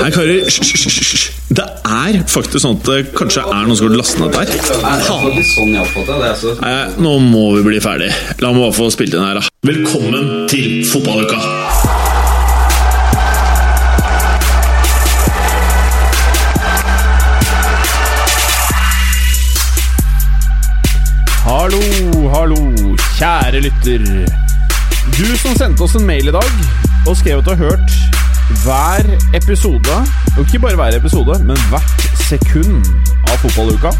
Nei, karer, hysj, hysj, hysj, hysj. Det er faktisk sånn at det kanskje er noen som går til å laste ned dette her. Faen. Sånn jeg oppfatter det. Altså. Nei, nå må vi bli ferdig. La meg bare få spilt inn her, da. Velkommen til fotballuka! Hallo, hallo, kjære lytter. Du som sendte oss en mail i dag og skrev at du har hørt hver episode, og ikke bare hver episode, men hvert sekund av fotballuka.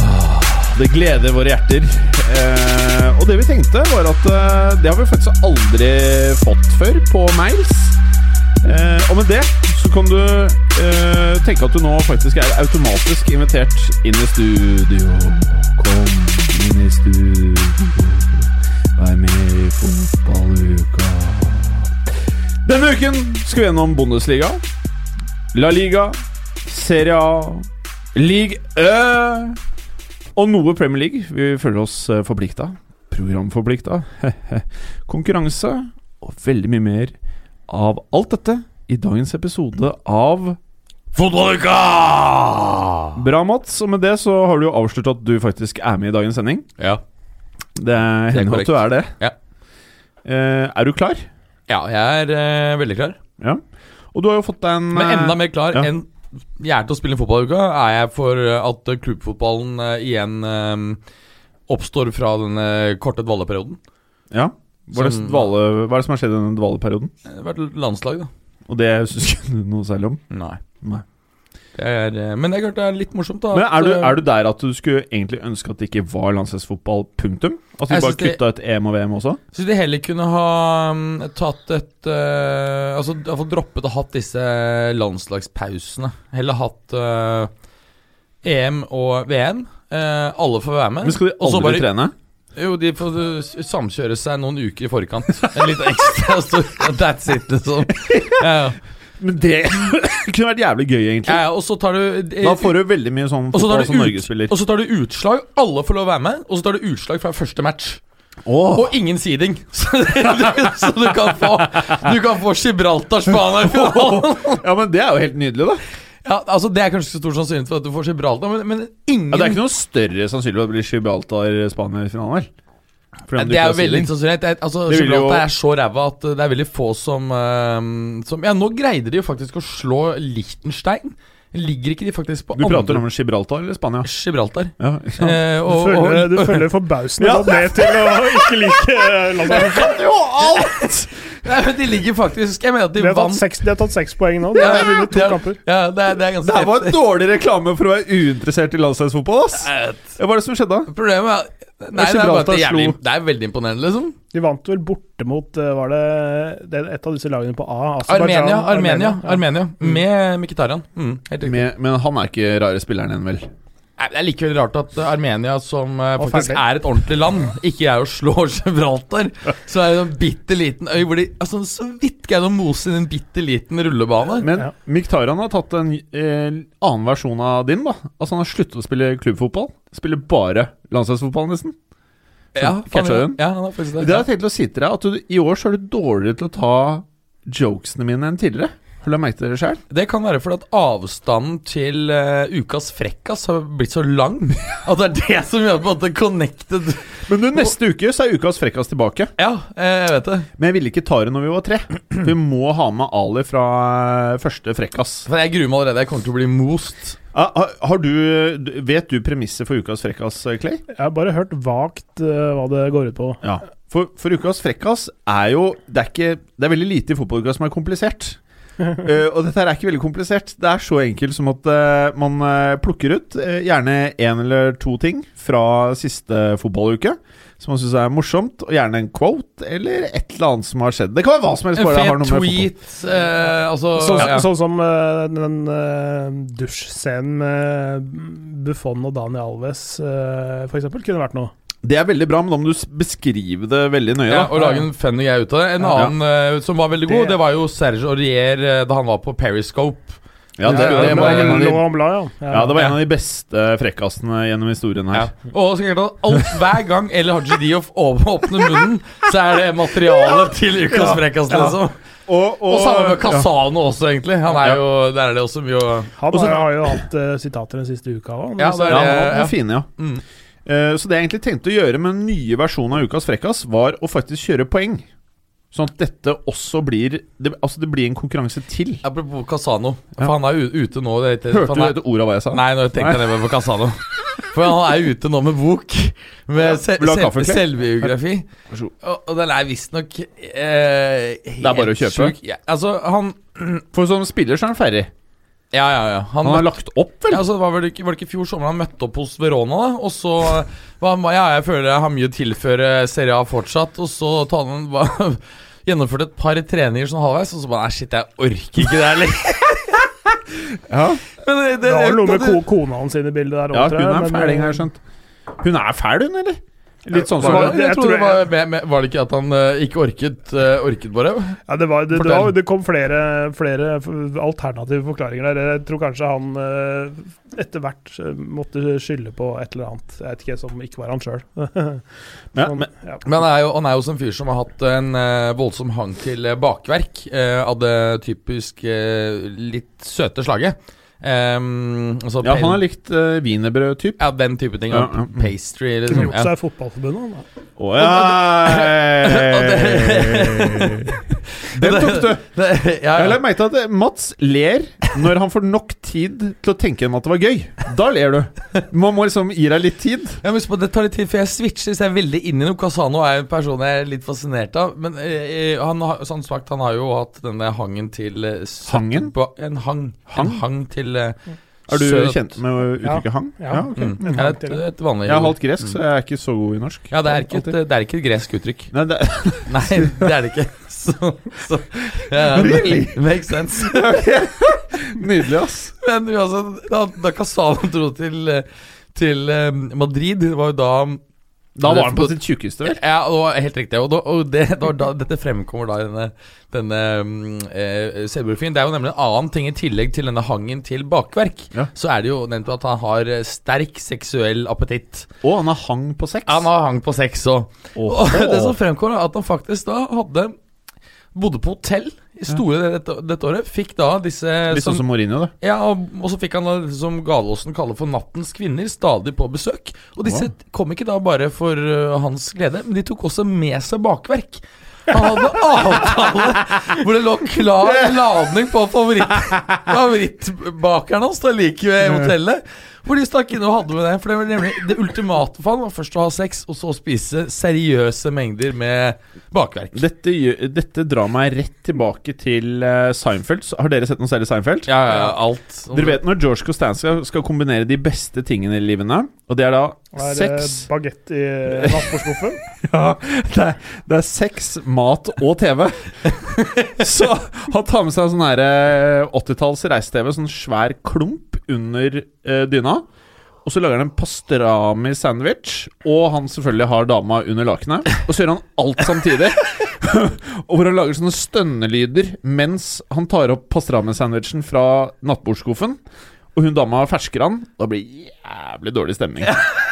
Ah, Det gleder våre hjerter. Eh, og det vi tenkte, var at eh, det har vi faktisk aldri fått før på mails. Eh, og med det så kan du eh, tenke at du nå faktisk er automatisk invitert inn i studio. Kom inn i studio, vær med i fotballuka. Denne uken skal vi gjennom Bundesliga, La Liga, Serie A, League Ø og noe Premier League. Vi føler oss eh, forplikta. Programforplikta. Konkurranse og veldig mye mer av alt dette i dagens episode av Fotballuka! Bra, Mats. Og med det så har du jo avslørt at du faktisk er med i dagens sending. Ja. Det hender at korrekt. du er det. Ja. Eh, er du klar? ja, jeg er eh, veldig klar. Ja. Og du har jo fått deg en Men eh, enda mer klar ja. enn jeg er til å spille fotballuka, er jeg for eh, at eh, klubbfotballen eh, igjen eh, oppstår fra den eh, korte dvaleperioden. eh, Ja. Hva er, det Som- dvale, hva er det som har skjedd i den dvaleperioden? Det har vært landslag, da. Og det syns ikke du noe særlig om. Nei. Nei. Det er, eh, men jeg hørte det er litt morsomt, da. Men er du, at, eh, er du der at du skulle egentlig ønske at det ikke var landslagsfotball, punktum? At du Jeg bare synes det- kutta ut EM og VM også? Syns de heller kunne ha mm, tatt et eh, Altså iallfall droppet å hatt disse landslagspausene. Heller hatt eh, EM og VM. Eh, alle får være med. Men skal de Og så aldri bare- trene? Jo, de får uh, s- samkjøre seg noen uker i forkant. En liten ekstra stor That's it, liksom. Ja, ja. Men det kunne vært jævlig gøy, egentlig. ja, ja, og så tar du eh, Da får du veldig mye sånn og så fotball tar du som ut- Norge spiller. Og så tar du utslag. Alle får lov å være med. Og så tar du utslag fra første match. Åh, Og ingen seeding. Så, du- så du kan få Du kan få Gibraltar-Spania i finalen. ja, men det er jo helt nydelig, da. Ja, altså Det er kanskje ikke så stor sannsynlighet for at du får Gibraltar, men, men ingen Ja, det er ikke noe større sannsynlig at det blir Gibraltar-Spania i finalen, vel? Fordi om Nei, du det ikke er har jo veldig seeding. sannsynlig. Det er- Altså, Det vil jo- Gibraltar er så ræva at uh, det er veldig få som, uh, som Ja, nå greide de jo faktisk å slå Liechtenstein. Ligger ikke de faktisk på Du prater om Gibraltar eller Spania? Gibraltar? Ja, Eh, Du og, følger, og, du følger forbausende godt med til å ikke like eh, landslaget. nei, men de ligger faktisk Jeg mener at de De har vant tatt seks, de har tatt seks poeng nå. De har vunnet to Ja, kamper. Ja, det er, det er ganske Det her var heftig. dårlig reklame for å være uinteressert i landslagsfotball, ass! Ja, Hva er det som skjedde da? Problemet er Nei, det er bare at det Gibraltar er, jævlig, slo- det er veldig imponerende, liksom. De vant vel borte mot eh, Var det, det er et av disse lagene på A? Aserbajdsjan, Armenia, Armenia, ja. Armenia. Med Mkhitarian. Mm, helt riktig. Men, men han er ikke rare spilleren igjen, vel? Nei, Det er likevel rart at eh, Armenia, som eh, Og faktisk ferdig. er et ordentlig land, ikke er å slå Gibraltar. Så er det en bitte liten øy hvor de altså, så vidt greide å mose inn en bitte liten rullebane. Men Ja. Mkhitaryan har tatt en eh, annen versjon av din, da. Altså Han har sluttet å spille klubbfotball. Spiller bare landslagsfotball, nesten. ja, catcha faen, den. Ja, han har faktisk Det det. har jeg tenkt å si til deg, at du, i år så er du dårligere til å ta jokesene mine enn tidligere. Har du lagt merke til det sjøl? Det kan være fordi at avstanden til eh, ukas frekkas har blitt så lang at det er det som gjør på en måte connected. Men du, neste uke så er ukas frekkas tilbake. Ja, eh, jeg vet det. Men jeg ville ikke ta det når vi var tre. For Vi må ha med Ali fra eh, første frekkas. For jeg gruer meg allerede. Jeg kommer til å bli most. Ah, Har, har du, du- vet du premisset for ukas frekkas, Clay? Jeg har bare hørt vagt eh, hva det går ut på. Ja. For, for ukas frekkas er jo Det er, ikke, det er veldig lite i fotballuka som er komplisert. Eh, og dette her er ikke veldig komplisert. Det er så enkelt som at eh, man eh, plukker ut eh, gjerne én eller to ting fra siste fotballuke som man syns er morsomt, og gjerne en quote eller et eller annet som har skjedd. Det kan være hva som helst. En bare det har fet noe med fotball- tweet. Eh, altså Sånn, ja. sånn som eh, den eh, dusjscenen med Buffon og Dani Alves, eh, for eksempel, kunne vært noe. Det er veldig bra, men da må du s- beskrive det veldig nøye. Da. Ja, og lage en funny greie ut av det. En Ja. annen eh, som var veldig god, Det- det var jo Serge Aurier eh, da han var på Periscope. Ja, det, Ja, det, ja, var men- en av de, Laurent Blanc, ja. ja, det var en av de beste frekkasene gjennom historien her. Ja. Og så klart at alt, hver gang El Haji Diof åpner munnen, så er det materiale til ukas frekkas, liksom. Og, Og samme med Casano også, egentlig. Han er Ja. jo, Der er det også mye å Han Og så- har, har jo hatt eh, sitater den siste uka òg. Ja, det Ja, Eh, han ja. var fin, ja. Mm. Eh, så det jeg egentlig tenkte å gjøre med den nye versjonen av Ukas frekkas, var å faktisk kjøre poeng. Sånn at dette også blir det, Altså, det blir en konkurranse til. Apropos Casano. Ja. For han er u- ute nå. Det, det, Hørte han du er, dette ordet av hva jeg sa? Nei, nå tenkte jeg nedover på Casano. For han er ute nå med bok. Med se, Vil du ha selv, kaffeklær? selvbiografi. Vær så god. Og, og den er visstnok eh, helt Det er bare å kjøpe. sjuk. Ja, altså, han For som spiller så er han ferdig. Ja, ja, ja. Han, Han har lagt opp, vel? ja, altså, det var, vel ikke, var det ikke i fjor sommer han møtte opp hos Verona, da? Og så var han bare Ja, jeg føler jeg har mye å tilføre Serie A fortsatt. Og så tar han bare- Gjennomførte et par treninger sånn halvveis, og så bare Nei, shit, jeg orker ikke det her lenger. Ja, Men det- Det det- har noe det- med ko kona hans inn i bildet der òg, ja hun er eh, fæling, har jeg skjønt. Hun er fæl, hun, eller? Litt sånn Så som var, det- jeg, jeg tror det tror var, jeg- med, med, var det ikke at han eh, ikke orket, eh, orket bare? Ja, det, var, det, det, Fortell. var, det kom flere, flere f- alternative forklaringer der. Jeg tror kanskje han eh, etter hvert eh, måtte skylde på et eller annet. Jeg vet ikke, som ikke var han sjøl. Ja, men, Men han er, jo, han er jo som en fyr som har hatt en eh, voldsom hang til eh, bakverk eh, av det typisk eh, litt søte slaget. Ehm, altså ja, pa- han er likt uh, wienerbrød-typ. ja, den type ting. Ja, og ja. Pastry, liksom. Gjort Ja. seg i Fotballforbundet, han da. Å ja! Den tok du! Det- ja, Jeg ja. la merke til at eh, Mats ler når han får nok tid til å tenke gjennom at det var gøy. Da ler du. Man må liksom gi deg litt tid. Ja, men husk på, Det tar litt tid før jeg switcher, så jeg er veldig inn i noe. Casano er en person jeg er litt fascinert av. Men eh, eh, han, har, som sagt, han har jo hatt denne hangen til eh, søt- Hangen? Ba, en hang. Hang? En hang til eh, Er du søt- kjent med uttrykket hang? Ja. ok. Mm. en Ja, hang et, til, ja. et vanlig Jeg er halvt gresk, så jeg er ikke så god i norsk. Ja, det er ikke et, Alltid. det er ikke et gresk uttrykk. Nei, det, Nei, det er det ikke. Så, så ja, ja. Really? Makes sense. Nydelig, ass. Men uansett, da, da Casano dro til, eh, til eh, Madrid, det var jo da Da var han på sitt tjukkeste, vel? Ja, det var helt riktig. Og, da, og det, det var da, dette fremkommer da i denne, denne mm, eh, selvbiografien. Det er jo nemlig en annen ting i tillegg til denne hangen til bakverk. Ja. Så er det jo nevnt at han har eh, sterk seksuell appetitt. Å, han har hang på sex. Han har hang på sex òg. Åh. Og det som fremkommer, er at han faktisk da hadde Bodde på hotell i store deler dette, dette året. Fikk da disse Litt sånn som, som Mourinho, da. ja, og, og så fikk han da det som Galåsen kaller for nattens kvinner, stadig på besøk. Og disse kom ikke da bare for øh, hans glede, men de tok også med seg bakverk. Han hadde avtale hvor det lå klar ladning på favoritt, favorittbakeren hans, da like ved hotellet. Hvor de stakk inne og hadde med det. For det var nemlig det ultimate for han var først å ha sex, og så spise seriøse mengder med bakverk. Dette, gjør- dette drar meg rett tilbake til eh, Seinfeld. Har dere sett noe særlig Seinfeld? Ja, ja, ja, alt. Dere vet når George Costanza skal kombinere de beste tingene i livene, og det er da Er det sex bagett i eh, nattbordskuffen? Ja, det er, det er sex, mat og TV. Så han tar med seg sånn her eh, 80-talls reise-TV, sånn svær klump under eh, dyna. Og så lager han en pastrami-sandwich, og han selvfølgelig har dama under lakenet. Og så gjør han alt samtidig. og hvor han lager sånne stønnelyder mens han tar opp pastrami-sandwichen fra nattbordskuffen. Og hun dama fersker han. Da blir det jævlig dårlig stemning.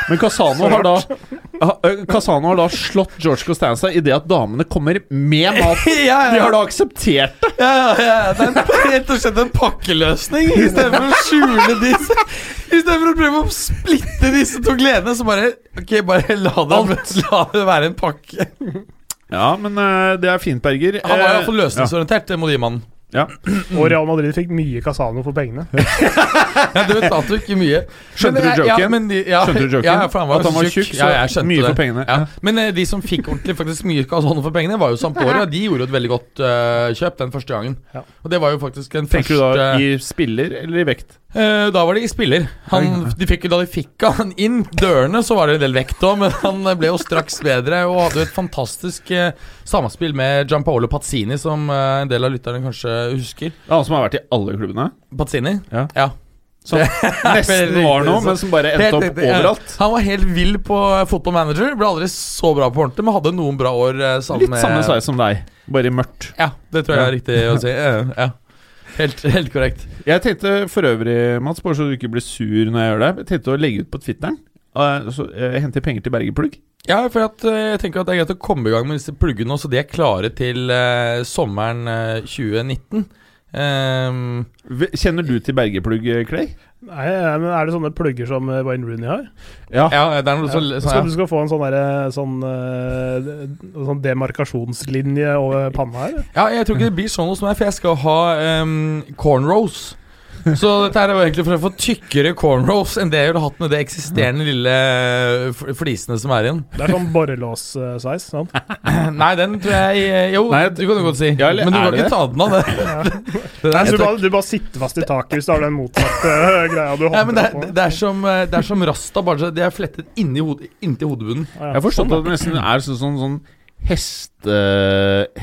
Men Casano har da Ah, eh, Casano har da slått George Costanza i det at damene kommer med mat. Ja, ja, De ja. har da akseptert det. Ja, ja, ja. Det er en- rett og slett en pakkeløsning. I stedet for å skjule disse I stedet for å prøve å splitte disse to gledene, så bare Ok, bare la det, la det være en pakke. Ja, men eh, det er fint, Berger. Han var iallfall Eh, løsningsorientert, det må de gi mannen. Ja. Og Real Madrid fikk mye Casano for pengene. Ja, du vet at du ikke mye. Men Skjønte du jeg- ja, joken? men de- ja, Skjønte du joken? Ja, for han var, At han var tjukk, ja, så jeg skjønte mye det. for pengene. Ja. Ja. Men eh, de som fikk ordentlig faktisk mye kalsoner for pengene, var jo Sampdoria. De gjorde jo et veldig godt eh, kjøp den første gangen. Ja. Og det var jo faktisk den Tenker første du da i spiller eller i vekt? Eh, da var det i spiller. Han, de fikk, da de fikk han inn dørene, så var det en del vekt òg, men han eh, ble jo straks bedre og hadde jo et fantastisk eh, samspill med Gianpaolo Pazzini, som eh, en del av lytterne kanskje husker. Det er han som har vært i alle klubbene. Pazzini? Ja. ja. Som nesten var noe, men som bare endte opp Helt riktig, ja. overalt. Han var helt vill på eh, Football Manager. Ble aldri så bra på ordentlig, men hadde noen bra år eh, sammen Litt samme sveis som deg, bare i mørkt. Ja, det tror jeg er riktig å si. Eh, ja. Helt, helt korrekt. Jeg tenkte for øvrig, Mats, bare så du ikke blir sur når jeg gjør det, jeg tenkte å legge ut på Twitteren. eh, Så eh, hente penger til Bergeplugg. Ja, for at, eh, jeg tenker at det er greit å komme i gang med disse pluggene nå, så de er klare til eh, sommeren eh, 2019. Ehm, V- Kjenner du til Bergeplugg, eh, Clay? Nei, ja, men Er det sånne plugger som eh, Wayne Rooney har? Ja. ja, det er noe sånn, Ja. sånn Skal, ja. du skal få en sånn, derre- sånn, eh, sånn demarkasjonslinje over panna her. Ja, jeg tror ikke det blir sånn hos meg, for jeg skal ha um, cornrows. Så dette her er jo egentlig for å få tykkere cornrows enn det jeg ville hatt med det eksisterende lille eh, f- flisene som er igjen. Det er sånn borrelås-size. sant? Nei, den tror jeg eh, Jo, Nei, du kan jo godt si. ja, eller men du er kan det ikke det? ta den av det. det Så der, du, bare, du bare sitter fast i taket hvis du har den motsatte eh, greia du ja, men det, holder er, på med. det, er som, eh, det er som rasta, bare så de er flettet inni hodet, inntil hodebunnen. Ja, ja. Jeg har forstått Sånn, at det nesten er sånn, sånn, sånn heste,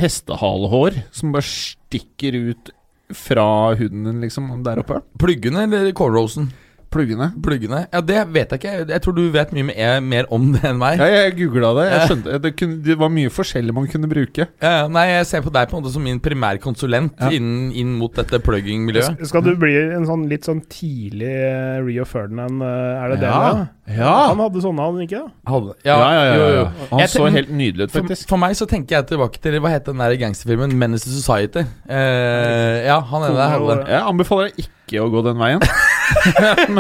hestehalehår som bare stikker ut fra huden din, liksom, der oppe. Pluggene eller cornrowsen? Pluggene. Pluggene? Ja, det vet jeg ikke. Jeg tror du vet mye mer- mer om det enn meg. Ja, jeg googla det. Jeg skjønte, det, kunne, det var mye forskjellig man kunne bruke. Ja, ja, Eh, nei, jeg ser på deg på en måte som min primærkonsulent Ja. innen, inn mot dette plugging-miljøet. Skal du bli en sånn litt sånn tidlig eh, Rio Ferdinand, eh, er det det? Ja. da? Han hadde sånne, han ikke? da? Hadde- Ja, ja, ja. jo, ja, jo. Han Jeg så tenk- helt nydelig ut, For, faktisk. for meg så tenker jeg tilbake til Hva het den der gangsterfilmen? Menace to Society. Eh, ja, han ene der hadde den. Jeg anbefaler deg ikke å gå den veien.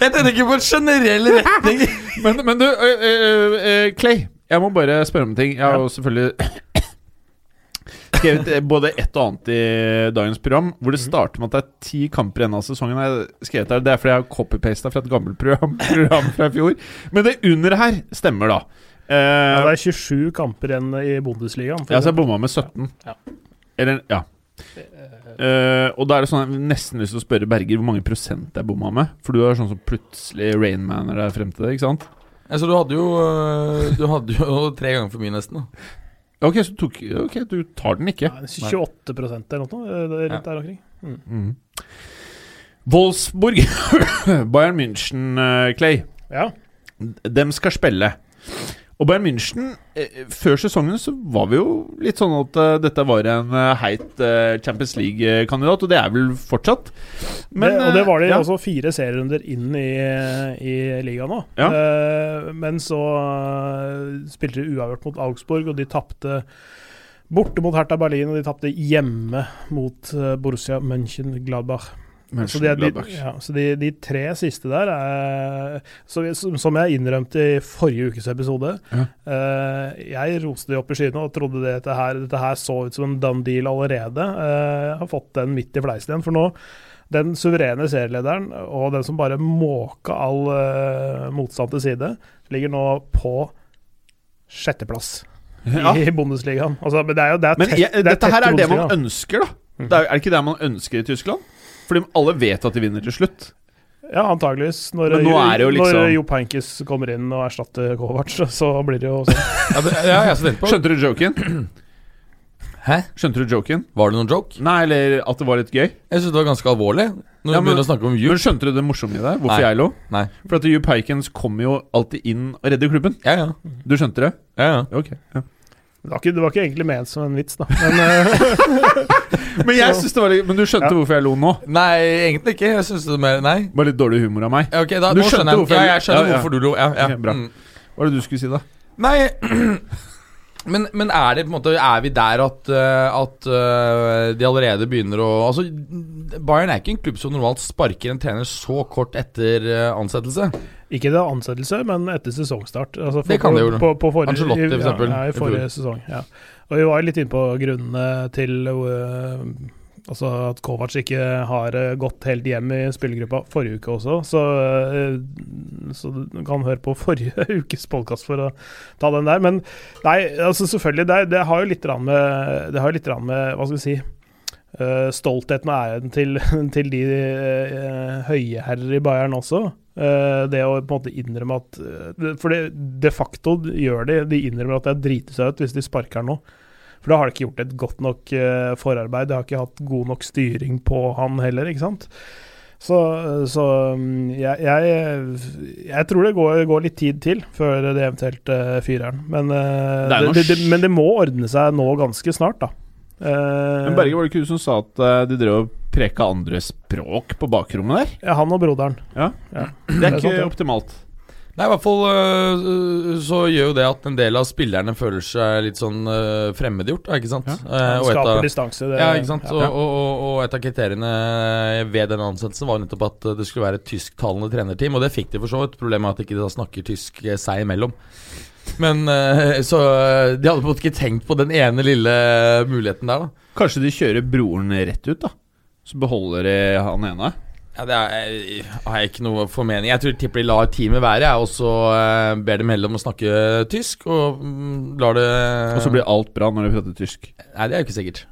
Jeg tenker ikke på en generell retning. Men, men du, ø, ø, ø, Clay. Jeg må bare spørre om en ting. Jeg har jo selvfølgelig skrevet eh, både ett og annet i dagens program, hvor Mhm. det starter med at det er ti kamper igjen av sesongen. Jeg har skrevet her, Det er fordi jeg har copypasta fra et gammelt program, program fra i fjor. Men det under her stemmer, da. Ja, Eh, det er 27 kamper igjen i Bundesligaen. for ja, så jeg eksempel. bomma med 17. Ja. Eller Ja. Eh, og da er det sånn jeg nesten lyst til å spørre Berger hvor mange prosent jeg bomma med. For du er sånn som plutselig Rainman er der frem til det, ikke sant? Altså, du hadde jo eh, Du hadde jo tre ganger for mye, nesten. Da. Ok, så tok, ok, du tar den ikke. Nei, 28 eller noe, eh, det er Ja. rundt der omkring. Mm. Wolfsburg Bayern München, eh, Clay. Ja. Dem skal spille. Og Bayern München eh, Før sesongen så var vi jo litt sånn at eh, dette var en eh, heit eh, Champions League-kandidat, og det er vel fortsatt. det, og det var det eh, ja. også fire serierunder inn i, i ligaen nå. Ja. Eh, men så eh, spilte de uavgjort mot Augsburg, og de tapte borte mot Hertha Berlin, og de tapte hjemme mot eh, Borussia München-Gladbach. Så, de, de, Mönchengladbach. ja, så de, de tre siste der er så, vi- som- Som jeg innrømte i forrige ukes episode. eh, jeg roste de opp i skyene og trodde det- dette her, dette her så ut som en done deal allerede. Eh, jeg har fått den midt i fleisen igjen. For nå, den suverene serielederen og den som bare måka all eh, motstand til side, ligger nå på sjetteplass Ja. i Bundesligaen. Altså, men det er jo det er Men tett- jeg, det er dette tett Mm. her i er det man Bundesligaen. ønsker, da. Det er, er det ikke det man ønsker i Tyskland? Fordi alle vet at de vinner til slutt. Ja, antageligvis. Når, Men nå er det jo liksom- når Jopp Henkes kommer inn og erstatter Kovac, så blir det jo sånn. Ja, det, ja, jeg så tenkte på Skjønte du joken? Hæ? Skjønte du joken? Var det noen joke? Nei, eller at det var litt gøy? Jeg syntes det var ganske alvorlig. Når Ja, du men- begynner å snakke om jul. Men skjønte du det morsomme i det? Hvorfor Nei. jeg lo? Nei. For at Jupp Heikens kommer jo alltid inn og redder klubben. Ja, ja. Du skjønte det? ja, ja. Ok. Ja. Det var ikke, det var ikke egentlig ment som en vits, da. Men eh, Men jeg synes det var litt Men du skjønte Ja. hvorfor jeg lo nå? Nei, egentlig ikke. Jeg syns det er mer Nei. Bare litt dårlig humor av meg. Ja, Ok, da, Du nå skjønte skjønner jeg. hvorfor jeg- Ja, jeg skjønner Ja, ja. hvorfor du lo. Ja, ja. Ok, bra. Mm. Hva er det du skulle si, da? Nei men, men er det på en måte Er vi der at, eh, at eh, de allerede begynner å Altså, Bayern er ikke en klubb som normalt sparker en trener så kort etter eh, ansettelse. ikke det ansettelse, men etter sesongstart. Altså, Det kan det jo. På, på forrige, Ancelotti, for i- eksempel, Ja, i i forrige fjor. sesong. Ja. Og vi var jo litt inne på grunnene til eh, Altså at Kovac ikke har eh, gått helt hjem i spillergruppa forrige uke også, så, eh, så du kan høre på forrige ukes podkast for å ta den der. Men nei, altså selvfølgelig, det, er- det har jo litt grann med Det har jo litt grann med, hva skal vi si eh, stoltheten og æren til, til de eh, høyherrer i Bayern også. Eh, det å på en måte innrømme at eh, For det, de facto gjør de De innrømmer at det er driti seg ut hvis de sparker nå. For da har de ikke gjort et godt nok eh, forarbeid. De har ikke hatt god nok styring på han heller, ikke sant. Så, så mm, jeg, jeg, jeg tror det går, går litt tid til før det eventuelt eh, fyrer han. Men, eh, Det er noe det, det, sj- men det må ordne seg nå ganske snart, da. Eh, Men Berge, var det ikke du som sa at eh, de drev og preka andre språk på bakrommet der. Ja, han og broderen. Det er Det er sant, ikke ja. optimalt. Nei, i hvert fall øh, øh, så gjør jo det at en del av spillerne føler seg litt sånn øh, fremmedgjort, da, ikke sant? Ja. Eh, Han og et skaper av- distanse. Det, eh, Ja, ikke sant? ja. Og, og, og- og et av kriteriene ved den ansettelsen var jo nettopp at det skulle være et tysktalende trenerteam, og det fikk de for så vidt. Problemet er at de ikke da snakker tysk eh, seg imellom. Men eh, Så eh, de hadde på en måte ikke tenkt på den ene lille muligheten der, da. Kanskje de kjører broren rett ut, da. Så beholder de han ene. Ja, Det er, eh, har jeg ikke noe formening Jeg tror tipper de lar teamet være, jeg, og så eh, ber dem heller om å snakke tysk, og mm, lar det Og så blir alt bra når de prater tysk. Nei, det er jo ikke sikkert.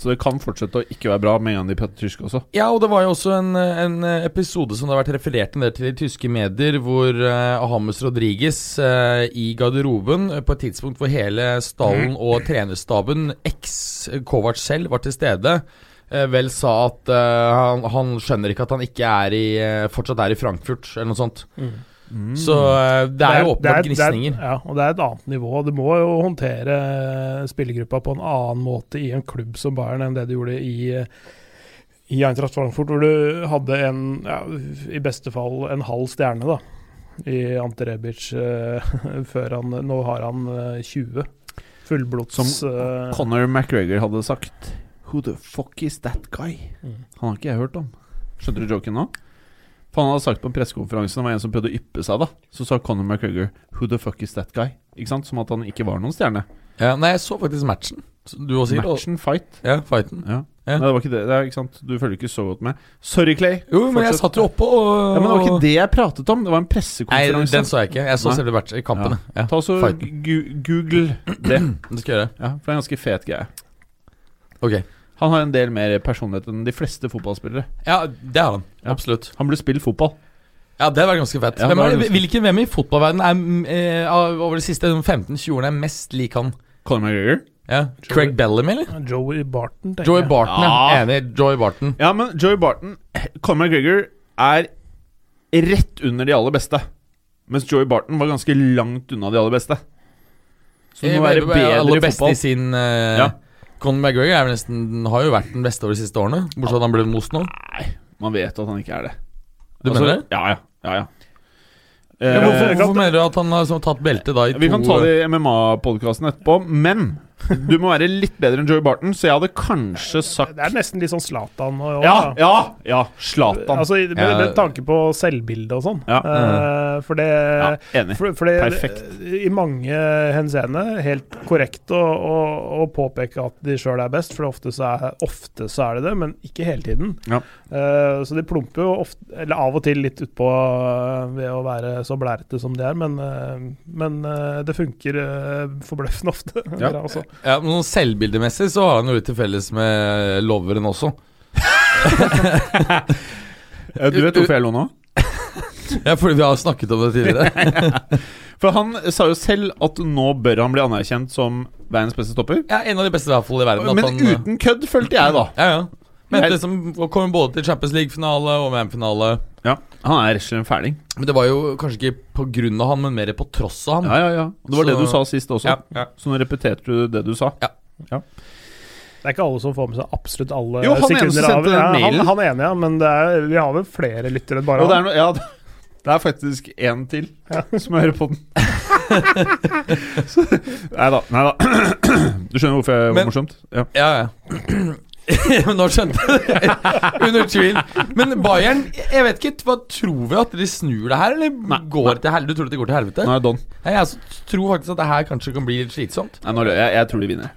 Så det kan fortsette å ikke være bra med en gang de prater tysk også. Ja, og det var jo også en, en episode som det har vært referert en del til i tyske medier, hvor uh, Hames Rodriguez eh, i garderoben eh, på et tidspunkt hvor hele Mm. stallen og trenerstaben, eks Kovac selv, var til stede, eh, vel sa at eh, han, han skjønner ikke at han ikke er i, eh, fortsatt er i Frankfurt, eller noe sånt. Mm. Så eh, det er jo Mm. det er- åpenbart gnisninger. det er- Ja, og det er et annet nivå. Du må jo håndtere eh, spillergruppa på en annen måte i en klubb som Bayern enn det du gjorde i eh, i Eintracht Frankfurt, hvor du hadde en, ja, i beste fall en halv stjerne, da, i Ante Rebic, eh, før han Nå har han eh, 20 fullblods Som eh, Conor McGregor hadde sagt Who the fuck is that guy? Mm. Han har ikke jeg hørt om. Skjønte du joken nå? For han hadde sagt på en pressekonferanse det var en som prøvde å yppe seg, da. Så sa Conor McGregor Who the fuck is that guy? Ikke sant? Som at han ikke var noen stjerne. Ja, nei, jeg så faktisk matchen. Så Du også sikkert? Matchen fight. Ja, fighten. Ja. Ja. Nei, det var ikke det. det er, ikke sant? Du følger ikke så godt med. Sorry, Clay. Jo, men jeg Fortsett. satt jo oppe og Ja, men det var ikke det jeg pratet om. Det var en Nei, pressekonferanse. den så jeg ikke. Jeg så Nei. selve matchen, kampen. Ja. Ta så Fighten. gu- Google det. Det skal jeg gjøre. Ja, for det er en ganske fet greie. Ok. Han har en del mer personlighet enn de fleste fotballspillere. Ja, det har han. Ja. Absolutt. Han burde spille fotball. Ja, det hadde vært ganske fett. Ja, det hvem, hadde er, vært ganske- hvilken, hvem i fotballverdenen er mm, eh, av- over de siste 15-20 årene er mest lik han? Conor McGregor? Ja. Joey. Craig Bellamy, eller? Joey Barton, tenker Joy jeg. Barton, ja. Ja. Enig. Joy Barton. Ja, men Joey Barton Conor McGregor er rett under de aller beste. Mens Joey Barton var ganske langt unna de aller beste. Så du må være bedre i Eh, aller best fotball. i sin eh, Ja. Conor McGregor er vel nesten, har jo vært den beste over de siste årene, bortsett fra at han ble most nå. Nei, man vet at han ikke er det. Altså, Du mener det? Ja, ja. ja, ja. Ja, Eh, hvorfor, hvorfor mener du at han har liksom, tatt belte da i vi to eh. kan ta det i MMA-podkasten etterpå, men du må være litt bedre enn Joey Barton, så jeg hadde kanskje sagt Det er nesten litt sånn Zlatan. og- Ja, og- ja, ja! Zlatan. Altså, i- med, Ja. med tanke på selvbilde og sånn. Ja. Mm. Eh, for det Ja, enig. For, for det, Perfekt. I mange henseende helt korrekt å, å, å påpeke at de sjøl er best, for ofte så er, ofte så er det det, men ikke hele tiden. Ja. Eh, så de plumper jo ofte, eller av og til litt utpå eh, ved å være så blærete som de er, men, eh, men eh, det funker eh, forbløffende ofte. Ja. Bra også. Ja, men sånn Selvbildemessig så har han jo litt til felles med loveren også. Eh, Du vet hvorfor jeg lo nå? Ja, fordi vi har snakket om det tidligere. For han sa jo selv at nå bør han bli anerkjent som verdens beste stopper. Ja, En av de beste i hvert fall i verden. at Men han, eh, uten kødd, følte jeg, da. Ja, ja. Men Nei. det som å komme både til Champions League-finale og VM-finale Ja, Han er rett og slett en fæling. Men det var jo kanskje ikke på grunn av han, men mer på tross av han. Ja, ja, ja. Og det var Så- det du sa sist også. Ja, ja. Så nå repeterte du det du sa. Det er ikke alle som får med seg absolutt alle Jo, han ene som sekunder sendte av den ja, han, mailen. han ene, ja, men det er, vi har vel flere lyttere enn bare Og det er, han. no, ja, det er faktisk én til som hører på den. Nei da. Nei da. Du skjønner hvorfor jeg var Men- morsomt? Ja. Ja, ja. Men Nå skjønte jeg det. Under tvil. Men Bayern, jeg vet ikke hva Tror vi at de snur det her, eller går til helvete? Du tror at de går til helvete? Nei, Don. Nei, jeg altså tror faktisk at det her kanskje kan bli litt slitsomt. Nei, nå, løy jeg, jeg tror de vinner.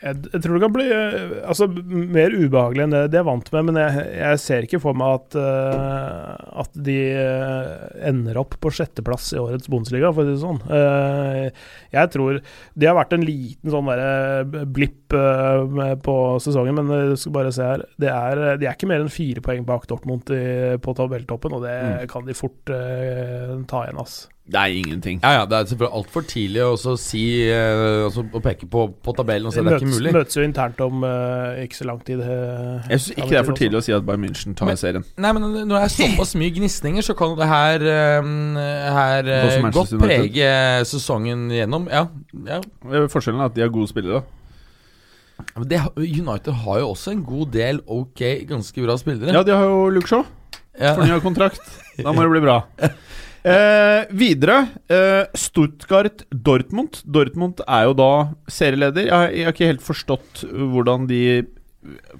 Jeg, jeg tror det kan bli eh, altså, m- mer ubehagelig enn det de er vant med, men jeg, jeg ser ikke for meg at, eh, at de eh, ender opp på sjetteplass i årets Bundesliga, for å si det sånn. Eh, jeg tror De har vært en liten sånn derre blipp eh, med- på sesongen, men eh, skal bare se her det er, De er ikke mer enn fire poeng bak Dortmund i, på tabelltoppen, og det Mm. kan de fort eh, ta igjen, ass. Det er ingenting. Ja, ja, Det er selvfølgelig altfor tidlig å også si eh, altså, Å peke på, på tabellen og si Altså, De at det er ikke møtes, mulig. møtes jo internt om eh, ikke så lang tid. eh, Jeg syns ikke det er for tidlig å si at Bayern München tar Men- serien. Nei, men når det er såpass mye gnisninger, så kan det her, ehm, her eh, Også godt Manchester United. prege sesongen gjennom. Ja, ja. Eh, Forskjellen er at de er gode spillere. Men det, United har jo også en god del ok, ganske bra spillere. Ja, de har jo Luke Shaw. Ja. Fornya kontrakt. Da må det bli bra. Eh, videre eh, Stuttgart-Dortmund. Dortmund er jo da serieleder. Jeg, har- jeg har ikke helt forstått hvordan de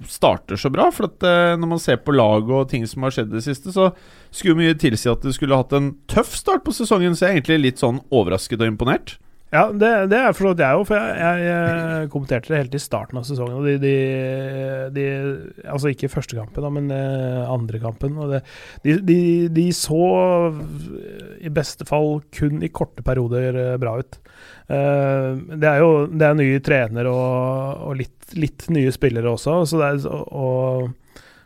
starter så bra. For at eh, når man ser på laget og ting som har skjedd i det siste, så skulle mye tilsi at de skulle hatt en tøff start på sesongen. Så jeg er egentlig litt sånn overrasket og imponert. Ja, det, det er for så vidt jeg òg, for jeg, jeg, eh, kommenterte det helt i starten av sesongen. Og de, de, de, altså ikke første kampen, da, men eh, andre kampen. Og det, de, de, de så eh, i beste fall kun i korte perioder eh, bra ut. Eh, Det er jo det er nye trenere og, og litt, litt nye spillere også, så det er, og,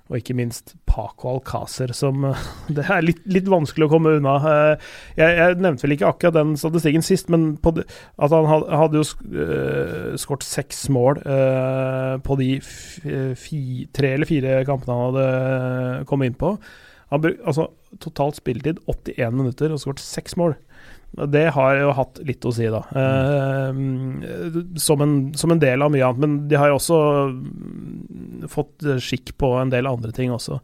og ikke minst Paco Alcácer, som eh, Det er litt, litt vanskelig å komme unna. Eh, Jeg, jeg nevnte vel ikke akkurat den statistikken sist, men på det, at han had- hadde jo sk- øh, skåret seks mål øh, på de f eh, fi, tre eller fire kampene han hadde eh, kommet inn på. Han bruk, altså, totalt spilletid 81 minutter og skåret seks mål. Og Det har jo hatt litt å si, da. Eh, som, en, som en del av mye annet. Men de har jo også mm, fått skikk på en del andre ting også.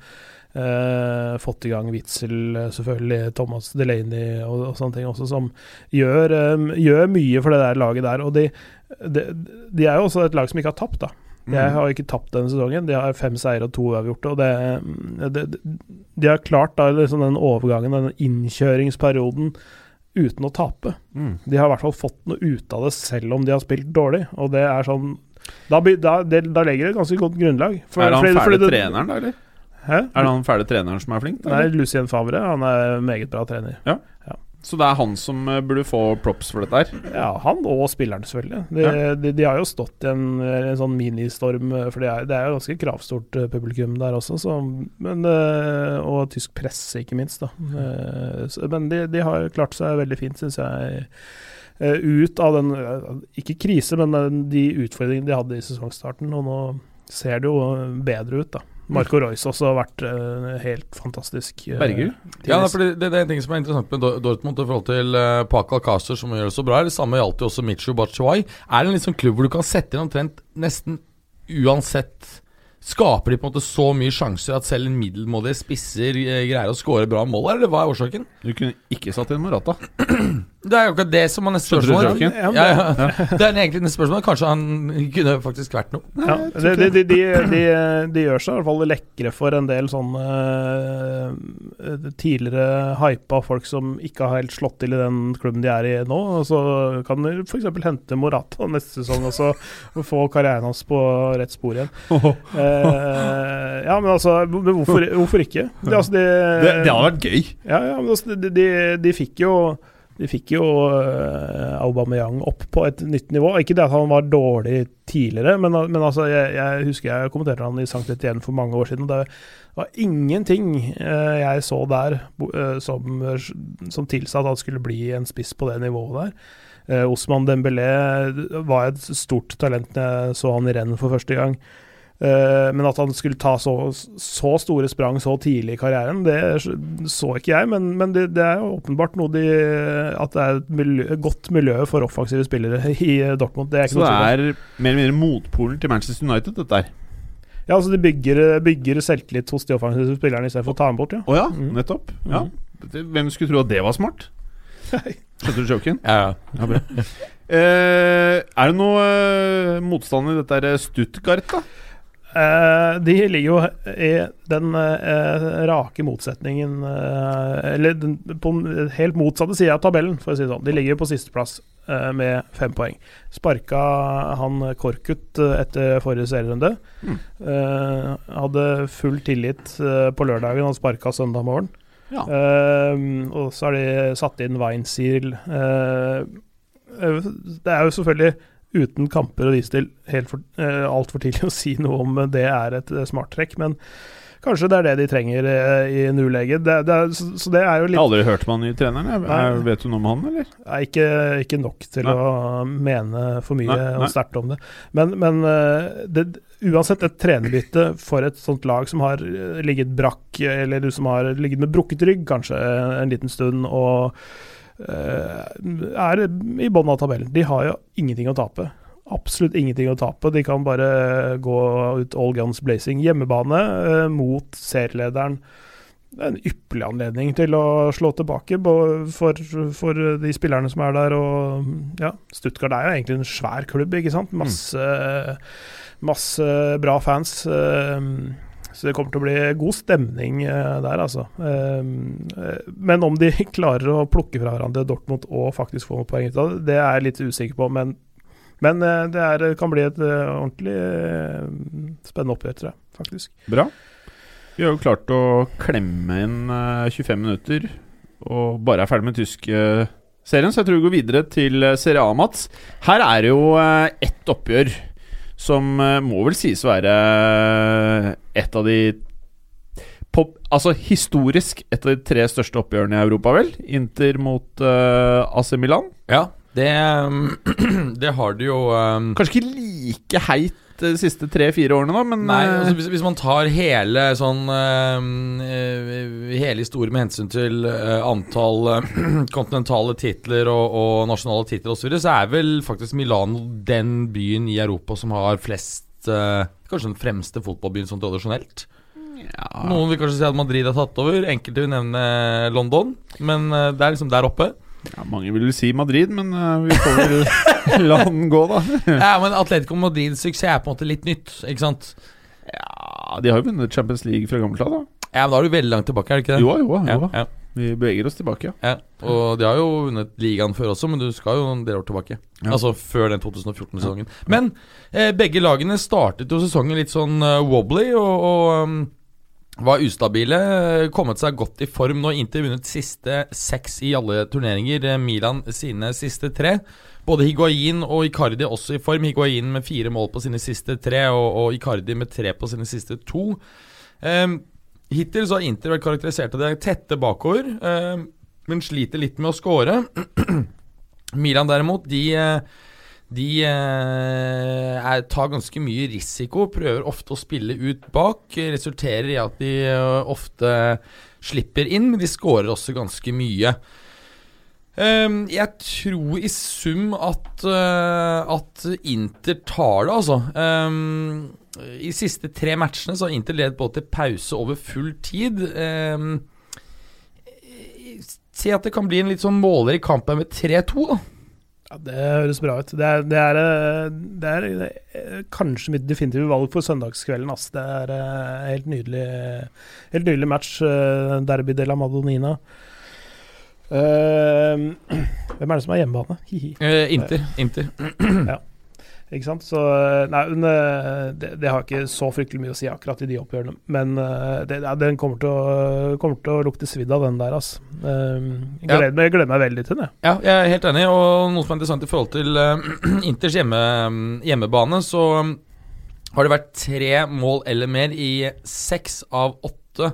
Eh, fått i gang Witzel, eh, selvfølgelig, Thomas Delaney og, og sånne ting også, som gjør, eh, gjør mye for det der laget der. Og de, de, de er jo også et lag som ikke har tapt, da. De Mm. har jo ikke tapt denne sesongen. De har fem seire og to uavgjorte. Og det, det, de har klart da, liksom den overgangen, den innkjøringsperioden, uten å tape. Mm. De har i hvert fall fått noe ut av det, selv om de har spilt dårlig. Og det er sånn Da, blir- da, det, da legger det et ganske godt grunnlag. For- er det fordi- han fæle fordi det- treneren, da, eller? Hæ? Er det han fæle treneren som er flink? Da, Nei, eller? Lucien Favre. Han er meget bra trener. Så det er han som eh, burde få props for dette her? Ja, han og spilleren, selvfølgelig. De, de, de har jo stått i en, en sånn ministorm, eh, for det er, det er jo ganske kravstort eh, publikum der også. Så, men, eh, og tysk presse, ikke minst. Da. Eh, så- Men de, de har klart seg veldig fint, syns jeg. eh, Ut av den, eh, ikke krise, men eh, de utfordringene de hadde i sesongstarten. Og nå ser det jo eh, bedre ut, da. Marco Royce også har vært eh, helt fantastisk. eh, Bergerud? Ja, tidligere. da, fordi det, det er en ting som er interessant med Dor- Dortmund i forhold til uh, Paco Alcácer, som gjør det så bra. Det samme gjaldt jo også Michu Batshuayi. Er det en liksom klubb hvor du kan sette inn omtrent nesten uansett Skaper de på en måte så mye sjanser at selv en middelmådige spisser eh, greier å score bra mål, eller hva er årsaken? Du kunne ikke satt inn Morata. Det er jo ikke det som er neste Skjønner du spørsmål. saken? Ja, men Ja, ja. Det er egentlig neste spørsmål. Kanskje han kunne faktisk vært noe. Ja, de, de, de, de, de, de gjør seg i hvert fall lekre for en del sånne eh, tidligere hypa folk som ikke har helt slått til i den klubben de er i nå. Og så kan de f.eks. hente Morata neste sesong og så få karrieren hans på rett spor igjen. Eh, ja, men altså, men hvorfor, hvorfor ikke? Det, altså, de, vært gøy. ja, ja, men altså, de, de, de fikk jo de fikk jo eh, Aubameyang opp på et nytt nivå. Ikke det at han var dårlig tidligere, men, al- men altså, jeg, jeg husker jeg kommenterte han i Sankt Etienne for mange år siden. og Det var ingenting eh, jeg så der bo- eh, som, som tilsa at han skulle bli en spiss på det nivået der. Eh, Osman Dembélé var et stort talent når jeg så han i renn for første gang. Eh, men at han skulle ta så, så store sprang så tidlig i karrieren, det så ikke jeg. Men, men det, det er jo åpenbart noe de, at det er et miljø, godt miljø for offensive spillere i Dortmund. Det er ikke Så det noe tvil om. er mer eller mindre motpolen til Manchester United, dette her. Ja, altså de bygger, bygger selvtillit hos de offensive spillerne istedenfor å ta dem bort, ja. Å ja, Mm. nettopp. Ja. Det- Hvem skulle tro at det var smart? Skjønte du joken? Ja, ja. Ja, bra. Eh, er det noe eh, motstand i dette her Stuttgart, da? Eh, de ligger jo i den eh, rake motsetningen eh, Eller den, på den helt motsatte sida av tabellen, for å si det sånn. De ligger på sisteplass eh, med fem poeng. Sparka han Korkut eh, etter forrige serierunde. Mm. Eh, hadde full tillit eh, på lørdagen, han sparka søndag morgen. Ja. Eh, og så har de satt inn Weinzierl. Eh, eh, det er jo selvfølgelig uten kamper å vise til helt for, eh, altfor tidlig å si noe om eh, det er et eh, smart trekk, men kanskje det er det de trenger eh, i nuleget. Det, det er, så, så det er jo Jeg litt har aldri hørt om han nye treneren. Jeg, jeg, Nei. vet du noe om han, eller? er ikke, ikke nok til Nei. å mene for mye Nei, nei. og sterkt om det. Men, men eh, det, uansett et trenerbytte for et sånt lag som har eh, ligget brakk, eller som har ligget med brukket rygg kanskje eh, en liten stund, og eh, er i bunnen av tabellen. De har jo ingenting å tape. absolutt ingenting å tape. De kan bare gå ut all guns blazing. Hjemmebane eh, mot serielederen. Det er en ypperlig anledning til å slå tilbake bo- for, for de spillerne som er der. Og ja, Stuttgart er jo egentlig en svær klubb, ikke sant. Masse, masse bra fans. eh, så det kommer til å bli god stemning eh, der, altså. Eh, eh, Men om de klarer å plukke fra hverandre Dortmund og faktisk få noen poeng ut av det, det er jeg litt usikker på. Men, men eh, det er, kan bli et eh, ordentlig eh, spennende oppgjør, tror jeg, faktisk. Bra. Vi har jo klart å klemme inn eh, 25 minutter og bare er ferdig med tysk eh, serien, så jeg tror vi går videre til eh, Serie A, Mats. Her er det jo eh, ett oppgjør som eh, må vel sies å være eh, et av de pop, Altså historisk et av de tre største oppgjørene i Europa, vel? Inter mot eh, AC Milan. Ja, det, det har du jo um, Kanskje ikke like heit eh, de siste tre-fire årene, da, men Nei, eh, altså hvis, hvis man tar hele sånn eh, eh, Hele historien med hensyn til eh, antall eh, kontinentale titler og, og nasjonale titler osv., så, videre, så er vel faktisk Milano den byen i Europa som har flest eh, Kanskje den fremste fotballbyen sånn tradisjonelt. ja. Noen vil kanskje si at Madrid har tatt over, enkelte vil nevne London, men eh, det er liksom der oppe. Ja, mange vil si Madrid, men eh, vi får vel la den gå, da. Ja, men Atletico Madrids suksess er på en måte litt nytt, ikke sant? Ja, De har jo vunnet Champions League fra gammelt av, da. Ja, men da er du veldig langt tilbake, er det ikke det? Jo, jo, jo. ja, ja. Vi beveger oss tilbake, ja. Ja, og de har jo vunnet ligaen før også, men du skal jo en del år tilbake. Ja. Altså før den 2014-sesongen. Men eh, begge lagene startet jo sesongen litt sånn eh, wobbly og, og um, var ustabile. eh, Kommet seg godt i form nå. Inter vunnet siste seks i alle turneringer. eh, Milan sine siste tre. Både Higuain og Icardi også i form. Higuain med fire mål på sine siste tre, og, og Icardi med tre på sine siste to. Ehm, hittil så har Inter vært karakterisert av det tette bakover, ehm, men sliter litt med å score. Milan derimot, de, eh, de eh, er, tar ganske mye risiko, prøver ofte å spille ut bak. Resulterer i at de eh, ofte slipper inn, men de skårer også ganske mye. Ehm, jeg tror i sum at, eh, at Inter tar det, altså. Ehm, I siste tre matchene så har Inter ledet både til pause over full tid. Um, si at det kan bli en litt sånn måler i kampen med 3-2, da. Ja, det høres bra ut. Det er, det er, eh, det er eh, kanskje mitt definitive valg for søndagskvelden. Ass. Det er eh, helt nydelig, helt nydelig match. eh, Derby de la Madonnina. Eh, hvem er det som har hjemmebane? Hihi. Eh, Inter. Inter. Ikke sant? Så, nei, men eh, det, det har ikke så fryktelig mye å si akkurat i de oppgjørene. Men eh, det, ja, den kommer til, å, kommer til å lukte svidd av, den der, altså. Jeg Ja. gleder, meg, jeg gleder meg veldig til den, jeg. Ja, jeg er helt enig. Og noe som er interessant i forhold til eh, Inters hjemme, hjemmebane, så um, har det vært tre mål eller mer i seks av åtte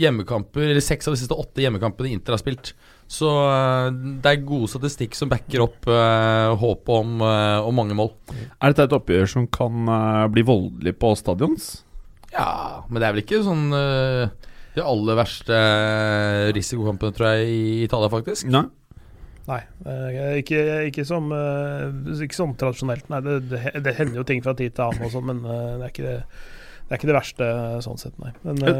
hjemmekamper, eller seks av de siste åtte hjemmekampene Inter har spilt. Så eh, det er god statistikk som backer opp eh, håpet om, eh, om mange mål. Er dette et oppgjør som kan eh, bli voldelig på stadions? Ja, men det er vel ikke sånn eh, de aller verste eh, risikokampene, tror jeg, i Italia, faktisk. Nei. Nei, eh, ikke, ikke, som, eh, ikke sånn tradisjonelt. Nei, det, det, det hender jo ting fra tid til annen og sånn, men eh, det er ikke det. Det er ikke det verste sånn sett, nei. Men eh,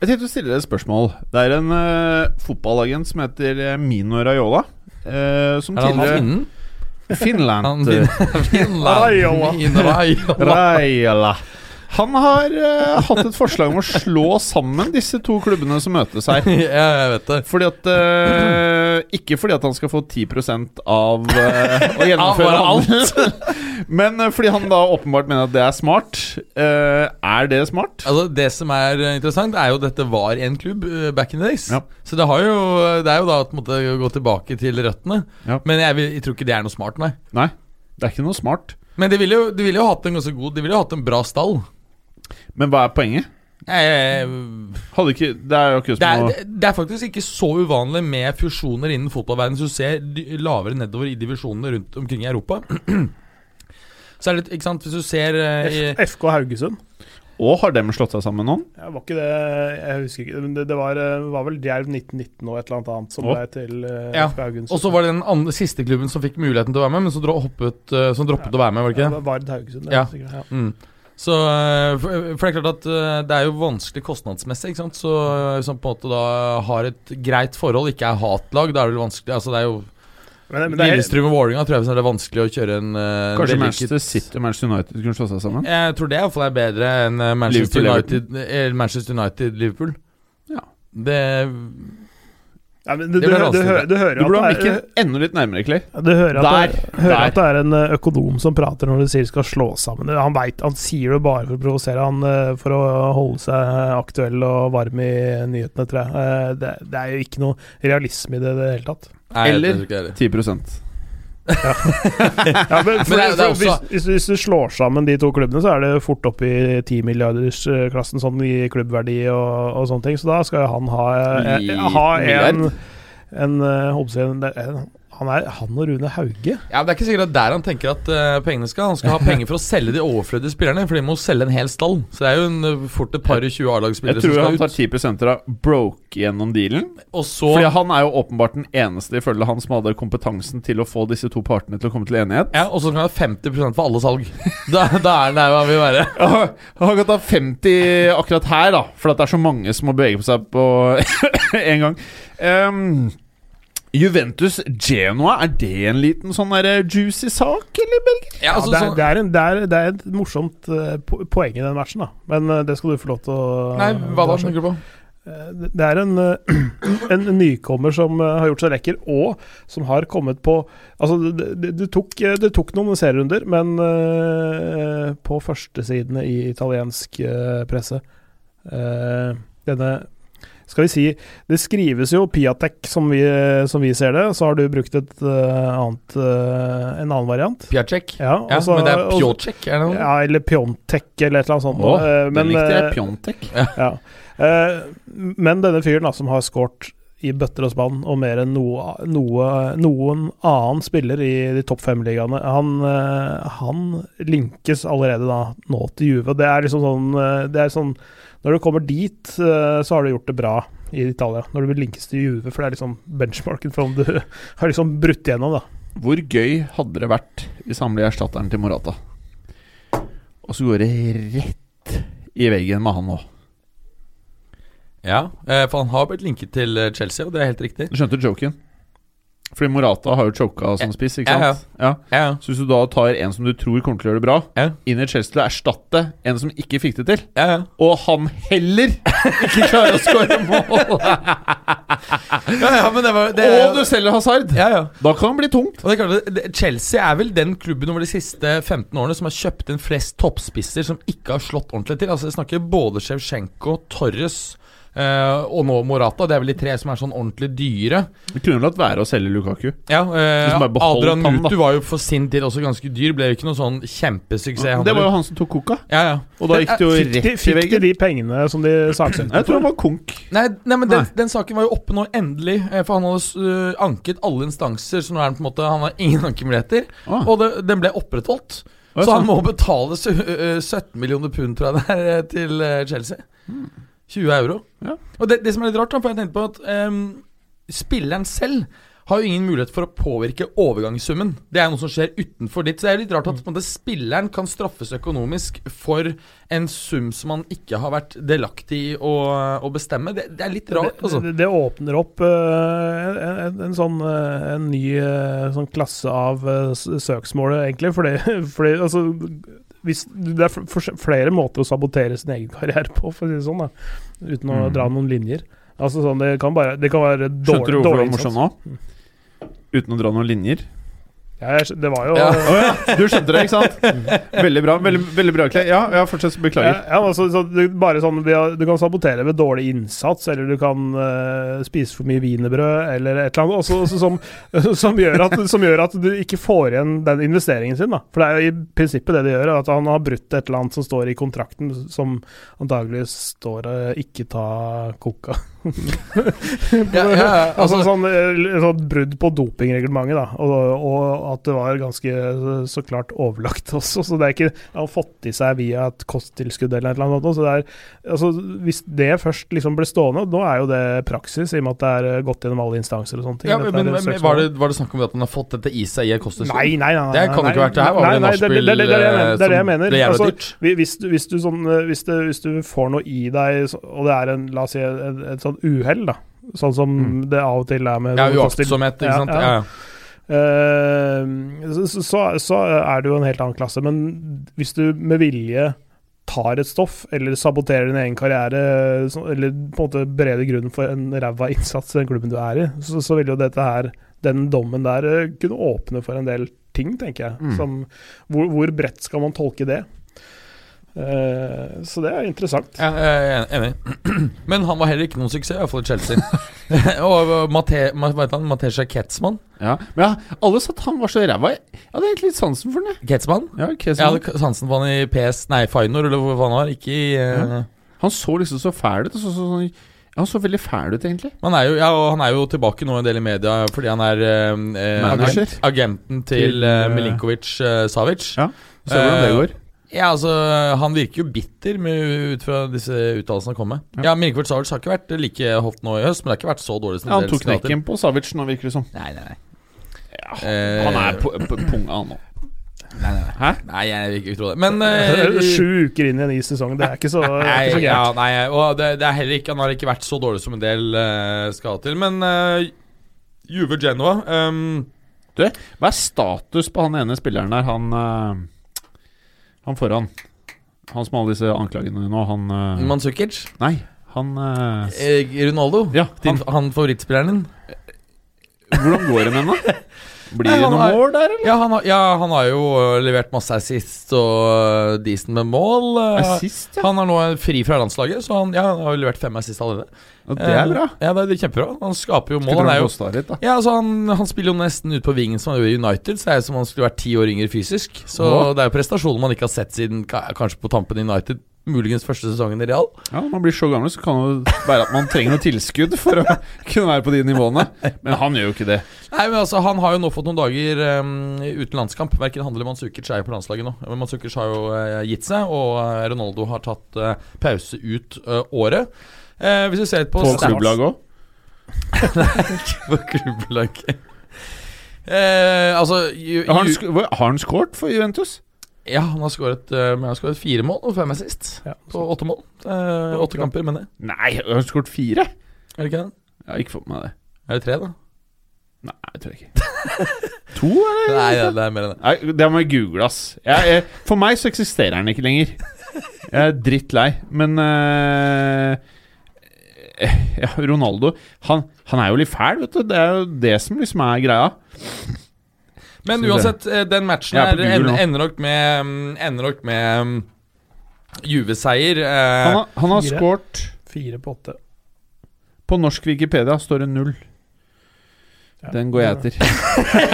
Jeg tenkte å stille deg et spørsmål. Det er en eh, fotballagent som heter eh, Mino Raiola. eh, som Er han tidligere finnen? Han Finland. finner- finner- Raiola. finner- Raiola. Raiola. Han har eh, hatt et forslag om å slå sammen disse to klubbene som møtes her. Ja, jeg vet det. Fordi at eh, Ikke fordi at han skal få 10 av eh, å gjennomføre Av bare handelen. Men eh, fordi han da åpenbart mener at det er smart. Eh, er det smart? Altså, det som er eh, interessant, er jo at dette var en klubb eh, back in the days. Ja. Så det, har jo, det er jo da at måtte gå tilbake til røttene. Ja. Men jeg, vil, jeg tror ikke det er noe smart, nei. Nei, det er ikke noe smart. Men de ville jo, de ville jo hatt en ganske god De ville jo hatt en bra stall. Men hva er poenget? Jeg, jeg, Hadde ikke, det er jo ikke det, som å er, det er faktisk ikke så uvanlig med fusjoner innen fotballverdenen. Hvis du ser dy- lavere nedover i divisjonene rundt omkring i Europa. Så er det, ikke sant, Hvis du ser eh, i, F FK Haugesund Og har dem slått seg sammen nå? Ja, var ikke det Jeg husker ikke. men Det, det var, eh, var vel Djerv 1919 og et eller annet annet som Å. ble til eh, Ja, FB Haugesund. Og så var det den andre, siste klubben som fikk muligheten til å være med, men som, dro- hoppet, eh, som droppet å være med, var det Ja, ikke det? det var Vard Haugesund. det, Ja. sikkert, ja. Mm. Så, eh, for for det er klart at eh, det er jo vanskelig kostnadsmessig, ikke sant. Så eh, som på en måte da har et greit forhold, ikke er hatlag, da er det vel vanskelig Altså det er jo Men, men det er, Lillestrøm og Vålerenga tror jeg det er vanskelig å kjøre en eh, Kanskje vellykket- Manchester City og Manchester United kunne slått seg sammen? Jeg tror det i hvert fall er bedre enn eh, Manchester Liverpool, United, eh, Manchester United Liverpool. Ja. Det ja, men du, Det du, blir du, vanskelig. hører- du hører Du burde ha at det er, blikket enda litt nærmere, Clay. du hører, at, det, Der, hører der. at det er en eh, økonom som prater når du sier skal slå sammen. Han, vet, han sier det bare for å provosere, han eh, for å holde seg eh, aktuell og varm i nyhetene, tror jeg. Eh, Det, det er jo ikke noe realisme i det i det hele tatt. Nei, jeg Eller- tror ikke det er det. 10 Ja, men for, det er- det er for, også- hvis, hvis, hvis du slår sammen de to klubbene, så er det fort opp i 10 milliardersklassen sånn i klubbverdi og, og sånne ting. Så da skal jo han ha, eh, Ni eh, ha en, milliard? en eh, håper jeg å si, en- en- han, er, han og Rune Hauge. Ja, men Det er ikke sikkert at der han tenker at eh, pengene skal. Han skal ha penger for å selge de overflødige spillerne, for de må selge en hel stall. Så det er jo en, eh, fort et par og 20 Jeg A-lagsspillere som tror han skal tar ut. 10 av broke gjennom dealen. Og så Fordi han er jo åpenbart den eneste ifølge han som hadde kompetansen til å få disse to partene til å komme til enighet. ja, og så kan han ha 50 for alle salg. Da, da er han der han vil være. Han kan ta 50 akkurat her, da, for at det er så mange som må bevege på seg på en gang. Ehm, Juventus Genoa, er det en liten sånn der juicy sak, eller, Berger? Ja, altså, ja, det, er, sånn- det, er en, det, er, det er et morsomt eh, po- poeng i den matchen, da. Men eh, det skal du få lov til å Nei, hva da, ta selv. tenker du på? Eh, Det det er en, eh, en nykommer som eh, har gjort seg lekker, og som har kommet på Altså, det, det, det, tok, eh, det tok noen serierunder, men eh, på førstesidene i italiensk eh, presse eh, Denne Skal vi si Det skrives jo Piatek, som vi, som vi ser det. Så har du brukt et eh, annet eh, en annen variant. Piacek? Ja, Ja, og så- men det er og så- Pjotjek, er det noe? ja, eller Pjontek eller et eller annet sånt. Å, Eh, Den likte eh, jeg. Pjontek. ja. Eh, men denne fyren da, som har skåret i bøtter og spann, og mer enn noe, noe, noen annen spiller i de topp fem-ligaene, han, eh, han linkes allerede da nå til Juve. Det er liksom sånn, eh, det er sånn Når du kommer dit, eh, så har du gjort det bra i Italia. Når du linkes til Juve, for det er liksom benchmarken for om du har liksom brutt igjennom, da. Hvor gøy hadde det vært hvis han ble erstatteren til Morata? Og så går det rett i veggen med han nå. Ja, eh, for han har blitt linket til eh, Chelsea, og det er helt riktig. Du skjønte joken? Fordi Morata har jo choka som spiss, ikke Ja, sant? Ja. Ja, ja. Så hvis du da tar en som du tror kommer til å gjøre det bra, Ja. inn i Chelsea til å erstatte en som ikke fikk det til, ja, ja. og han heller ikke klarer å skåre mål, Ja, ja, men det var det, og du selger Hazard, Ja, ja. da kan det bli tungt. Og det er klart, at det- Chelsea er vel den klubben over de siste 15 årene som har kjøpt inn flest toppspisser som ikke har slått ordentlig til. Altså Jeg snakker både Sjevsjenko, Torres eh, og nå Morata. Det er vel de tre som er sånn ordentlig dyre. Du kunne latt være å selge Lukaku. Ja, eh, Hvis man bare beholdt Adrian han, da. Mutu var jo for sin tid også ganske dyr. Ble jo ikke noe sånn kjempesuksess. han Det var heller. jo han som tok koka, ja, ja. og da Men, gikk det jo Fikk de, rett i fikk de veggen. de pengene som de saksøkte? Jeg tror han var konk. Nei, nei men den, Nei. den saken var jo oppe nå endelig, eh, for han hadde øh, anket alle instanser, så nå er han på en måte Han har ingen ankemuligheter. Ah. Og det, den ble opprettholdt. Å, ja, Så han sånn. må betale sø- øh, 17 millioner pund, tror jeg det er, eh, til eh, Chelsea. 20 euro. Ja. Og det, det som er litt rart, da, for jeg tenkte på at ehm, spilleren selv har jo ingen mulighet for å påvirke overgangssummen. Det er noe som skjer utenfor ditt. Så det er jo litt rart at på en måte, spilleren kan straffes økonomisk for en sum som han ikke har vært delaktig i å, å bestemme. Det, det er litt rart, altså. Det, det, det åpner opp eh, en, en, en sånn eh, en ny eh, sånn klasse av eh, s- søksmål, egentlig. Fordi, fordi altså hvis, Det er fl- fors- flere måter å sabotere sin egen karriere på, for å si det sånn. Da, uten å Mm. dra noen linjer. Altså sånn, Det kan, bare, det kan være Skjønte du dårlig, hvorfor det dårlig var morsomt nå? Uten å dra noen linjer. Ja, jeg, skj- det var jo Ja. Å ja, du skjønte det, ikke sant? Veldig bra. Veldig, veldig bra, Clay. Ja, ja, fortsett. Ja, Beklager. ja, altså, så du, bare sånn, vi har- du kan sabotere ved dårlig innsats, eller du kan eh, spise for mye wienerbrød, eller et eller annet også, også som, som, gjør at, som gjør at du ikke får igjen den investeringen sin. Da. For det er jo i prinsippet det det gjør, at han har brutt et eller annet som står i kontrakten, som antagelig står eh, 'ikke ta koka'. Ja, ja, ja, Altså, altså, sånn, eh, sånn brudd på dopingreglementet, da. Og, og at det var ganske eh, så klart overlagt også. Så det er ikke Han har fått i seg via et kosttilskudd eller et eller annet. Så det er, altså, hvis det først liksom ble stående Nå er jo det praksis, i og med at det er eh, gått gjennom alle instanser og sånne ting. Ja, Dette men, er men, søksmål. var, det, var det snakk om at han har fått dette i seg i et kosttilskudd? Nei, nei, nei, nei. Det kan jo nei, ikke vært det her. Var nei, vel nei, det- det- nachspiel det- det- det er det jeg eh, mener. Det er det jeg som ble jævla mener. Altså, dyrt? Hvis- Hvis du, hvis, du sånn, eh, hvis, du, hvis du får noe i deg, så- og det er en, la oss si, et, et sånn uhell, da. Sånn som det av og til er med Ja, sånne kosttil- uaktsomhet, ikke Ja, sant. ja. Ja, ja. Eh, så, så, så er det jo en helt annen klasse. Men hvis du med vilje tar et stoff, eller saboterer din egen karriere, så- eller på en måte bereder grunnen for en ræva innsats i den klubben du er i, så, så vil jo dette her, den dommen der, eh, kunne åpne for en del ting, tenker jeg. Mm. Som, hvor, hvor bredt skal man tolke det? Eh, så det er interessant. Ja, jeg er enig. Men han var heller ikke noen suksess, iallfall i Chelsea. og uh, Mate- Ma- hva heter han? Matesha Ketzmann? Ja. Men ja, alle sa at han var så ræva. Jeg hadde egentlig litt sansen for den, jeg. Ketzmann? Ja, ok, sånn. Jeg så hadde sansen for han i PS Nei, Feinor, eller hvor faen han var. Ikke i eh, Han så liksom så fæl ut. og Så, så, sånn- ja, han så veldig fæl ut, egentlig. men han, er jo, ja, og han er jo tilbake nå en del i media fordi han er eh, eh, Manager. agent- agenten til Til, eh, eh, Milinkovic eh, Savic. Eh, Ja. Så ser vi hvordan det går. Ja, altså, Han virker jo bitter med, ut fra disse uttalelsene han kom med. Ja, Milinkovic Savic har ikke vært like hot nå i høst, men det har ikke vært så dårlig som Ja, han det tok later til. knekken på Savic nå, virker det som. Nei, nei, nei. Han Eh, er på, på punga, han nå. Nei, nei, nei. Hæ? Nei, jeg vil ikke tro det. Men eh, Sju uker inn i en ny sesong, det er ikke så, det er Nei, ikke så ja, gærent. nei og det, det er heller ikke Han har ikke vært så dårlig som en del eh, skal til. Men eh, Juve Genova ehm, Du, hva er status på han ene spilleren der, han eh, Han foran? Han som har alle disse anklagene nå, han eh, Mandzukic, Nei, han eh, eh, Ronaldo, Ja, din, han, favorittspilleren din Hvordan går det med ham, da? Blir Nei, det han noe er- mål der, eller? Ja, han, har- ja, han har jo eh, levert masse assist og eh, decent med mål. eh, Assist, ja. han er nå fri fra landslaget, så han, ja, han har jo levert fem assist allerede. ja. Det er bra. Eh, Ja, det er kjempebra. Han skaper jo mål. Skulle Han tro er han jo kosta litt, da. Ja, altså han, han spiller jo nesten ut på vingen som han gjorde i United, så det er jo som om han skulle vært ti år yngre fysisk. Så Åh. det er jo prestasjoner man ikke har sett siden ka- kanskje på tampen i United, muligens første sesongen i Real. Ja, Når man blir så gammel, så kan det jo være at man trenger noe tilskudd for å kunne være på de nivåene. Men han gjør jo ikke det. Nei, men altså Han har jo nå fått noen dager eh, uten landskamp. Verken han eller Manzukic er jo på landslaget nå. Men Manzukic har jo eh, gitt seg, og eh, Ronaldo har tatt eh, pause ut eh, året. Eh, hvis vi ser litt på På stats- klubblaget òg. på klubblaget Eh, altså ju, Har, han ju, sk- hvor- har han scoret for Juventus? Ja, han har skåret eh, men han har skåret fire mål og fem assist. Ja. På åtte mål. Eh, åtte kamper, mener jeg. Nei, han har scoret fire. Er det ikke det? Jeg har ikke fått med meg det. Er det tre, da? Nei, jeg tror ikke To, eller? Nei, ja, det er mer enn det. Nei, det må jeg google, ass. Jeg, jeg, for meg så eksisterer den ikke lenger. Jeg er drittlei, men eh, ja, Ronaldo han, han er jo litt fæl, vet du. Det er jo det som liksom er greia. Så Men det- uansett, eh, den matchen Jeg er her på Google en- nå. ender nok med mm, Ender nok med mm, Juve-seier. eh, Han, har- han har Fire. scoret Fire på åtte. På norsk Wikipedia står det null. Ja. Den går jeg etter.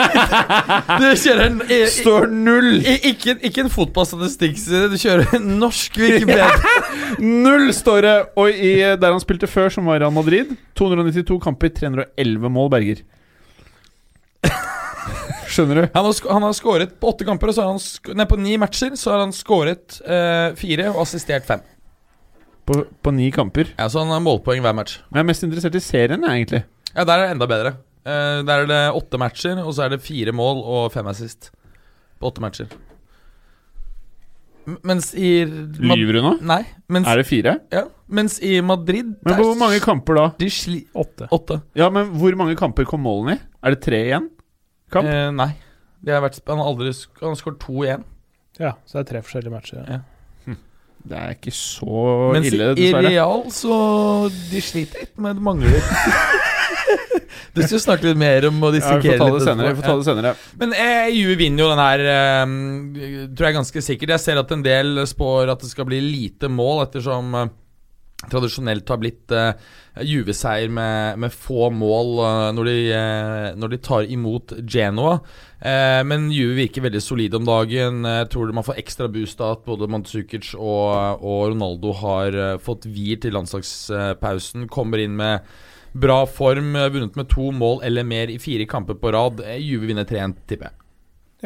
Du kjører en i- i- Står null! i- ikke, ikke en fotballstatistikk, du kjører en norsk Wikipedia. Null står det! Og i, der han spilte før, som var Real Madrid, 292 kamper, 311 mål, Berger. Skjønner du? Han har, sk- han har skåret på åtte kamper, og så har han sk nei, på ni matcher så har han skåret eh, fire og assistert fem. På, på ni kamper. Ja, Så han har målpoeng hver match. Men jeg er mest interessert i serien, jeg, egentlig. Ja, Der er det enda bedre. Eh, der er det åtte matcher, og så er det fire mål og fem assist. På åtte matcher. M mens i Ma- Lyver du nå? Nei. Mens, Er det fire? ja, mens i Madrid Men der på hvor mange kamper da? De sli... Åtte. Åtte. Ja, men hvor mange kamper kom målene i? Er det tre igjen? Kamp? Eh, nei. Det har vært, sp- han har aldri sk- Han har skåret to igjen. Ja, så det er tre forskjellige matcher. Ja. Det er ikke så Mens ille, i dessverre. Real så De sliter litt, men det mangler Du skal snakke litt mer om Ja, å vi får dissekere ta litt det senere. Vi etterpå. får ta det senere. Men eh, Juve vinner jo den her, eh, tror jeg ganske sikkert. Jeg ser at en del spår at det skal bli lite mål, ettersom eh, tradisjonelt har blitt eh, Juve-seier med, med få mål eh, når, de, eh, når de tar imot Genoa. Eh, men Juve virker veldig solide om dagen. Eh, tror du man får ekstra boost av at både Mandzukic og, og Ronaldo har eh, fått hvil til landslagspausen? Kommer inn med bra form, eh, vunnet med to mål eller mer i fire kamper på rad. Eh, Juve vinner 3-1, tipper jeg.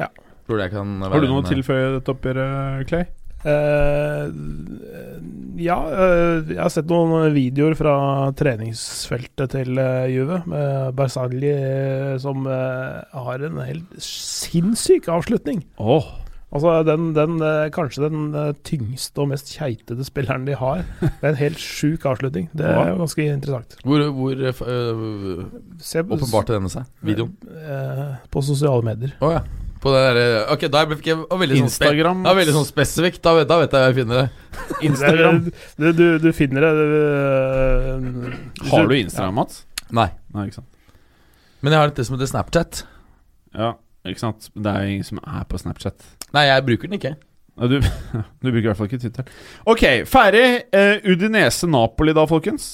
Ja. Tror du jeg kan være Har du noe å en- eh, tilføye dette oppgjøret, Clay? Eh, ja, eh, jeg har sett noen videoer fra treningsfeltet til eh, Juve. Med Bersagli eh, som eh, har en helt sinnssyk avslutning. Åh Altså den, den eh, kanskje den eh, tyngste og mest keitete spilleren de har. Det er en helt sjuk avslutning. Det er jo ganske interessant. Hvor, hvor eh, f- øh, Se på- åpenbarte denne seg? Videoen? Eh, på sosiale medier. Å ja. På det derre Ok, da fikk jeg var veldig sånn, spe Instagram. da, veldig sånn spesifikt. Da vet, da vet jeg hvor jeg finner det. Instagram. Du, du, du finner det eh, hvis Har du Instagram, Mats? Nei. Nei, ikke sant. Men jeg har det som heter Snapchat. Ja, ikke sant. Men Det er jo ingen som er på Snapchat. Nei, jeg bruker den ikke. Ja, Du, du bruker i hvert fall ikke Twitter. Ok, ferdig. Eh, Udinese-Napoli da, folkens.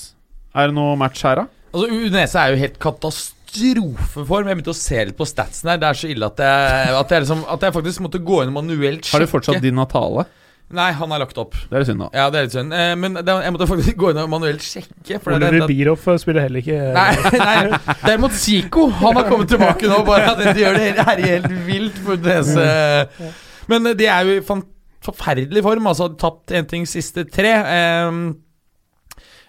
Er det noe match her, da? Altså, Udinese er jo helt katastrofeform. Jeg begynte å se litt på statsen her. Det er så ille at jeg, at jeg, liksom, at jeg faktisk måtte gå inn og manuelt sjekke. Har de fortsatt din natale? Nei, han er lagt opp. Det er synd, da. Ja, det er litt synd. Eh, Men det, jeg måtte faktisk gå inn og manuelt sjekke. For det er Oliver enda... Bierhoff spiller heller ikke eh, Nei, nei, derimot Zico. Han har kommet tilbake nå. Bare at de gjør det her er helt vilt for Udinese. Men eh, de er jo i fan- forferdelig form. Altså, har tapt én ting siste tre. Ehm,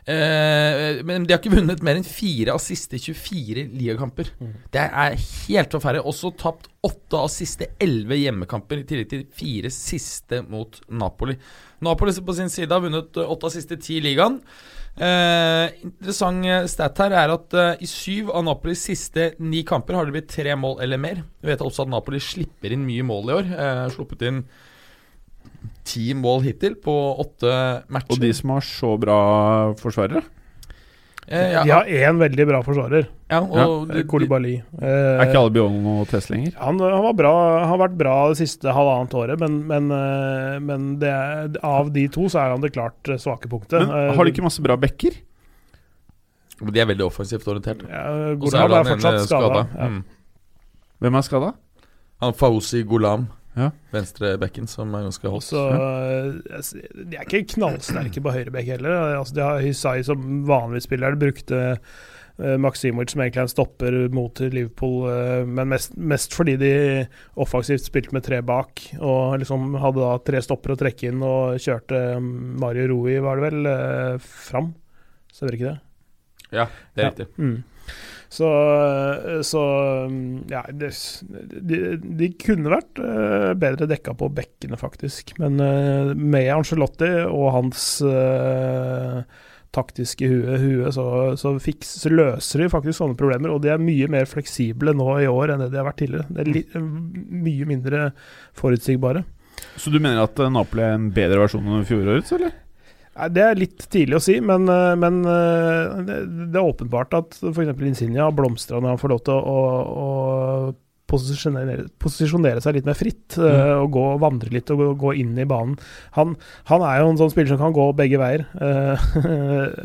eh, men de har ikke vunnet mer enn fire av siste 24 ligakamper. Det er helt forferdelig. Også tapt åtte av siste elleve hjemmekamper, i tillegg til fire siste mot Napoli. Napoli på sin side har vunnet eh, åtte av siste ti i ligaen. Eh, interessant eh, stat her er at eh, i syv av Napolis siste ni kamper har det blitt tre mål eller mer. Vi vet også at Napoli slipper inn mye mål i år. Eh, sluppet inn ti mål hittil på åtte matcher. Og de som har så bra forsvarere? Eh, ja, De ja, har én veldig bra forsvarer, og de- de- Kolibali. Er ikke alle Bjollen og Tess lenger? han, han, var bra, han har vært bra det siste halvannet året, men, men, eh, men det er, av de to så er han det klart eh, svake punktet. Men har de ikke masse bra backer? Men de er veldig offensivt orientert. ja, Og så er Golan det han er eh, ene fortsatt skada. skada. Ja. Mm. Hvem er skada? Han Fawzi Golam, Ja. venstrebekken, som er ganske hot. Så eh, jeg s- de er ikke knallsterke på høyrebekk heller. Altså, de har Hysai som vanlig spiller. De brukte eh, Maximovic som egentlig er en stopper mot Liverpool, eh, men mest, mest fordi de offensivt spilte med tre bak og liksom hadde da tre stopper å trekke inn og kjørte eh, Mario Rui, var det vel, eh, fram. Stemmer ikke det? Ja, det er Ja. riktig. Mm. Så, eh, så mm, ja, det, de, de kunne vært eh, bedre dekka på bekkene, faktisk. Men eh, med Angelotti og hans eh, taktiske hue, hue så, så, fiks, så løser de faktisk sånne problemer. Og de er mye mer fleksible nå i år enn det de har vært tidligere. Det er li, eh, mye mindre forutsigbare. Så du mener at eh, Napoli er en bedre versjon enn fjorårets, eller? Nei, Det er litt tidlig å si, men, eh, men eh, det det er åpenbart at f.eks. Insinia blomstra når han får lov til å, å, å posisjonere, posisjonere seg litt mer fritt. eh, Og gå, vandre litt og gå, gå inn i banen. Han, han er jo en sånn spiller som kan gå begge veier. eh,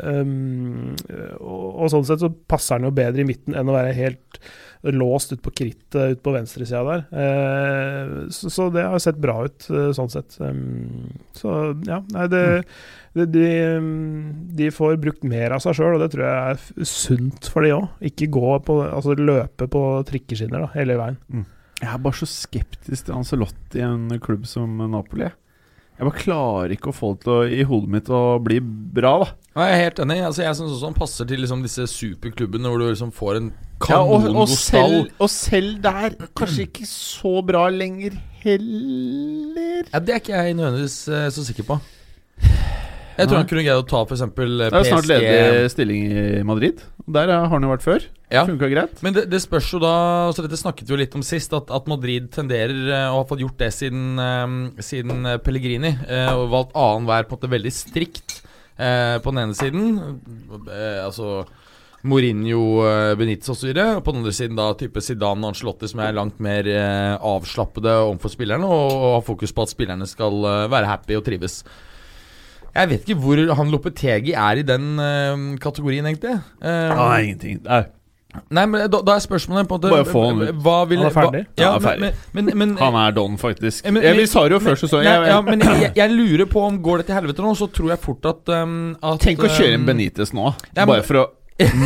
um, og, og sånn sett så passer han jo bedre i midten enn å være helt låst ut på krittet ut på venstresida der. Eh, så, så det har sett bra ut eh, sånn sett. Um, så ja, nei det de, de, de får brukt mer av seg sjøl, og det tror jeg er f- sunt for de òg. Ikke gå på, altså løpe på trikkeskinner da, hele veien. Jeg er bare så skeptisk til Ancelotti i en klubb som Napoli. jeg. Jeg bare klarer ikke å få det til å, i hodet mitt å bli bra, da. Nei, jeg er helt enig. Altså, jeg syns også han passer til liksom, disse superklubbene hvor du liksom får en Ja, og, og, kanongod stall. selv, og selv der kanskje ikke så bra lenger heller. Ja, det er ikke jeg nødvendigvis eh, så sikker på. Jeg tror Nei. han kunne greid å ta eh, f.eks. Det er jo snart PSG. ledig stilling i Madrid. Der eh, har han jo vært før. Ja. Funka greit. Men det, det spørs jo da altså Dette snakket vi jo litt om sist, at, at Madrid tenderer, eh, og har fått gjort det siden, eh, siden eh, Pellegrini, eh, og valgt annenhver på en måte veldig strikt eh, på den ene siden. eh, Altså Mourinho, eh, Benitez og så videre. Og på den andre siden da type Zidane og Ancelotti, som er langt mer eh, avslappede overfor spillerne, og, og har fokus på at spillerne skal eh, være happy og trives. Jeg vet ikke hvor han Lopetegi er i den eh, kategorien, egentlig. Eh, Ah, ingenting. Nei. Nei, men da, da er spørsmålet på en måte Bare få han ut. Hva vil, Han er ferdig. Hva, ja, Han er ferdig. Men, men, men, Han er don, faktisk. Men- jeg vi sa det jo før sesongen. Nei, Jeg, ja, men jeg, jeg lurer på om går det til helvete nå, så tror jeg fort at, um, at Tenk å kjøre inn um, Benitez nå, Ja, men- bare for å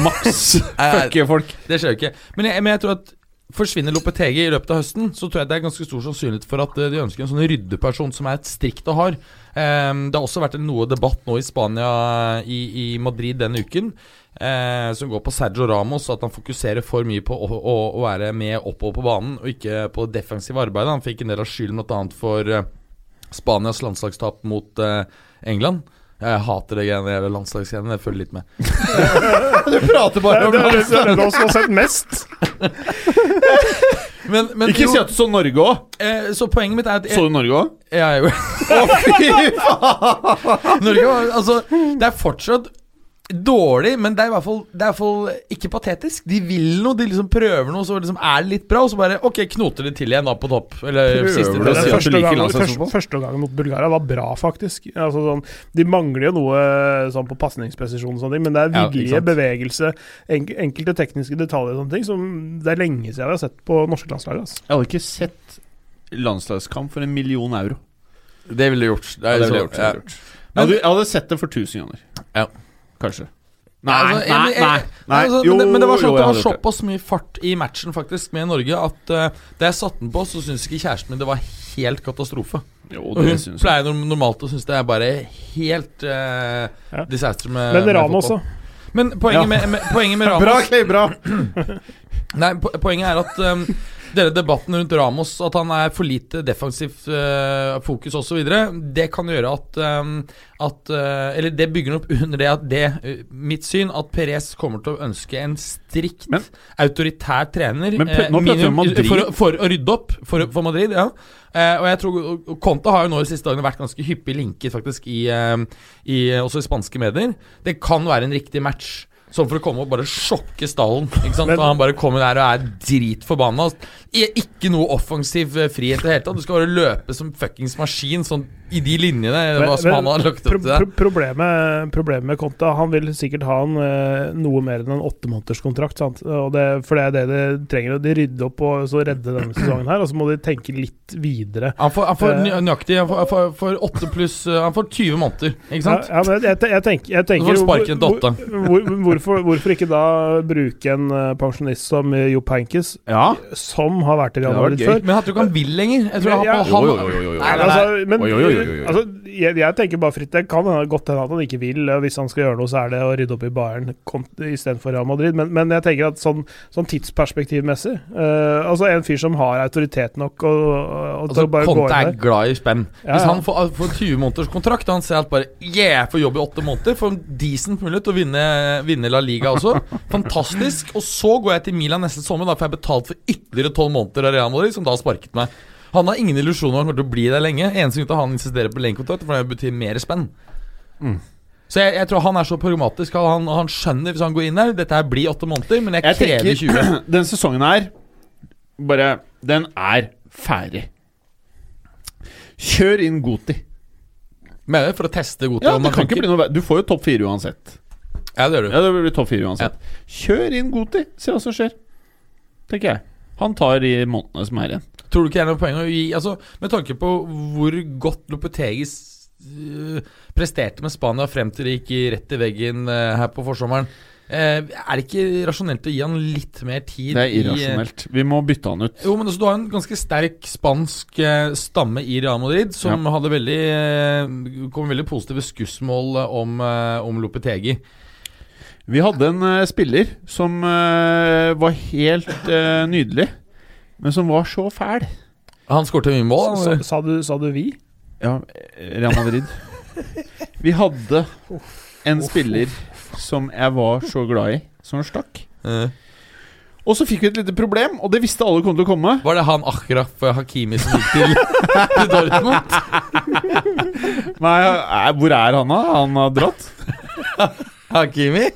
maks Nei, nei. Eh, fucke folk. Det skjer jo ikke. Men jeg, men jeg tror at Forsvinner Lopetegi i løpet av høsten, så tror jeg det er ganske stor sannsynlighet for at eh, de ønsker en sånn ryddeperson som er strikt og hard. Ehm, det har også vært en noe debatt nå i Spania, eh, i, i Madrid denne uken, eh, som går på Sergio Ramos, at han fokuserer for mye på å, å, å være med oppover på banen, og ikke på defensiv arbeid. Han fikk en del av skylden bl.a. for eh, Spanias landslagstap mot eh, England. Jeg hater det greiene der landslagsgreiene, jeg følger litt med. du prater Det bare er om det er- det landslag. er den av oss som har sett mest. Men, men Ikke jo, si at du så Norge òg! eh, Så poenget mitt er at Så du Norge òg? Jeg er jo Å, fy faen! Norge var Altså, det er fortsatt dårlig, men det er i hvert fall, det er i hvert fall ikke patetisk. De vil noe, de liksom prøver noe, så liksom er det litt bra, og så bare Ok, knoter de til igjen da på topp. Eller Prøver siste det, Men plass. si at den du første, liker gangen, landslagsfotball? sånn. første, første gangen mot Bulgaria var bra, faktisk. Altså, sånn, de mangler jo noe sånn, på pasningspresisjon, og sånne ting, men det er Ja, ikke vilje, sant. bevegelse, enk enkelte tekniske detaljer og sånne ting som det er lenge siden vi har sett på norske landslag. Altså. Jeg hadde ikke sett landslagskamp for en million euro. Det ville de gjort. Det er Ja, det så- ville jeg gjort, det ville jeg ja. gjort. Jeg hadde, jeg hadde sett det for 1000 kroner. Ja. Kanskje. Nei, Altså, jeg- nei, men jeg- nei. nei. Altså, men, det, men det var jo, sånn at det jeg var hadde gjort såpass mye fart i matchen faktisk med Norge at eh, da jeg satte den på, så syntes ikke kjæresten min det var helt katastrofe. det. Jo, Og det hun synes jeg. pleier norm- normalt å synes det er bare helt eh, Ja. disaster med Men med Ramos, fotball. da. Men poenget, Ja. med, med, poenget med Ramos Bra, Clay, bra! Nei, po- poenget er at um, denne debatten rundt Ramos, at han er for lite defensivt eh, fokus osv., det kan gjøre at, ehm, at eh, Eller det bygger opp under det at det eh, Mitt syn at Perez kommer til å ønske en strikt Men- autoritær trener Men pr- eh, nå prater vi om minimum- Madrid. For, å- for å rydde opp for, for Madrid, ja. Eh, og jeg tror og- og Conte har jo nå de siste dagene vært ganske hyppig linket faktisk i, eh, i eh, også i spanske medier. Det kan være en riktig match. Sånn for å komme og bare sjokke stallen. Ikke sant? Men- og han bare kommer der og er dritforbanna. I- Ikke noe offensiv eh, frihet i det hele tatt. Du skal bare løpe som fuckings maskin sånn i de linjene Men- hva som men- han har lagt Pro opp til deg. pro problemet, problemet med Conte Han vil sikkert ha en, eh, noe mer enn en åttemånederskontrakt. sant? Og det, for det er det de trenger. og De rydder opp og så redde denne sesongen her, og så må de tenke litt videre. Han får, han får Eh. nø- nøyaktig Han får, han får, får 8 pluss eh, Han får 20 måneder, ikke sant? Ja, ja, men jeg, te- jeg tenker, jeg Så tenker får du sparken til hvor- åtte. hvor, hvorfor, hvorfor ikke da bruke en eh, pensjonist som eh, Jo Pankis, Ja. som har vært i Real Det hadde vært Madrid gøy. før? Men jeg tror ikke han vil lenger. Jeg tror Ja, han, ja. han, Jo, jo, jo, jo, jo. Nei, nei, nei. Altså, men Oi, oi, oi, oi, oi. Altså, jeg, jeg tenker bare fritt. Det kan hende- godt hende at han ikke vil. og Hvis han skal gjøre noe, så er det å rydde opp i Bayern kont- istedenfor Real Madrid. Men, men jeg tenker at sånn, sånn tidsperspektivmessig eh, Altså en fyr som har autoritet nok og, og og til å Altså, bare gå Conte er inn der. glad i spenn. Ja, Hvis ja. han får, får 20 måneders kontrakt, og han ser at bare Yeah, jeg får jobb i åtte måneder, får en decent mulighet til å vinne, vinne La Liga også. Fantastisk. Og så går jeg til Milan neste sommer, da får jeg betalt for ytterligere tolv måneder av Real Madrid, som da har sparket meg. Han har ingen illusjoner om han kommer til å bli der lenge. Eneste grunn til at han insisterer på lengekontrakt, er fordi det betyr mer spenn. Mm. Så jeg, jeg tror han er så pragmatisk. Han, han skjønner hvis han går inn der Dette her blir åtte måneder, men jeg, Jeg krever 20. tenker den sesongen her Bare Den er ferdig. Kjør inn Goti. Mener jeg, for å teste godt Ja, om det han kan ikke funker. bli noe ver- Du får jo topp fire uansett. Ja, det gjør du. Ja, det blir topp fire uansett. Kjør inn Goti, se hva som skjer. Tenker jeg. Han tar de månedene som er igjen. Tror du ikke det er noe poeng å gi altså, Med tanke på hvor godt Lopetegis øh, presterte med Spania frem til det gikk i- rett i veggen øh, her på forsommeren, eh, er det ikke rasjonelt å gi han litt mer tid? Det er i, eh, irrasjonelt. Vi må bytte han ut. jo, men altså, Du har en ganske sterk spansk eh, stamme i Real Madrid, som hadde veldig eh, kom med veldig positive skussmål eh, om, eh, om Lopetegi. Vi hadde en eh, spiller som eh, var helt eh, nydelig, men som var så fæl. Han skåret mye mål. Sa, han- sa, du, sa du vi? Ja, Real Madrid. Vi hadde en spiller som jeg var så glad i, som stakk. eh. Og så fikk vi et lite problem, og det visste alle kom til å komme. Var det han Akraf Hakimi som gikk til, til Dortmund? Nei, eh, hvor er han da? Han har dratt? Hakimi?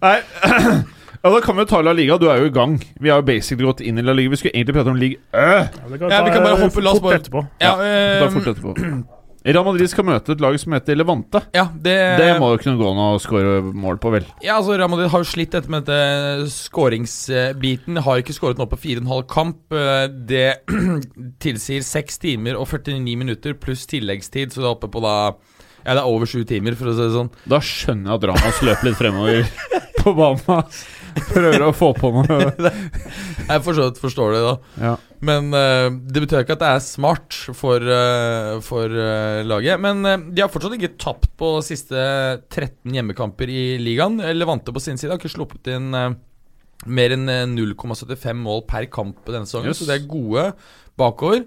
Nei Ja, Da kan vi jo ta La Liga. Du er jo i gang. Vi har jo basically gått inn i La Liga. Vi skulle egentlig prate om Liga Øh! Ja, det kan Ja, vi kan bare eh, hoppe- la oss fort bare- etterpå. Ja, Da eh, fort etterpå. Real Madrid skal møte et lag som heter Levante. ja, det, Det må jo kunne gå an å score mål på, vel? Ja, altså Real Madrid har jo slitt dette med dette skåringsbiten. Har ikke skåret nå på 4,5 kamp. Eh, Det tilsier 6 timer og 49 minutter pluss tilleggstid, så det er oppe på da Ja, det er over sju timer, for å si det sånn. Da skjønner jeg at Ramas løp litt fremover på banen. ass. Prøver å få på noe. Jeg for så vidt forstår det, da. Ja. Men eh, det betyr ikke at det er smart for, eh, for eh, laget. Men eh, de har fortsatt ikke tapt på siste 13 hjemmekamper i ligaen. Levante på sin side har ikke sluppet inn eh, mer enn eh, 0,75 mål per kamp denne sesongen, Yes. så de er gode bakover.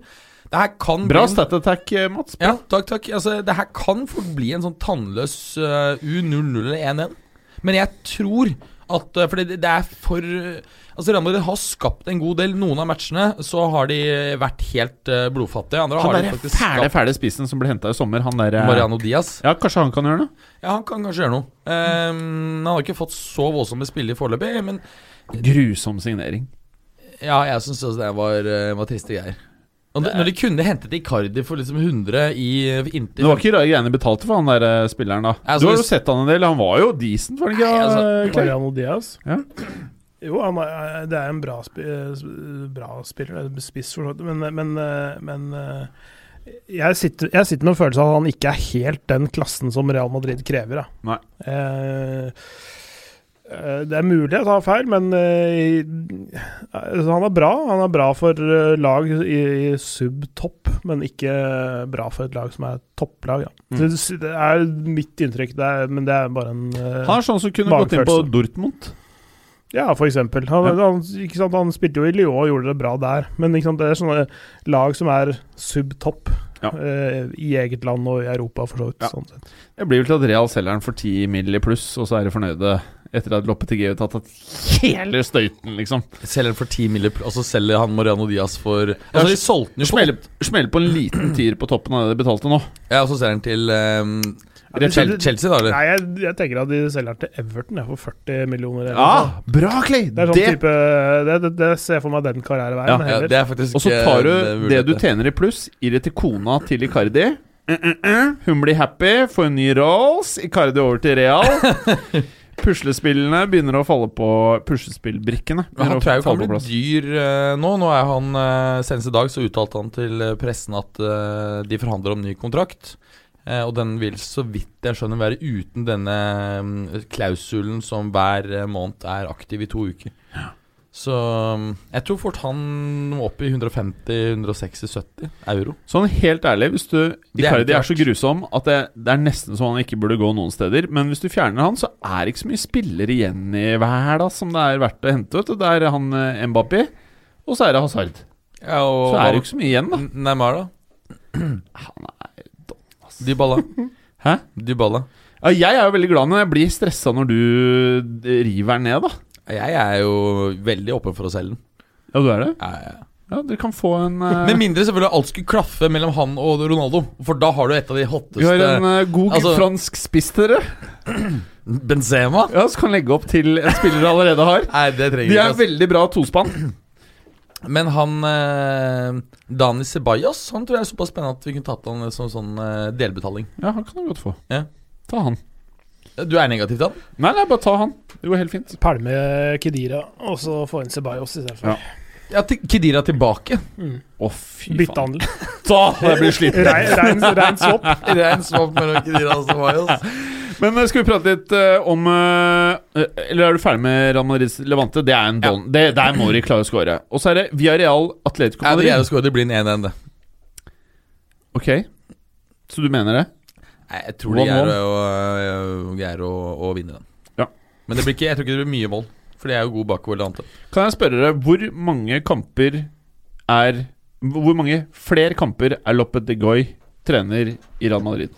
Det her kan Bra bli en- stat attack, eh, Mats. Ja, takk, takk. Altså, det her kan fort bli en sånn tannløs eh, U00 eller 1-1. Men jeg tror at uh, Fordi det, det er for Altså, Real Madrid har skapt en god del. Noen av matchene så har de vært helt eh, blodfattige. Andre Han har de derre faktisk fæle, skapt fæle spissen som ble henta i sommer, han derre Mariano Diaz. Ja, kanskje han kan gjøre noe? Ja, han kan kanskje gjøre noe. Ehm, han har ikke fått så voldsomme spiller foreløpig, men Grusom signering. ja, jeg syns også det var, eh, var triste greier. Og det, når de kunne hentet Icardi for liksom 100 i Det inntil var ikke rare greiene de betalte for han der eh, spilleren, da. Altså, du har jo hvis- sett han en del. Han var jo decent, var han ikke? Nei, altså, eh, Clay? Mariano Diaz. Ja. Jo, han er, det er en bra, sp eh, bra spiller, det er spiss for så vidt, men, men, eh, men eh, jeg sitter, jeg sitter med en følelse av at han ikke er helt den klassen som Real Madrid krever. Da. Nei. Eh, eh, det er mulig jeg tar feil, men eh, altså, han er bra. Han er bra for eh, lag i, i sub-topp, men ikke eh, bra for et lag som er topplag. Da. Mm. Så Det er mitt inntrykk, det er, men det er bare en eh, Han er sånn som kunne gått inn på Magefølelse. Dortmund. ja, for eksempel. Han, han, ikke sant, han spilte jo i Lyon og gjorde det bra der, men ikke sant, det er sånne lag som er subtopp Ja. eh, i eget land og i Europa, for så vidt. Ja. Sånn sett. Det blir vel til at Real selger den for 10 mill. i pluss, og så er de fornøyde etter at Loppetigi har tatt hele støyten, liksom. Selger den for 10 mille, og så selger han Mariano Diaz for Altså, Ja, de solgte den jo for Smell, smell på en liten tier på toppen av det de betalte nå. Ja, og så selger han til ehm, Ja, Chel- Chelsea, da, eller? Nei, jeg, jeg tenker at de selger den til Everton jeg, for 40 millioner. eller noe. Ja, bra, Clay! Det er sånn Det- type det, det, det ser jeg for meg den Ja, karriereveien Ja, heller. det er faktisk Og så ikke tar en eh, du det mulighet, du tjener i pluss, gir det til kona til Icardi. Eh, eh, eh. Hun blir happy, får en ny Rolls, Icardi over til Real. Puslespillene begynner å falle på Puslespillbrikkene. Men begynner han å tror jeg jo falle kan på bli plass. dyr eh, nå. Nå er han eh, Senest i dag så uttalte han til eh, pressen at eh, de forhandler om ny kontrakt. Eh, og den vil, så vidt jeg skjønner, være uten denne mm, klausulen som hver eh, måned er aktiv i to uker. Så mm, jeg tror fort han må opp i 150-160-70 euro. Sånn helt ærlig, hvis du Det er Icardi ikke er så grusom at det, det er nesten så han ikke burde gå noen steder. Men hvis du fjerner han, så er det ikke så mye spillere igjen i hverdag som det er verdt å hente ut. Og Det er han eh, Mbappé, og så er det Hazard. Ja, og Så er det jo ikke så mye igjen, da. Neymar, da? Dybala. Hæ? Dybala. Ja, jeg er jo veldig glad når jeg blir stressa når du eh, river den ned, da. Jeg er jo veldig åpen for å selge den. Ja, du er det? Ja, ja, ja. Ja, dere kan få en eh, Med mindre selvfølgelig alt skulle klaffe mellom han og Ronaldo. For da har du et av de Vi har en hotteste eh, god altså- fransk spiss, dere. Benzema. Ja, Så kan legge opp til en spiller dere allerede har. Nei, det trenger De vi er ikke. veldig bra tospann. Altså. Men han eh, Dani Ceballos Han tror jeg er såpass spennende at vi kunne tatt han som sånn eh, delbetaling. Ja, han kan du godt få. Ja. Ta han. Du er negativ til han? Nei, nei, bare ta han. Det går helt fint. Palme Kedira, og så få inn Ceballos istedenfor. Ja. Ja, til Kedira tilbake. Å, fy faen. Byttehandel. Da hadde jeg blitt sliten. Rein, rein, rein sopp. Rein swap mellom Kedira og Ceballos. Men eh, skal vi prate litt eh, om eh, eh, Eller er du ferdig med Real Madrids Levante? Det er en don. Det, der må de klare å score. Og så er det Villarreal Atletico Ja, det Madrid. greier å score. Det blir en 1-1, det. Ok, så du mener det? Nei, jeg tror de One greier one. å, øh, greier å, å vinne den. Ja. Men det blir ikke, jeg tror ikke det blir mye mål. For de er jo gode bakover. Levante. Kan jeg spørre deg, hvor mange kamper er Hvor mange flere kamper er Loppet de Goy trener i Real Madrid?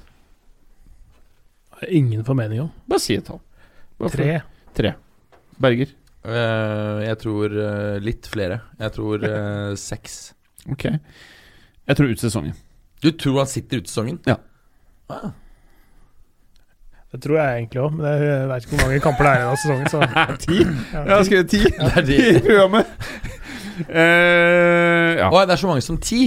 Ingen formening om. Bare si et tall. Bare for- Tre. Tre. Berger. Eh, jeg tror eh, litt flere. Jeg tror eh, seks. Ok. Jeg tror ut sesongen. Du tror han sitter ute sesongen? Ja. Ah, Det tror jeg egentlig òg, men jeg vet ikke hvor mange kamper det er igjen av sesongen. Så. Ti? Jeg Ja. har skrevet ti det, er de. i programmet. Eh, ja. Å, det er så mange som ti!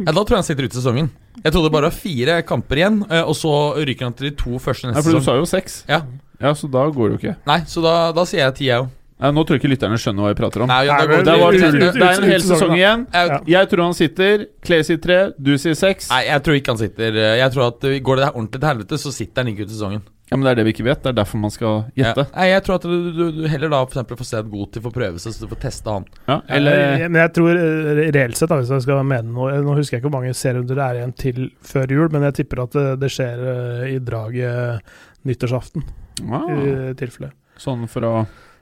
Ja, da tror jeg han sitter ute sesongen. Jeg trodde bare det var fire kamper igjen, eh, og så ryker han til de to første Nei, neste for du sesong. sa jo seks. Ja. ja, så da går det jo ikke. Nei, så da, da sier jeg ti, jeg òg. Nei, Nå tror jeg ikke lytterne skjønner hva vi prater om. Nei, ja, da Nei, men går det, det var- var, ut- det, ut- det er en hel ut- ut- sesong igjen. Jeg- Ja. Jeg tror han sitter. Clay sier tre, du sier seks. Nei, jeg tror ikke han sitter Jeg tror at uh, Går det her ordentlig til helvete, så sitter han ikke ut sesongen. Ja, men Det er det vi ikke vet. Det er derfor man skal gjette. Ja. Nei, jeg tror at du, du, du heller da for eksempel får se et god til for prøvelse, så du får testa han. Ja, Ja, eller jeg- Men jeg tror eh, reelt sett, da, hvis jeg skal mene noe Nå husker jeg ikke hvor mange serierunder det er igjen til før jul, men jeg tipper at det, det skjer eh, i draget eh, nyttårsaften, ah, i tilfelle. Sånn for å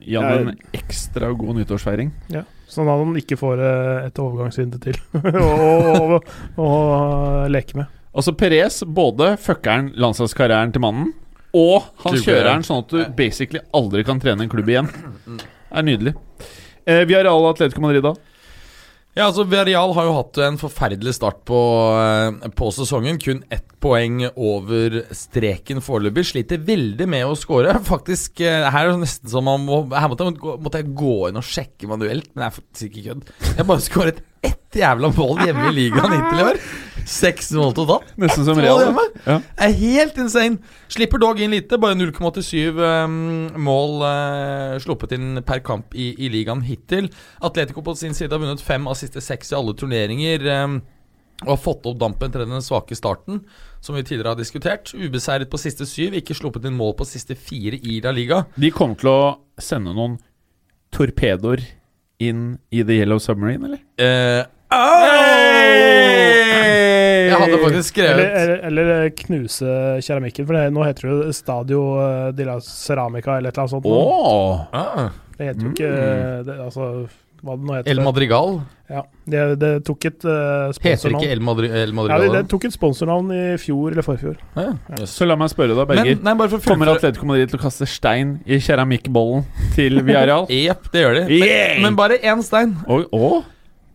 gi han en ekstra god nyttårsfeiring. Ja. Sånn at han ikke får eh, et overgangsvindu til å å- å leke med. Altså Perez både fucker han landslagskarrieren til mannen, og han Klubber. kjører han sånn at du basically aldri kan trene en klubb igjen. Mm. Det er nydelig. Eh, vi har Real Atletico Madrid, da. Ja, altså Villarreal har jo hatt en forferdelig start på, eh, på sesongen. Kun ett poeng over streken foreløpig. Sliter veldig med å score. Faktisk, eh, her er det nesten som man må Her måtte jeg, gå- måtte jeg gå inn og sjekke manuelt, men det er faktisk ikke kødd. Jeg har bare skåret ett jævla mål hjemme i ligaen hittil i år. Seks mål totalt. Nesten som Mål Real. hjemme. Ja. Er helt insane. Slipper dog inn lite. Bare 0,87 eh, mål eh, sluppet inn per kamp i, i ligaen hittil. Atletico på sin side har vunnet fem av siste seks i alle turneringer. eh, og har fått opp dampen til den svake starten, som vi tidligere har diskutert. Ubeseiret på siste syv, ikke sluppet inn mål på siste fire i La Liga. De kommer til å sende noen torpedoer inn i The Yellow Submarine, eller? Eh, jeg hadde faktisk Eller, skrevet eller, eller eh, knuse keramikken, for det, nå heter det jo Stadio eh, de la Ceramica eller et eller annet sånt. nå. Åh Mm. ah, Det heter jo ikke det, Altså, hva det nå heter. El Madrigal. Ja, det, det tok et eh, Heter sponsornavn. ikke El, Madri El ja, Madrigal? det, det tok et sponsornavn i fjor eller forfjor. Ah, ja. Jøss. Så la meg spørre, da, Berger. Men, nei, bare for å Kommer fullføre- Atletico Madrid til å kaste stein i keramikkbollen til Villarreal? Jepp, det gjør de. Men, Yeah! men bare én stein. Oi, å?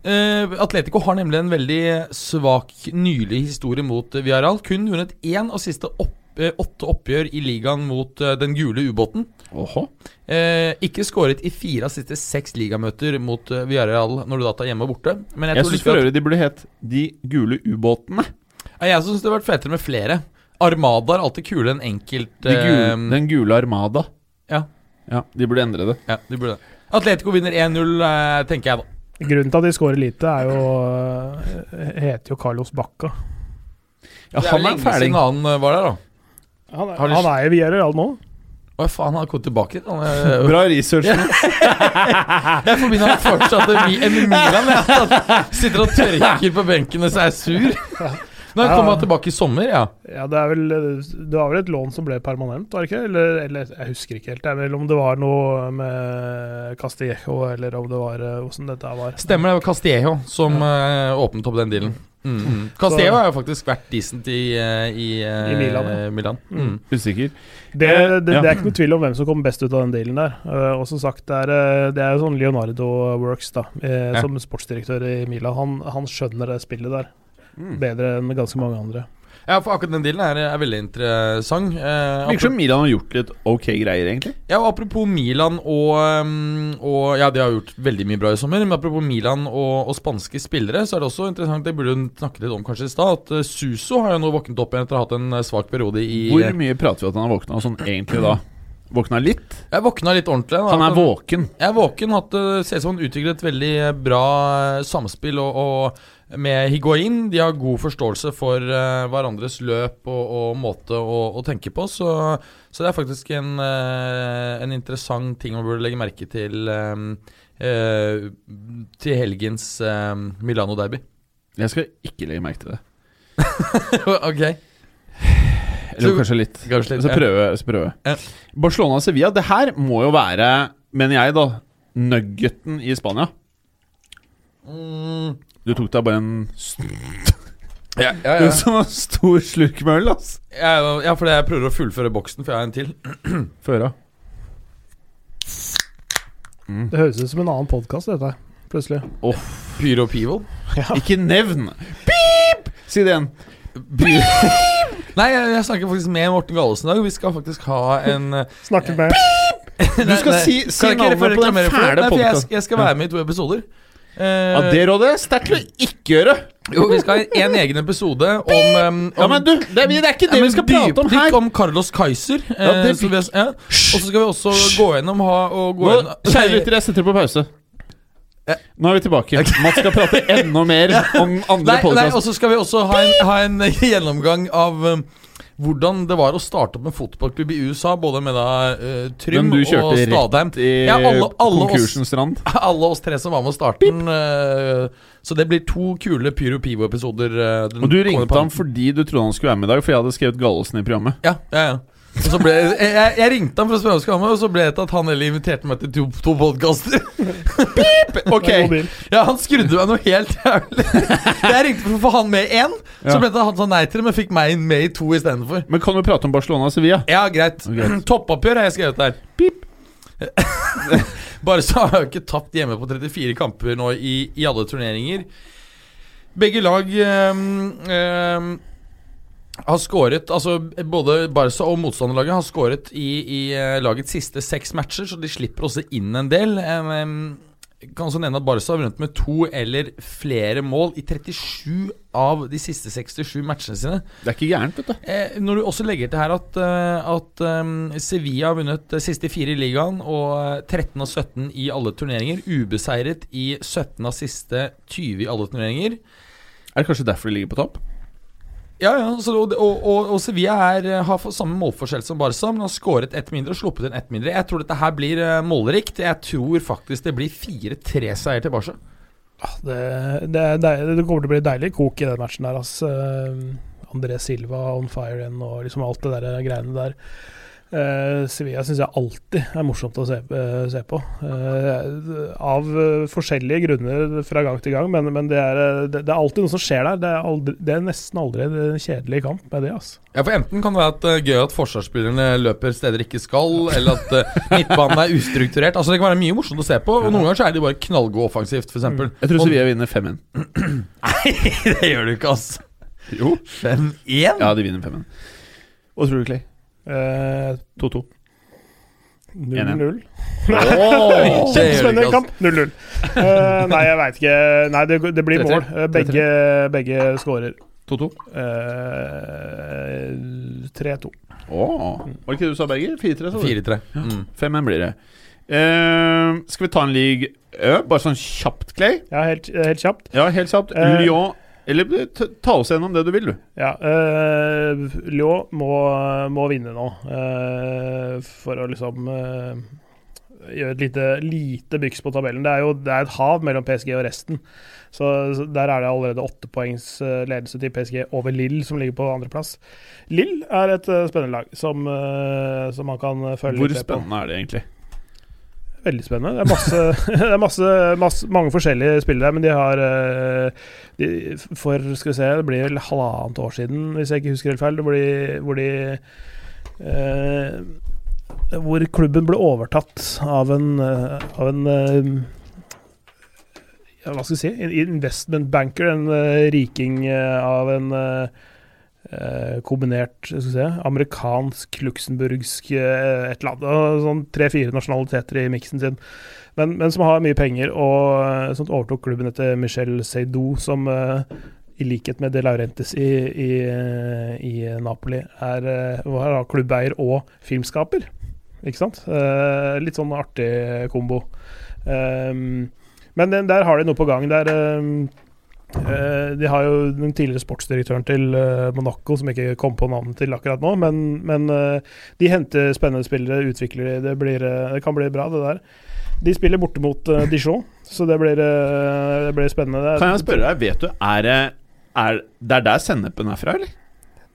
Eh, Atletico har nemlig en veldig svak nylig historie mot eh, Villarreal. Kun vunnet én av siste opp, eh, åtte oppgjør i ligaen mot eh, den gule ubåten. Åhå. Eh, ikke skåret i fire av siste seks ligamøter mot eh, Villarreal når du da tar hjemme og borte. Men jeg, Jeg tror syns likevel for at- øvrig de burde hett De gule ubåtene. Nei, jeg syns det hadde vært fetere med flere. Armada er alltid kulere enn enkelt. De gule, eh, den gule armada. Ja. ja. De burde endre det. ja, de burde det. Atletico vinner 1-0, eh, tenker jeg da. Grunnen til at de scorer lite, er jo eh, Heter jo Carlos Bacca. Ja, det er han er en lenge siden fæling. han eh, var der, da. Han, Har er- de- han er jo Villarreal nå. Å, faen, han har kommet tilbake. Han, eh, Bra research. Jeg forbinder han fortsatt med Mi- en Milan. jeg. Han Sitter og tørker på benken og så er sur. Nå Ja. kommer han tilbake i sommer, ja. Ja, det er vel eh, Det var vel et lån som ble permanent, var det ikke? Eller, eller jeg husker ikke helt. Det er vel om det var noe med Castillejo, eller om det var eh, hvordan dette her var. Stemmer det. var Castillejo som eh, åpnet opp den dealen. Mm. mm. Castillejo har jo faktisk vært decent i, eh, i, eh, I Milan, ja. Milan. Mm. Mm. Usikker. Det, det, Ja. det er ikke noe tvil om hvem som kom best ut av den dealen der. Eh, Og som sagt, det er, eh, det er jo sånn Leonardo Works, da. eh, Ja. Som sportsdirektør i Milan. Han, han skjønner det spillet der Mm. bedre enn ganske mange andre. Ja, for akkurat den dealen er, er veldig interessant. Eh, Virker som Milan har gjort litt ok greier, egentlig. Ja, og Apropos Milan og, um, og Ja, de har gjort veldig mye bra i sommer. Men apropos Milan og, og spanske spillere, så er det også interessant Det burde hun snakke litt om kanskje i stad. At eh, Suso har jo nå våknet opp igjen etter å ha hatt en eh, svak periode i eh, Hvor mye prater vi at han har våkna sånn egentlig da? Våkna litt? Jeg våkna litt ordentlig. da. Han er våken. Jeg er våken. Hatt, eh, ser ut som han utvikler et veldig eh, bra eh, samspill og, og med Higuain. De har god forståelse for eh, hverandres løp og, og måte å, å tenke på. Så, så det er faktisk en, eh, en interessant ting man burde legge merke til eh, eh, til helgens eh, Milano-derby. Jeg skal ikke legge merke til det. ok, Eller Så- kanskje litt. kanskje litt. Så prøver jeg. Så prøver. Ja. jeg. Barcelona-Sevilla, det her må jo være, mener jeg, da, nuggeten i Spania. Mm, Du tok deg bare en, st ja, ja, en ja. sånn stor slurk med øl, ass. Jeg- ja, for jeg prøver å fullføre boksen, for jeg har en til. Få høre. Det høres ut som en annen podkast, dette her. Plutselig. Pyro Pivo. Ikke nevn! Pip! Si det igjen. Nei, jeg, jeg snakker faktisk med Morten Gallesen i dag. Vi skal faktisk ha en eh, Snakker med Du skal si, si Kan jeg ikke navnet på den reklamere for det? fæle Nei, for jeg, podkasten. jeg skal være med i to episoder. Eh, Ja, det rådet er sterkt til å ikke gjøre. Jo, vi skal ha en egen episode om, eh, om Ja, men du, det er, det er ikke det Ja, men vi skal prate om dypdykk her. om Carlos Kaiser. eh, Ja, det så vi, ja. Og så skal vi også gå gjennom ha, og gå Nå, gjennom, kjære lytter, jeg setter på pause. Nå er vi tilbake. Mats skal prate enda mer om Nei, andre nei, og podkaster. så skal vi også ha en, ha en gjennomgang av eh, hvordan det var å starte opp en fotballklubb i USA, både med da eh, Trym Men du og kjørte Stadheim. rett i Ja, alle- alle oss- konkursens rand. Alle oss tre som var med å starte den. eh, så det blir to kule Pyro Pivo-episoder. eh, den Og du kommende ringte perioden. ham fordi du trodde han skulle være med i dag, for jeg hadde skrevet Gallosen i programmet. Ja, ja, ja. Og så ble, jeg, jeg, jeg ringte ham for å spørre om han skulle være med, og så ble det til at han heller inviterte meg til to, to podkaster. Ok, Mobil. Ja, han skrudde meg noe helt jævlig. Jeg ringte for å få han med i én, så Ja. ble det han sa nei til det, men fikk meg med i to istedenfor. Men kan du prate om Barcelona og Sevilla? Ja, greit. Greit. Toppoppgjør har jeg skrevet der. Pip. Bare så har jeg jo ikke tapt hjemme på 34 kamper nå i, i alle turneringer. Begge lag ehm, ehm, har skåret Altså både Barca og motstanderlaget har skåret i, i eh, lagets siste seks matcher, så de slipper også inn en del. Em, em, kan også nevne at Barca har vunnet med to eller flere mål i 37 av de siste 67 matchene sine. Det er ikke gærent, vet du. Eh, når du også legger til her at, eh, at eh, Sevilla har vunnet de siste fire i ligaen og eh, 13 av 17 i alle turneringer. Ubeseiret i 17 av siste 20 i alle turneringer. Er det kanskje derfor de ligger på topp? Ja, ja, så, og, og, og, og Sevilla er, eh, har fått samme målforskjell som Barca, men har skåret ett mindre og sluppet inn ett mindre. Jeg tror dette her blir eh, målrikt. Jeg tror faktisk det blir 4-3-seier til Barca. Det, Ah, det, er deil- det kommer til å bli deilig kok i den matchen der, ass. Eh, André Silva on fire igjen og liksom alt det der greiene der. Eh, Sevilla syns jeg alltid er morsomt å se, eh, se på. Eh, av eh, forskjellige grunner fra gang til gang, men, men det, er, eh, det, det er alltid noe som skjer der. Det er, aldri, det er nesten aldri en eh, kjedelig kamp med det, altså. Ja, for Enten kan det være at det er gøy at forsvarsspillerne løper steder de ikke skal, eller at eh, midtbanen er ustrukturert. Altså Det kan være mye morsomt å se på, og noen ganger så er de bare knallgode offensivt, f.eks. Jeg tror Sevilla vinner 5-1. Det gjør du ikke, altså. Jo. 5-1? Ja, de vinner 5-1. Hva tror du, Clay? Eh, 2-2. 0-0. Åh, det gjør du Kjempespennende ikke, altså. kamp. 0-0. Eh, nei, jeg veit ikke. Nei, det, det blir mål. Eh, Begge, begge scorer. 2-2. Eh, 3-2. Åh. Var det ikke det du sa, Berger? 4-3? sa du? 4-3. Mm. 5-1 blir det. Eh, skal vi ta en league Ø? Bare sånn kjapt, Clay? Ja, helt, helt kjapt. Ja, helt kjapt. Eh. Lyon Eller t- ta oss gjennom det du vil, du. Ja, eh, Lyon må, må vinne nå eh, for å liksom eh, gjøre et lite, lite byks på tabellen. Det er jo det er et hav mellom PSG og resten. Så, så der er det allerede åtte poengs eh, ledelse til PSG over Lill, som ligger på andreplass. Lill er et eh, spennende lag som, eh, som man kan følge Hvor litt med på. spennende er det egentlig? Veldig spennende. Det er masse, det er masse, masse mange forskjellige spillere der, men de har eh, de, For skal vi se, det blir vel halvannet år siden, hvis jeg ikke husker helt feil, det blir, hvor de eh, Hvor klubben ble overtatt av en, eh, av en eh, ja, Hva skal vi si? En investment banker, en eh, riking eh, av en eh, eh, kombinert skal vi se, amerikansk, luxemburgsk eh, et eller annet. og Sånn tre-fire nasjonaliteter i miksen sin. Men, men som har mye penger, og eh, sånt overtok klubben etter Michel Seydou, som eh, i likhet med De Laurentes i, i, eh, i Napoli er eh, var da klubbeier og filmskaper. Ikke sant? Eh, litt sånn artig kombo. Ehm, men den, der har de noe på gang. Der ehm, Eh, de har jo den tidligere sportsdirektøren til eh, Monaco, som ikke kom på navnet til akkurat nå, men, men eh, de henter spennende spillere, utvikler de. Det, blir, eh, det kan bli bra, det der. De spiller borte mot eh, Dijon, så det blir, eh, det blir spennende. Det er- Kan jeg spørre deg, vet du Er det er, Det er der sennepen er fra, eller?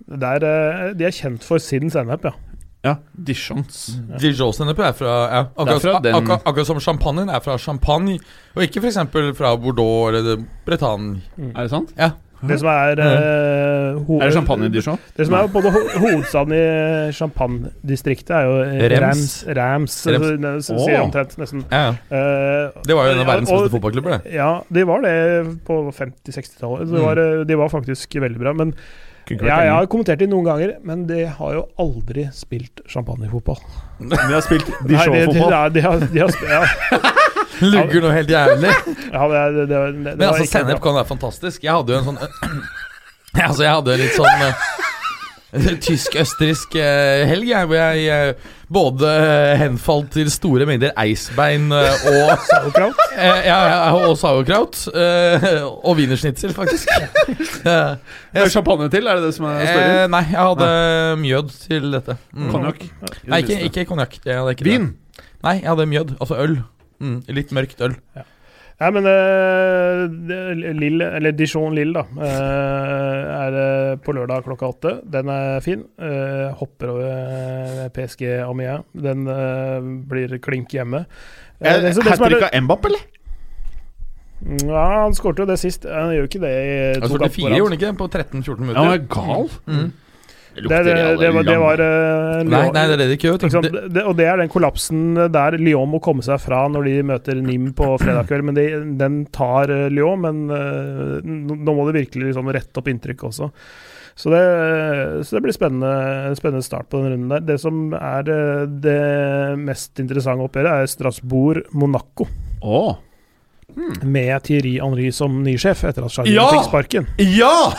Det er, eh, de er kjent for sin sennep, ja. Ja. Dichons. Dijon-sennep er fra ja, akkurat, Det er fra den- akkurat, akkurat som champagnen er fra champagne, og ikke f.eks. fra Bordeaux eller Bretagne. Mm. Er det sant? Det som er eh, ho- Er det champagne i Dijon? Det som er både ho hovedstaden i Champagne-distriktet, er jo eh, Reims. Reims. Reims. Så Reims. det- så sier Åh. omtrent nesten. Ja, ja. Eh, Det var jo en av ja, verdens og- beste fotballklubber, det. Ja, de var det på 50-60-tallet. Mm. Så det var, eh, De var faktisk veldig bra. Men ja, jeg har kommentert de noen ganger, men de har jo aldri spilt champagnefotball. Vi har spilt Nei, de, de, Dijon-fotball. nei, de har, de har, sp- ja. Lugger noe helt jævlig. Ja, det, det, det, det, det Men var altså, ikke bra. sennep kan være fantastisk. Jeg hadde jo en sånn Ja, Altså, jeg hadde litt sånn eh, Tysk-østerriksk eh, helg, jeg, hvor jeg eh, både eh, henfalt til store mengder eisbein eh, og Sauerkraut? Eh, ja, ja, og sauerkraut. eh, og wienersnitzel, faktisk. Eh, Er det champagne til? Er det det som er eh, spørsmålet? nei, jeg hadde mjød til dette. Mm. Konjakk? Nei, ikke, ikke konjakk. jeg hadde ikke det. Vin? Nei, jeg hadde mjød. Altså øl. Mm, litt mørkt øl. Nei, men eh, det- Lille, eller Dijon Lille, da, eh, er eh, på lørdag klokka åtte. Den er fin. Eh, hopper over eh, PSG Amiens. Den eh, blir klink hjemme. Eh, det- så det Hat som er trick det- av Mbapp, eller? Ja, han skårte jo det sist. Eh, Han gjør jo ikke det i to Altså, kamper 44 på rad. gjorde den ikke det? På 13-14 Ja, han minutter. er gal. Mm. Det, er det, det var, det var eh, Nei, Lyon- nei, det er det det ikke gjør. ikke sant? vet du. Det- Det, det, og det er den kollapsen der Lyon må komme seg fra når de møter Nim på fredag kveld. Men de, den tar eh, Lyon, men eh, n- nå må det virkelig liksom rette opp inntrykk også. Så det, så det blir spennende, spennende start på den runden der. Det som er eh, det mest interessante oppgjøret, er Strasbourg-Monaco. Åh. Med Thierry Henry som ny sjef etter at Charlie Ja! fikk sparken. Ja!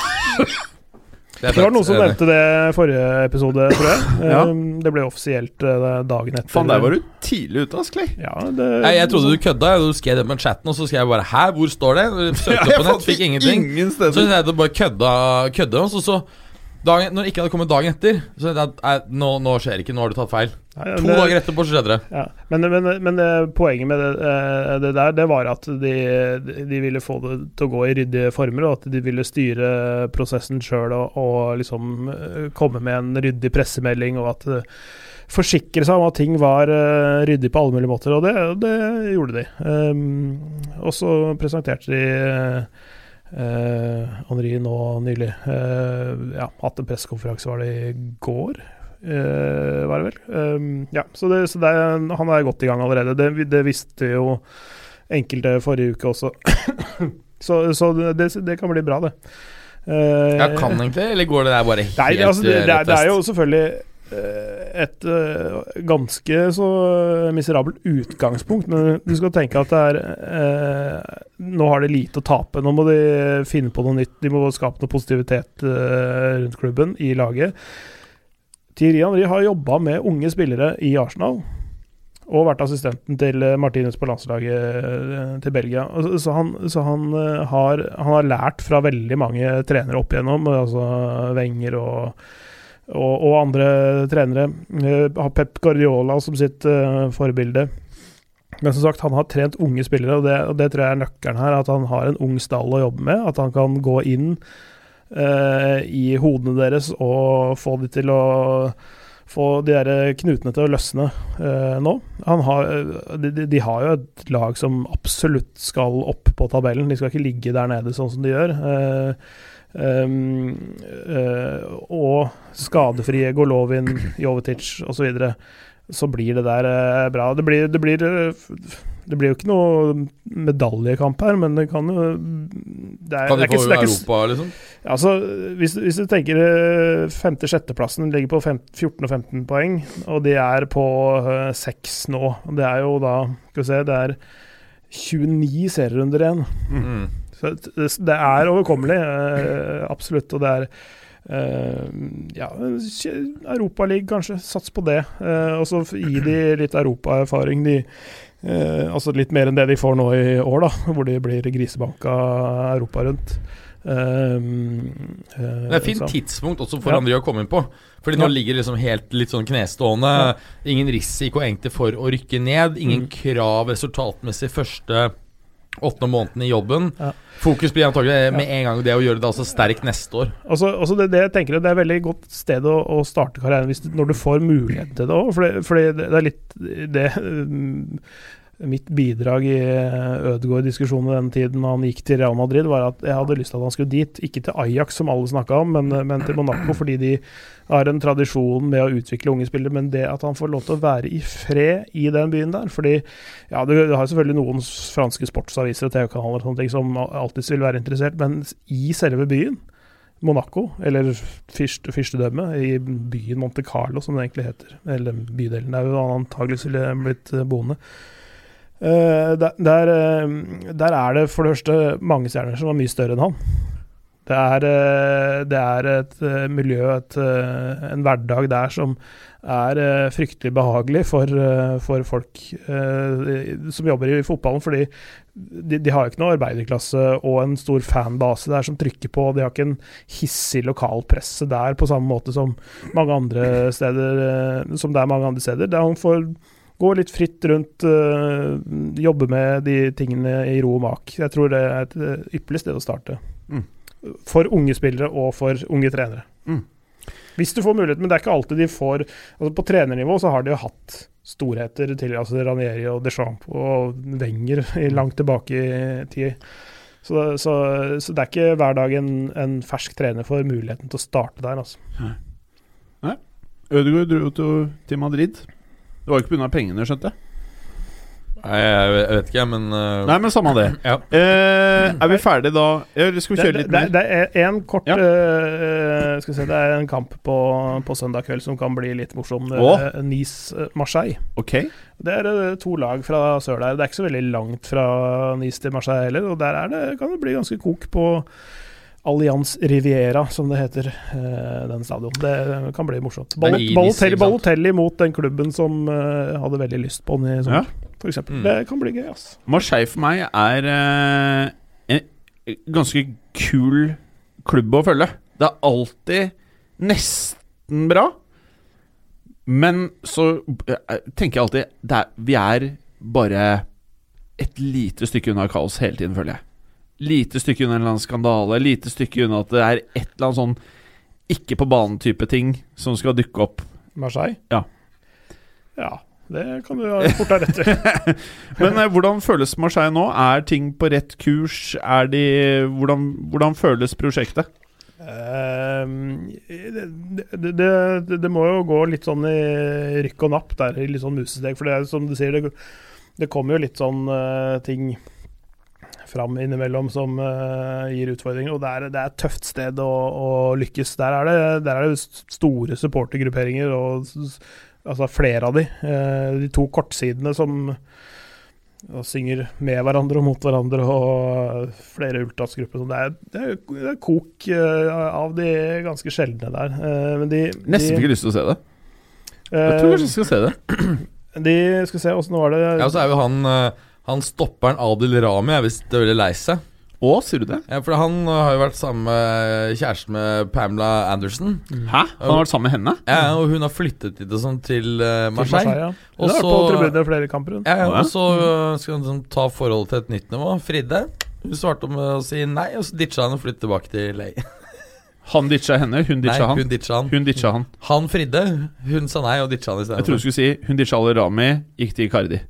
Det er Det var noen som faktisk- nevnte det i forrige episode, tror jeg. Ja. Eh, Det ble offisielt eh, dagen etter. Faen, der var du tidlig ute, ass, Clay. Ja, det, Nei, jeg trodde du kødda. og Du skrev det på chatten, og så skrev jeg bare 'hæ, hvor står det?' Søkte opp på nett, fikk ingenting. Ingen Så steder. jeg hadde bare kødda, kødda og så, så dagen, Når det ikke hadde kommet dagen etter Så tenkte jeg at nei, nå, nå skjer det ikke, nå har du tatt feil Nei, To det- dager etterpå så skjedde det Ja. Men, men, men eh, poenget med det, eh, det der, det var at de, de ville få det til å gå i ryddige former, og at de ville styre prosessen sjøl og, og liksom eh, komme med en ryddig pressemelding, og at eh, forsikre seg om at ting var eh, ryddig på alle mulige måter, og det, og det gjorde de. Ehm, og så presenterte de uh, Henri nå nylig. Eh, ja, hatt en pressekonferanse, var det i går? eh, var det vel. Ehm, ja, så, det, så det, er- han er godt i gang allerede. Det, det visste jo enkelte forrige uke også. så så det, det kan bli bra, det. Eh, Ja, kan egentlig, eller går det der bare helt eh, Nei, altså, det, det, er, det er rettest? jo selvfølgelig eh, et eh, ganske så eh, miserabelt utgangspunkt, men du skal tenke at det er eh, Nå har de lite å tape. Nå må de finne på noe nytt. De må skape noe positivitet eh, rundt klubben, i laget. Thierry Henry har jobba med unge spillere i Arsenal. Og vært assistenten til eh, Martinez på landslaget eh, til Belgia. Og Så, så, han, så han, eh, har, han har lært fra veldig mange trenere opp igjennom, eh, altså Wenger og, og, og andre trenere. Eh, Har Pep Guardiola som sitt eh, forbilde. Men som sagt, han har trent unge spillere, og det, og det tror jeg er nøkkelen her. At han har en ung stall å jobbe med. At han kan gå inn eh, i hodene deres og få de til å få de der knutene til å løsne eh, nå. Han har, eh, de, de- de har jo et lag som absolutt skal opp på tabellen. De skal ikke ligge der nede sånn som de gjør. Eh, ehm, eh, og skadefrie Golovin, Jovetic osv. Så, videre, så blir det der eh, bra. Det blir, det, blir, eh, f- det blir jo ikke noe medaljekamp her, men det kan jo det er, Kan det de er ikke, få det er ikke, Europa, liksom? Altså, hvis, hvis du tenker eh, femte-sjetteplassen ligger på fem, 14 og 15 poeng, og de er på eh, seks nå. Det er jo da Skal vi se, det er 29 serierunder igjen. Mm. Så det, det er overkommelig, eh, absolutt. Og det er eh, ja, Europaligaen, kanskje. Sats på det. Eh, og så gi de litt europaerfaring. De, eh, altså litt mer enn det de får nå i år, da, hvor de blir grisebanka Europa rundt. Eh, eh, Det er et fint så- tidspunkt også for Ja. André å komme inn på Fordi nå Ja. ligger det liksom helt litt sånn knestående Ingen risiko egentlig for å rykke ned Ingen Mm. krav resultatmessig første åttende måneden i jobben Ja. Fokus blir antagelig med en gang det å gjøre det altså sterkt neste år Altså, altså det, det jeg tenker det er et veldig godt sted å, å starte karrieren hvis du, når du får mulighet til det òg. Fordi, fordi det, det er litt det mm, Mitt bidrag i Ødegaard-diskusjonen den tiden han gikk til Real Madrid, var at jeg hadde lyst til at han skulle dit. Ikke til Ajax, som alle snakka om, men, eh, men til Monaco, fordi de har en tradisjon med å utvikle unge spillere. Men det at han får lov til å være i fred i den byen der Fordi ja, du, du har selvfølgelig noen s- franske sportsaviser og TV-kanaler og sånne ting som alltid vil være interessert, men i selve byen Monaco, eller fyrst, fyrstedømmet, i byen Monte Carlo, som det egentlig heter. Eller bydelen der hvor han antakeligvis ville blitt eh, boende. Eh, der, der, eh, der er det for det første mange stjerner som var mye større enn han. Det er, eh, det er et eh, miljø, et, eh, en hverdag der som er eh, fryktelig behagelig for, eh, for folk eh, som jobber i fotballen, fordi de, de har jo ikke noe arbeiderklasse og en stor fanbase der som trykker på. De har ikke en hissig lokalpresse der på samme måte som, mange andre steder, eh, som det er mange andre steder. Der han får gå litt fritt rundt, eh, jobbe med de tingene i ro og mak. Jeg tror det er et eh, ypperlig sted å starte. Mm. For unge spillere og for unge trenere. Mm. Hvis du får mulighet, men det er ikke alltid de får altså På trenernivå så har de jo hatt storheter til altså Ranieri og Deschamps og Wenger i- langt tilbake i tid. Så, så, så det er ikke hver dag en, en fersk trener får muligheten til å starte der, altså. Ødegaard dro jo til- til Madrid. Det var jo ikke pga. pengene, skjønte jeg. Nei, jeg vet- jeg vet ikke, men eh, Nei, men samme det. Ja. Eh, er vi ferdige da? Eller skal vi Det, kjøre det, litt det, mer? det er en kort Ja. eh, Skal vi se, det er en kamp på, på søndag kveld som kan bli litt morsom. Åh. Eh, Nice-Marseille. Ok. Det er eh, to lag fra sør der. Det er ikke så veldig langt fra Nice til Marseille heller, og der er det, kan det bli ganske kok på Allianz Riviera, som det heter, eh, den stadion. Det kan bli morsomt. er Ball- i Nice, Balotelli, ikke sant? Balotelli mot den klubben som eh, hadde veldig lyst på den i sommer, for f.eks. Mm. Det kan bli gøy, ass. Marseille for meg er eh, en ganske kul klubb å følge. Det er alltid nesten bra, men så eh, tenker jeg alltid det er, Vi er bare et lite stykke unna kaos hele tiden, føler jeg. Lite stykke unna en eller annen skandale, lite stykke unna at det er et eller annet sånn ikke på banen-type ting som skal dukke opp. Marseille? Ja. Ja, det kan du ha fort ha rett i. Men eh, hvordan føles Marseille nå? Er ting på rett kurs? Er de Hvordan, hvordan føles prosjektet? Ehm, det, det, det, det må jo gå litt sånn i rykk og napp der, i litt sånn musesteg. For det er som du sier, det, det kommer jo litt sånn eh, ting fram innimellom som eh, gir utfordringer. Og det er, det er et tøft sted å, å lykkes. Der er, det, der er det s- store supportergrupperinger, og s- s- altså flere av de. Eh, de to kortsidene som ja, synger med hverandre og mot hverandre, og eh, flere ultrasgrupper. Så Det er, det er, det er kok eh, av de ganske sjeldne der. Eh, Men de, Nesten de, fikk jeg lyst til å se det. Jeg tror kanskje eh, jeg skal se det. de Skal vi se, åssen var det Ja, så er jo han eh, Han stopperen Adil Rami er visst veldig lei seg. Å, sier du det? Ja, for han eh, har jo vært sammen med eh, kjæresten med Pamela Anderson. Hæ? Han har vært sammen med henne? Ja, og hun har flyttet dit og sånn til eh, til Marseille. ja. Og Hun har vært på så- tribunen flere kamper. hun. Ja, Å, ja, ja. og så eh, skal han liksom ta forholdet til et nytt nivå. Fridde. Hun svarte med å si nei, og så ditcha han og flyttet tilbake til LA. Han ditcha henne, hun Nei, ditcha han. hun ditcha han. Hun ditcha han. Han fridde, hun sa nei og ditcha han Jeg trodde isteden. du skulle si hun ditcha Al Rami, gikk til Icardi.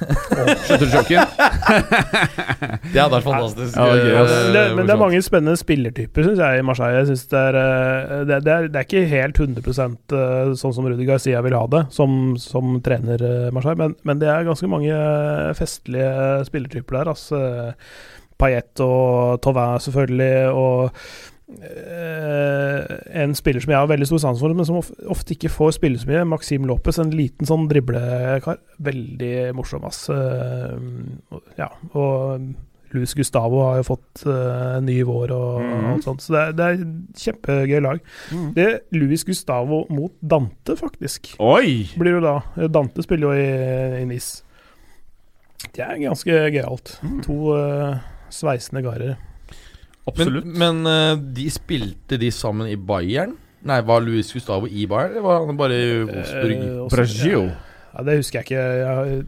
Skjønte du joken? Det hadde vært fantastisk. Ja, det var gøy, ass. eh, Men det, men det morsomt. er mange spennende spillertyper, syns jeg, i Marseille. Jeg synes det, er, eh, det, det, er, det er ikke helt 100 eh, sånn som Rudi Garcia vil ha det, som, som trener eh, Marseille, men, men det er ganske mange eh, festlige spillertyper der. Altså. Payet og Tauvin, selvfølgelig, og eh, en spiller som jeg har veldig stor sans for, men som of- ofte ikke får spille så mye. Maxim Lopez, en liten sånn driblekar. Veldig morsom, ass. Eh, og- ja, og Luis Gustavo har jo fått eh, en ny vår og Mhm. alt sånt, så det er, det er kjempegøy lag. Mhm. Det er Luis Gustavo mot Dante, faktisk Oi! blir jo da. Dante spiller jo i, i Nis. Det er ganske gøyalt. Mhm. To eh, sveisende garere. Absolutt. Men, men eh, de spilte de sammen i Bayern? Nei, var Luis Gustavo i Bayern, eller var han bare i Wolfsburg? Eh, også- Brasil. Ja, det husker jeg ikke. Jeg,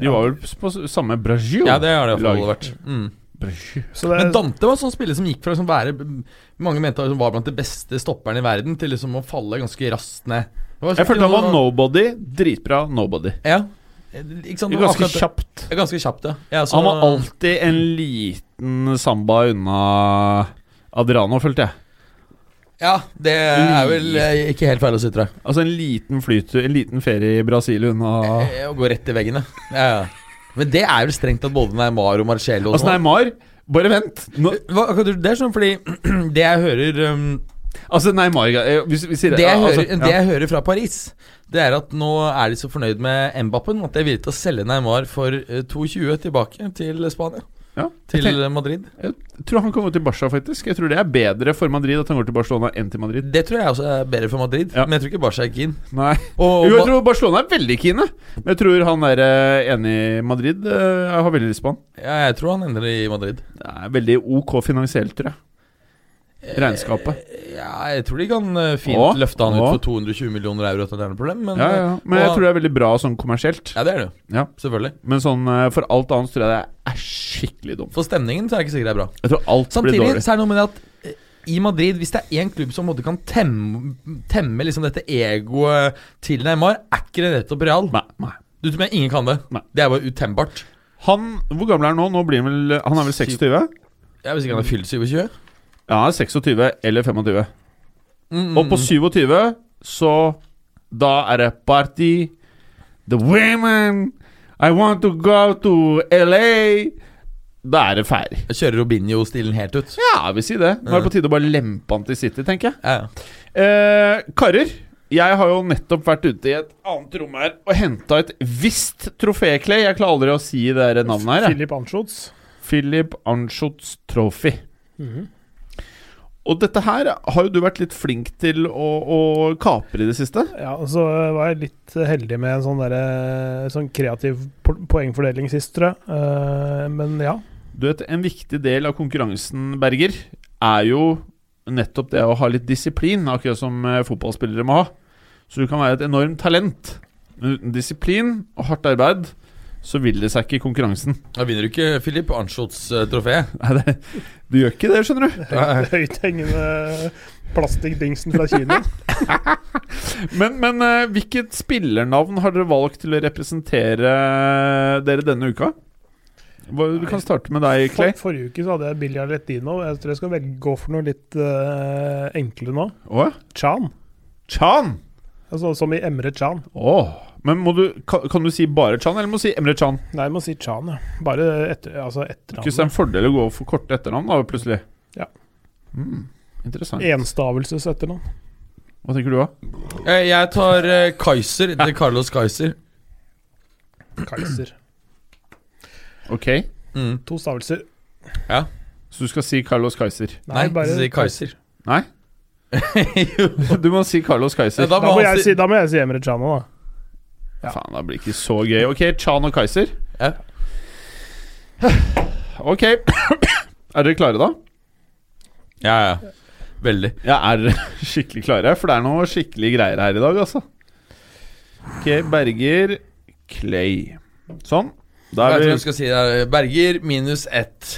De var vel på s- samme Brasil? ja, det har det iallfall Lag. vært. Mm. Brasil. så det, Men Dante var en sånn spiller som gikk fra å liksom være Mange mente han var blant de beste stopperne i verden, til liksom å falle ganske raskt ned. Det var liksom Jeg følte han ikke var noe- nobody. Dritbra nobody. Ja. Eh, Ikke sant? det var Ganske akkurat- kjapt. Ja, Ganske kjapt, ja. ja så- Han var alltid en liten samba unna Adriano, følte jeg. Ja, det er vel eh, ikke helt feil å si, tror jeg. Altså en liten flytur, en liten ferie i Brasil unna Eh, Å gå rett i veggen, ja. ja. ja. Men det er vel strengt tatt både Neymar og Marcello og Altså sånn. Neymar, bare vent! Nå, Hva, akkurat det er sånn fordi det jeg hører um, Altså, nei, Marga eh, hvis, hvis, Det jeg, hører, altså, det ja. jeg hører fra Paris, det er at nå er de så fornøyd med Mbappen at de er villige til å selge Neymar for eh, 2,20 tilbake til Spania. Ja, Til jeg tenker- eh, Madrid. Jeg tror han kommer til Barca, faktisk. Jeg tror det er bedre for Madrid at han går til Barcelona enn til Madrid. Det tror jeg også er bedre for Madrid, Ja. men jeg tror ikke Barca er keen. Nei Og, Jo, jeg og, tror Barcelona er veldig keene. Men jeg tror han er eh, enig i Madrid. eh, Jeg har veldig lyst på han. ja, jeg tror han ender i Madrid. Det er veldig ok finansielt, tror jeg. Regnskapet. Eh, Ja, jeg tror de kan eh, fint Å, løfte han å. ut for 220 millioner euro. Uten noe problem, men eh, Ja, ja. Men jeg tror det er veldig bra sånn kommersielt. ja, det er det jo. Ja. Selvfølgelig. Men sånn eh, for alt annet tror jeg det er skikkelig dumt. For stemningen så er det ikke sikkert det er bra. Jeg tror alt blir Samtidig dårlig. så er det noe med det at eh, i Madrid, hvis det er én klubb som på en måte kan temme, temme liksom dette egoet til Neymar, er ikke det nettopp Real. Nei, nei. Du tror jeg ingen kan det. Nei. Det er bare utembart. Han, hvor gammel er han nå? nå blir han, vel, eh, han er vel 26? Ja, Hvis ikke han er fylt 27. Ja, han er 26 eller 25. Mm, mm, Og på mm. 27 så Da er det party. The women. I want to go to LA. Da er det ferdig. Jeg Kjører Robinho-stilen helt ut. Ja, jeg vil si det. Nå er det på tide å bare lempe han til City, tenker jeg. Ja, ja. Eh, karer, jeg har jo nettopp vært ute i et annet rom her og henta et visst trofékle. Jeg klarer aldri å si det her navnet her. jeg. Philip Anschutz. Philip Anschutz Trophy. Mhm. Og dette her har jo du vært litt flink til å, å kapre i det siste. Ja, og så var jeg litt heldig med en sånn, derre- sånn kreativ po- poengfordeling sist, tror jeg. Eh, men ja. Du vet, En viktig del av konkurransen, Berger, er jo nettopp det å ha litt disiplin, akkurat som eh, fotballspillere må ha. Så du kan være et enormt talent, men uten disiplin og hardt arbeid så vil det seg ikke i konkurransen. Da vinner du ikke eh, Filip Arnschutz-trofé. Nei, det, du gjør ikke det, skjønner du. Høythengende plastikkdingsen fra Kina. Men, men eh, hvilket spillernavn har dere valgt til å representere eh, dere denne uka? Hva, du kan starte med deg, For, Clay. forrige uke så hadde jeg Billy Arletino. Jeg tror jeg skal velge, gå for noe litt eh, enkle nå. Å, Chan. Chan! Altså som i Emre Chan. Åh, Men må du, kan, kan du si bare Chan, eller må du si Emre Chan? Nei, jeg må si Chan, ja. Bare etter, Ikke så altså er etternavnet. det en fordel å gå for korte etternavn, da, plutselig. Ja. Mm, interessant. Enstavelsesetternavn. Hva tenker du, da? Eh, Jeg tar eh, Kaiser. Det er Carlos Kaiser. Kaiser. Ok, Mm. To stavelser. så du skal si Carlos Kaiser. Nei, så sier Kaiser. Nei? jo. Du må si Carlos Kaiser. Ja, da Da må, han jeg si, da må jeg si Emre Chan òg, da. ja. Faen, da blir det ikke så gøy. Ok, Chan og Kaiser. Ja. Ok. Er dere klare, da? Ja, ja. Veldig. Jeg er skikkelig klare, for det er noe skikkelig greier her i dag, altså. Ok, Berger Clay. Sånn. Da Jeg er tror vi du skal si det er eh, Berger minus ett.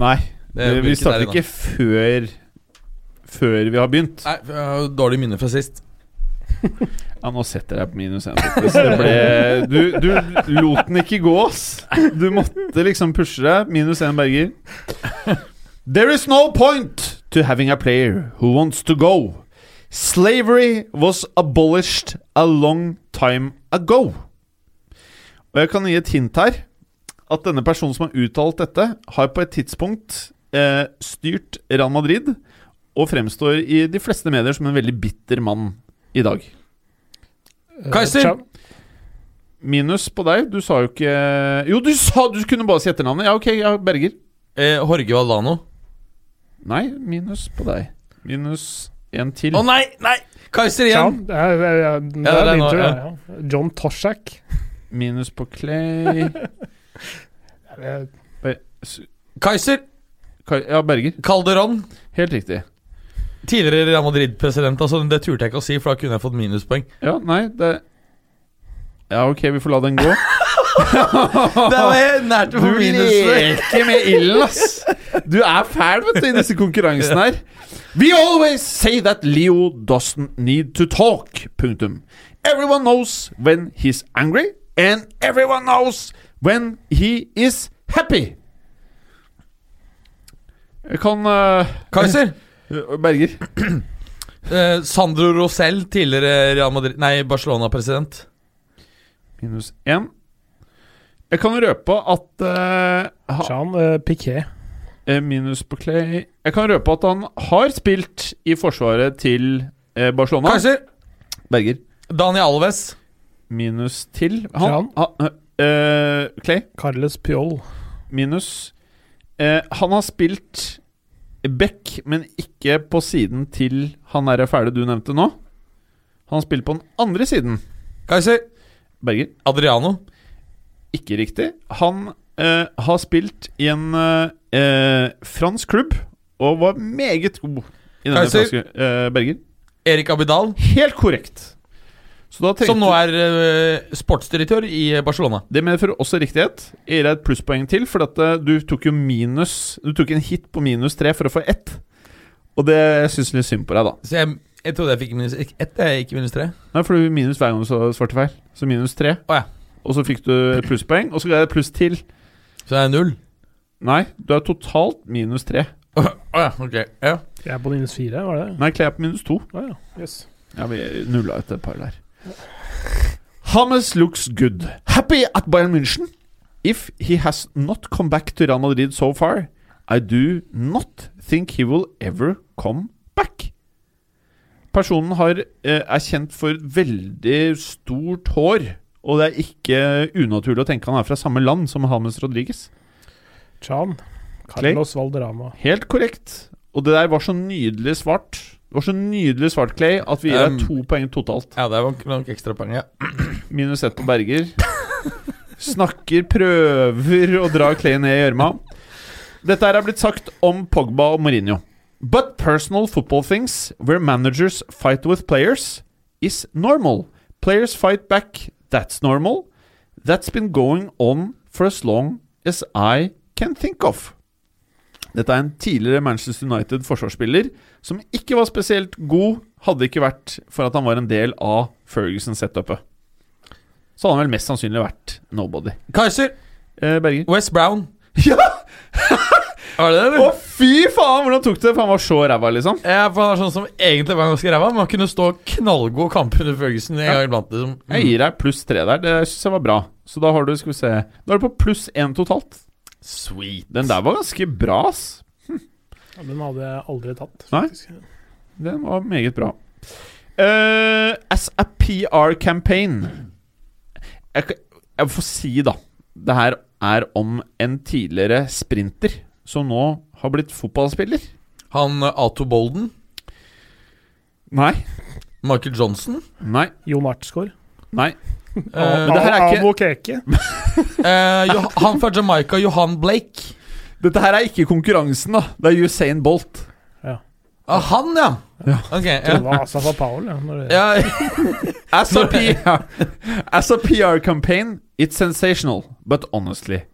Nei, Det- vi hvilken er starter det da? ikke før Før vi har begynt. Nei, jeg har jo dårlig minne fra sist. Ja, nå setter jeg på minus én. faktisk. Det ble- Du, du lot den ikke gå, ass. Du måtte liksom pushe deg. Minus én, Berger. There is no point to having a player who wants to go. Slavery was abolished a long time ago. Og jeg kan gi et hint her. At denne personen som har uttalt dette, har på et tidspunkt eh, styrt Real Madrid og fremstår i de fleste medier som en veldig bitter mann i dag. Eh, Kaiser! Chan. Minus på deg. Du sa jo ikke Jo, du sa du kunne bare si etternavnet. Ja, ok, ja, Berger. Eh, Jorge Valdano. Nei, minus på deg. Minus én til. Å nei, nei! Kaiser igjen! Chan. Det er, det er, det det er er min nå, tur, ja. ja. ja. John Toshak. Minus på Clay. Eh, Kaiser! Kai- Ja, Berger. Calderón. Helt riktig. Tidligere Real Madrid-president. Altså, det turte jeg ikke å si, for da kunne jeg fått minuspoeng. Ja, nei, det Ja, ok, vi får la den gå. Det var jeg nært å få minus. med ilden, ass! Du er fæl, vet du, i disse konkurransene her. We always say that Leo doesn't need to talk. Punktum. Everyone knows when he's angry, and everyone knows when he is happy. Jeg kan eh, Kaiser! Berger. Eh, Sandro Rosell, tidligere Real Madrid Nei, Barcelona-president. Minus én. Jeg kan røpe at eh, ha, Chan eh, Piquet. Eh, Minus på Clay Jeg kan røpe at han har spilt i forsvaret til eh, Barcelona. Kaiser! Berger. Dani Alves. Minus til Jan? han. han eh, Clay. Carles Pjoll. Minus. Eh, han har spilt back, men ikke på siden til han derre fæle du nevnte nå. Han har spilt på den andre siden. Kaiser. Berger, Adriano. ikke riktig. Han eh, har spilt i en eh, eh, fransk klubb og var meget god i denne Kaiser. franske eh, Berger. Erik Abidal. Helt korrekt. Så da trengte- Som nå er eh, sportsdirektør i eh, Barcelona. Det medfører også riktighet. Gir deg et plusspoeng til, for at eh, du tok jo minus Du tok en hit på minus tre for å få ett. Og det syns jeg litt synd på deg, da. Så jeg, jeg trodde jeg fikk minus ett, jeg, ikke minus tre. Nei, for du minus hver gang du så- svarte feil. Så minus tre. Å ja. Og så fikk du et plusspoeng, og så ga jeg et pluss til. Så det er null. Nei, du er totalt minus tre. Å ja, ok. Ja. Jeg er på minus fire, var det? Nei, Clay er på minus to. Å ja. Yes. Ja, vi nulla ut et par der. Hames looks good. Happy at Bayern München. If he has not come back to Real Madrid so far, I do not think he will ever come back. Personen har, eh, er kjent for veldig stort hår, og det er ikke unaturlig å tenke han er fra samme land som Hames Rodriguez. Chan. Carlos Valderama. Helt korrekt. Og det der var så nydelig svart. Det var så nydelig svart, Clay, at vi gir deg Um, to poeng totalt. ja, det var nok- nok ekstrapoeng, ja. Minus ett på Berger. Snakker, prøver å dra Clay ned i gjørma. Dette her er blitt sagt om Pogba og Mourinho. But personal football things where managers fight with players is normal. Players fight back, that's normal. That's been going on for as long as I can think of. Dette er en tidligere Manchester United-forsvarsspiller som ikke var spesielt god, hadde ikke vært for at han var en del av Ferguson-setupet. Så hadde han vel mest sannsynlig vært nobody. Kaiser. Eh, Berger? West Brown. Ja! Var det det, Å, eller? fy faen! Hvordan tok du det? For han var så ræva, liksom. Ja, for han er sånn som egentlig var ganske ræva, men han kunne stå knallgod kamp under Ferguson en Ja. gang iblant. Liksom. Jeg gir deg pluss tre der. Det syns jeg var bra. Så da har du skal vi se Da er du på pluss én totalt. Sweet. Den der var ganske bra, ass. Ja, den hadde jeg aldri tatt. Nei. faktisk. Den var meget bra. Eh, as a PR campaign jeg, kan- jeg får si, da Det her er om en tidligere sprinter som nå har blitt fotballspiller. Han eh, Ato Bolden. Nei. Michael Johnson. Nei. Jon Artsgaard. Nei. Eh, Men det her er ikke- Amo Keke. eh, Jo- han fra Jamaica, Johan Blake. Dette her er ikke konkurransen, da. Det er Usain Bolt. Ah, han, ja! Ok, Det ja. var Asafa Paul. Ja, når det- ja. As a, PR, as a PR campaign, it's sensational, but honestly,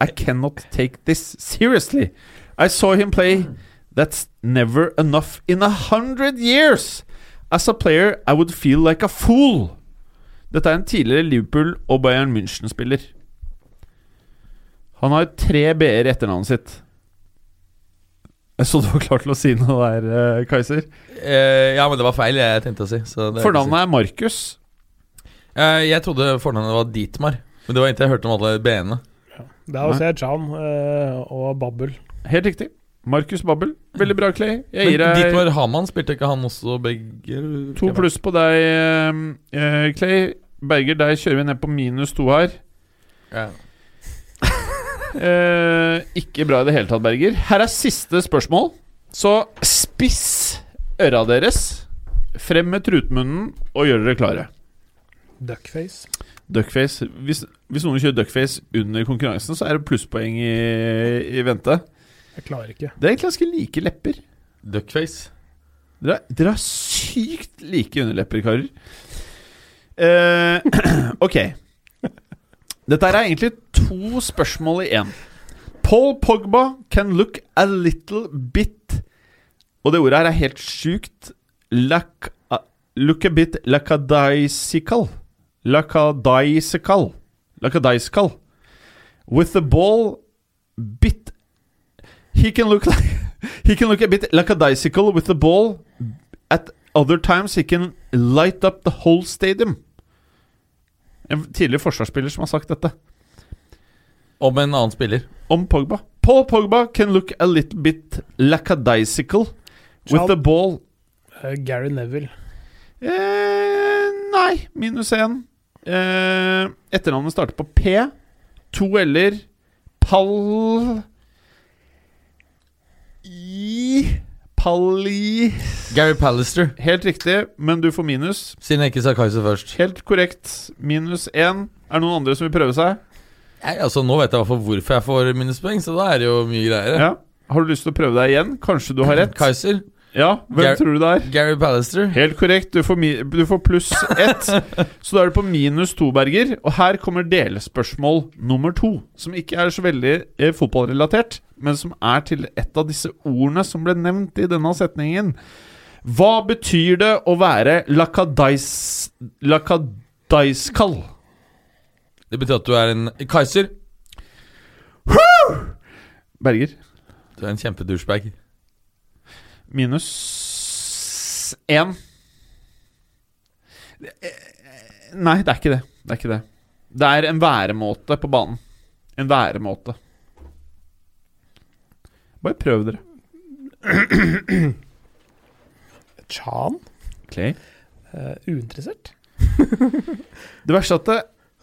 I cannot take this seriously. I saw him play. That's never enough in a hundred years. As a player, I would feel like a fool. Dette er en tidligere Liverpool- og Bayern München-spiller. Han har tre B-er i etternavnet sitt. Jeg så du var klar til å si noe der, eh, Kaiser. Eh, ja, men det var feil jeg tenkte å si. Så det er ikke Fornavnet er Markus. sikkert. Eh, jeg trodde fornavnet var Dietmar, men det var inntil jeg hørte om alle B-ene. Det er også jeg, Chan eh, og Babbel. Helt riktig. Markus Babbel. Veldig bra, Clay. Jeg Men gir deg Dietmar Hamann, spilte ikke han også begge? to pluss på deg, eh, eh, Clay. Berger, deg kjører vi ned på minus to her. Ja. Eh, ikke bra i det hele tatt, Berger. Her er siste spørsmål. Så spiss øra deres. Frem med trutmunnen og gjør dere klare. Duckface. Duckface Hvis, hvis noen kjører duckface under konkurransen, så er det plusspoeng i, i vente. Jeg klarer ikke. Det er egentlig ganske like lepper. Duckface. Dere, dere har sykt like underlepper, karer. Eh, ok. Dette her er egentlig to spørsmål i én. Paul Pogba can look a little bit Og det ordet her er helt sjukt. Lack, a- look a bit lackadaisical. Lackadaisical. Lackadaisical. With the ball bit He can look like He can look a bit lackadaisical with the ball. At other times he can light up the whole stadium. En tidligere forsvarsspiller som har sagt dette. Om en annen spiller. Om Pogba. Paul Pogba can look a little bit lackadaisical with Child. the ball. Eh, Gary Neville. Eh, nei, minus én. Eh, etternavnet starter på P. To l-er. Pall... I Palli Gary Pallister, Helt riktig, men du får minus. siden jeg ikke sa Kaiser først. Helt korrekt. Minus én. Er det noen andre som vil prøve seg? Nei, altså Nå vet jeg i hvert fall hvorfor jeg får minuspoeng, så da er det jo mye greier. Ja. Har du lyst til å prøve deg igjen? Kanskje du har rett? Kaiser, Ja, hvem Geir- tror du det er? Gary Pallister. Helt korrekt. Du får, mi du får pluss ett. Så da er du på minus to, Berger. Og her kommer delspørsmål nummer to. Som ikke er så veldig eh, fotballrelatert, men som er til et av disse ordene som ble nevnt i denne setningen. Hva betyr det å være lakadais... lakadaiskall? Det betyr at du er en Kaiser. Berger. Du er en kjempedouchebag. Minus én. Nei, det er ikke det. Det er ikke det. Det er en væremåte på banen. En væremåte. Bare prøv dere. Chan? Clay? Eh, uinteressert? Det verste er at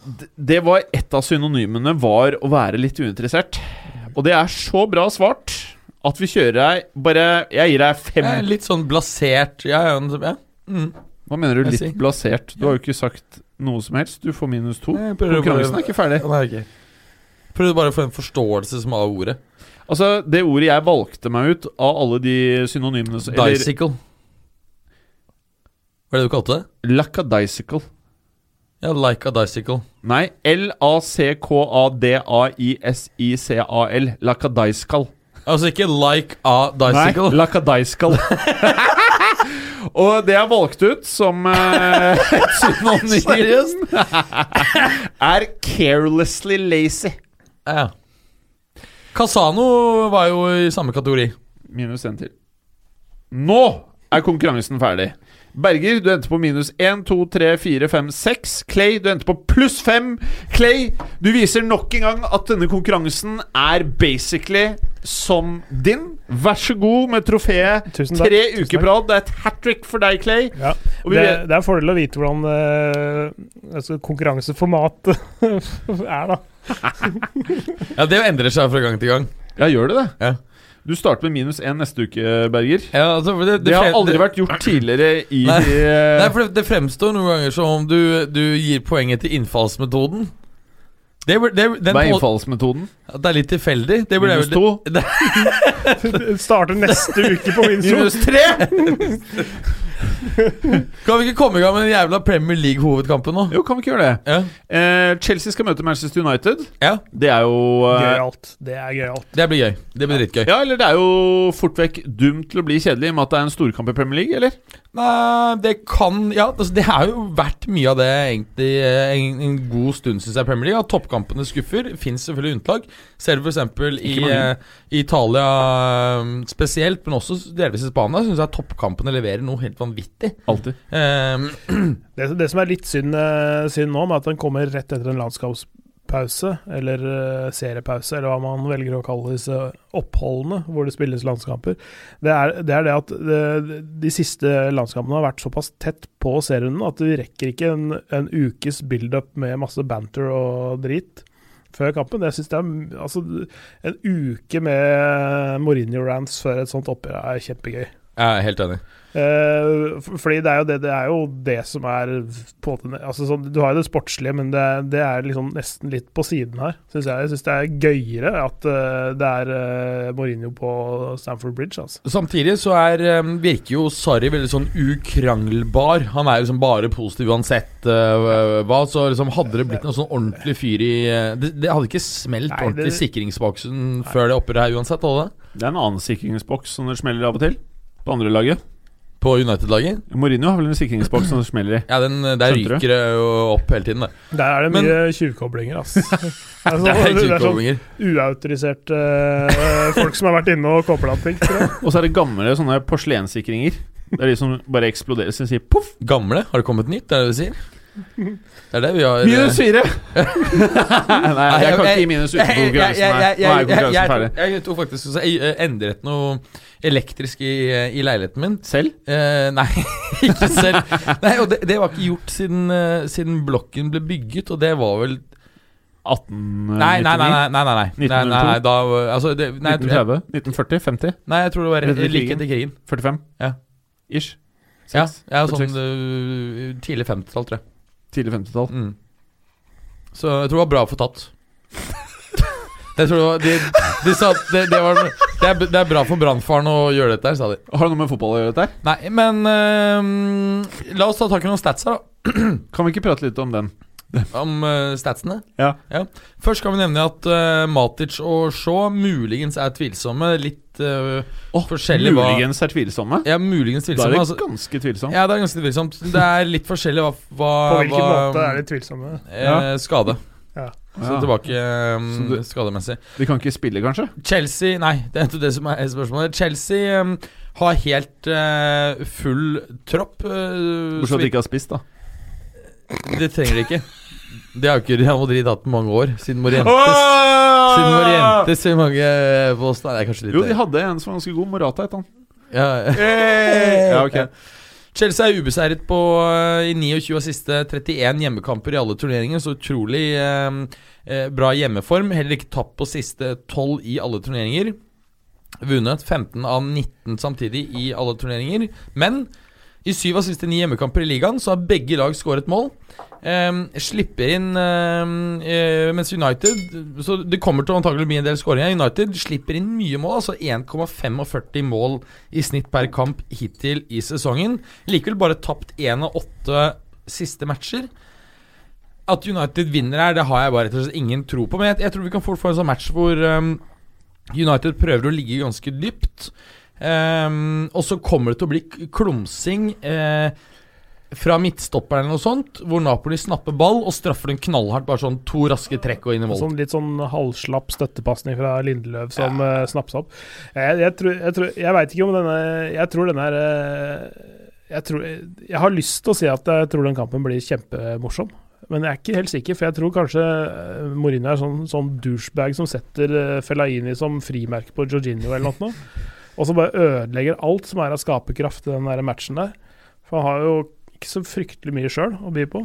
det, det var et av synonymene var å være litt uinteressert. Og det er så bra svart at vi kjører deg bare Jeg gir deg Jeg fem. er litt sånn blasert. Ja, ja, ja. Mm. Hva mener du Jeg litt sier- blasert? Du har jo ikke sagt noe som helst. Du får minus to. Jeg prøver Konkurransen bare- er ikke ferdig. Ja, Nei, ok. Prøvde bare å få en forståelse som av ordet. Altså, det ordet jeg valgte meg ut av alle de synonymene så- Eller Dicycle. Hva er det du kalte det? lackadaisical. Ja, like a dicycle. Nei, L-A-C-K-A-D-A-I-S-I-C-A-L. Lackadaisical. Altså ikke like a dicycle. Nei, lackadaisical. Og det jeg valgte ut som eh, synonym, er carelessly lazy. Ja. Casano var jo i samme kategori. Minus én til. Nå er konkurransen ferdig. Berger, du endte på minus 1, 2, 3, 4, 5, 6. Clay, du endte på pluss 5. Clay, du viser nok en gang at denne konkurransen er basically som din. Vær så god med trofeet. Tusen takk. Tre Tusen uker takk. på rad. Det er et hat trick for deg, Clay. Ja, Og vi det, vet, det er en fordel å vite hvordan eh, altså, konkurranseformat er, da. Ja, Det endrer seg fra gang til gang. ja, gjør du det? Ja. Du starter med minus 1 neste uke, Berger. Ja, altså, for Det har fre- aldri vært gjort tidligere i Nei. eh, Nei, for det, det fremstår noen ganger som om du, du gir poenget til innfallsmetoden. Det, bur- det, den, Hva er på- innfallsmetoden? at det er litt tilfeldig. Det burde Minus jeg 2? vel- Det starter neste uke på min Minus 3? Kan vi ikke komme i gang med den jævla Premier League-hovedkampen nå? Jo, kan vi ikke gjøre det? Ja. Eh, Chelsea skal møte Manchester United. ja, Det er jo eh, Gøyalt. Det er gøyalt. Det blir gøy. Det blir dritgøy. Ja, eller det er jo fort vekk dumt til å bli kjedelig i og med at det er en storkamp i Premier League, eller? Nei, det kan Ja, altså, det har jo vært mye av det egentlig eh, en, en god stund, syns jeg, Premier League. At toppkampene skuffer. Fins selvfølgelig unntak. Ser du f.eks. i mange. eh, Italia eh, spesielt, men også delvis i Spania, syns jeg toppkampene leverer noe helt vanvittig. Alltid. Eh, Det, det som er litt synd, eh, synd nå, med at den kommer rett etter en landskapspause, eller eh, seriepause, eller hva man velger å kalle disse oppholdene hvor det spilles landskamper, det er det, er det at det, de siste landskampene har vært såpass tett på serierunden at vi rekker ikke en, en ukes build-up med masse banter og drit. Før kampen, jeg synes det er altså, En uke med Mourinho-rants før et sånt oppgjør er kjempegøy. jeg er helt enig. Eh, f- fordi det er jo det, det er jo det som er på en måte- altså sånn, Du har jo det sportslige, men det, er- det er liksom nesten litt på siden her, syns jeg. Jeg syns det er gøyere at eh, det er eh, Mourinho på Stamford Bridge, altså. Samtidig så er, eh, virker jo Sarri veldig sånn ukranglbar. Han er jo liksom bare positiv uansett eh, hva. Så liksom hadde det blitt noe sånn ordentlig fyr i eh, det, det hadde ikke smelt Nei, ordentlig det- sikringsboksen før det oppgjøret her uansett, hadde det? Det er en annen sikringsboks som det smeller av og til. På andre laget. På United-laget? Mourinho har vel en sikringsboks som det smeller i. Ja, den, eh, Skjønte der du? ryker det jo opp hele tiden, det. Der er det Men- mye tjuvkoblinger, altså. Det er sånn, Det er det er sånn tjuvkoblinger. uautoriserte eh, folk som har vært inne og kobla ting. tror jeg. Og så er det gamle sånne porselenssikringer. Det er de som bare eksploderer, så de sier poff. Gamle? Har det kommet nytt, er det det du sier? Det er det vi har eh, Minus fire! Nei, jeg kan ikke gi minus utenfor Jeg- jeg- konkurransen her. Nå er jeg- jeg- jeg- konkurransen jeg- ferdig. Jeg tok faktisk så jeg eh, endret noe elektrisk i, eh, i leiligheten min. Selv? Eh, nei, ikke selv. Nei, og det, det var ikke gjort siden, eh, siden blokken ble bygget, og det var vel 1899? Nei, nei, nei. nei, nei, nei, nei, nei, nei, nei da, var- altså, det, nei, jeg, tror- 1930? jeg, 1940? 50? nei, jeg tror det var Rett etter like krigen. etter krigen. 45? Ja. Ish. Ja, Seks. ja sånn 46. eh, tidlig 50-tall, tror jeg. Tidlig 50-tall. Mm. Så jeg tror det var bra å få tatt. Jeg tror det, var, de, de sa at det, det, var, det, er, det er bra for brannfaren å gjøre dette her, sa de. Har det noe med fotball å gjøre, dette her? Nei, men eh, la oss ta tak i noen stats her, da. Kan vi ikke prate litt om den? Om eh, statsene. Ja. Først kan vi nevne at eh, Matic og Shaw muligens er tvilsomme. Litt eh, Oh, Forskjellig hva- Muligens er tvilsomme. Ja, Da muligens er tvilsomme. Altså, det ganske tvilsomt. ja, det er ganske tvilsomt. Det er litt forskjellig hva, hva På hvilken hva, måte er de tvilsomme? eh, Skade. Så Ja. tilbake eh, Så du- skademessig. De kan ikke spille, kanskje? Chelsea Nei, det er ikke det som er spørsmålet. Chelsea um, har helt eh, full tropp. eh, Bortsett fra så at de vidt- ikke har spist, da. Det trenger de ikke. Det har jo ikke Real Madrid hatt på mange år, siden Morientes. Siden Åh! Morientes i mange på oss. Nei, det er kanskje litt Jo, de hadde en som var ganske god. Morata het han. ja. Ja, ok. Chelsea er ubeseiret på, eh, i 29 av siste 31 hjemmekamper i alle turneringer, så utrolig eh, eh, bra hjemmeform. Heller ikke tapt på siste 12 i alle turneringer. Vunnet 15 av 19 samtidig i alle turneringer. Men i syv av siste ni hjemmekamper i ligaen så har begge lag skåret mål. Ehm, slipper inn ehm, eh, Mens United Så det kommer til antakelig å bli en del skåringer. United slipper inn mye mål, altså 1,45 mål i snitt per kamp hittil i sesongen. Likevel bare tapt én av åtte siste matcher. At United vinner her, det har jeg bare rett og slett ingen tro på. Men jeg, jeg tror vi kan fort få en sånn match hvor ehm, United prøver å ligge ganske dypt. Ehm, og så kommer det til å bli k- klumsing eh, fra midtstopperen eller noe sånt, hvor Napoli snapper ball og straffer den knallhardt. Bare sånn to raske trekk og inn i mål. Sånn litt sånn halvslapp støttepasning fra Lindeløv som ja. snappes opp. Jeg, jeg, tror, jeg, tror, jeg vet ikke om denne Jeg tror den er eh, jeg, tror, jeg har lyst til å si at jeg tror den kampen blir kjempemorsom. Men jeg er ikke helt sikker, for jeg tror kanskje eh, Mourinho er sånn, sånn douchebag som setter eh, Fellaini som frimerke på Jorginho eller noe. sånt nå, Og så bare ødelegger alt som er av skaperkraft i den der matchen der. For han har jo ikke så fryktelig mye sjøl å by på.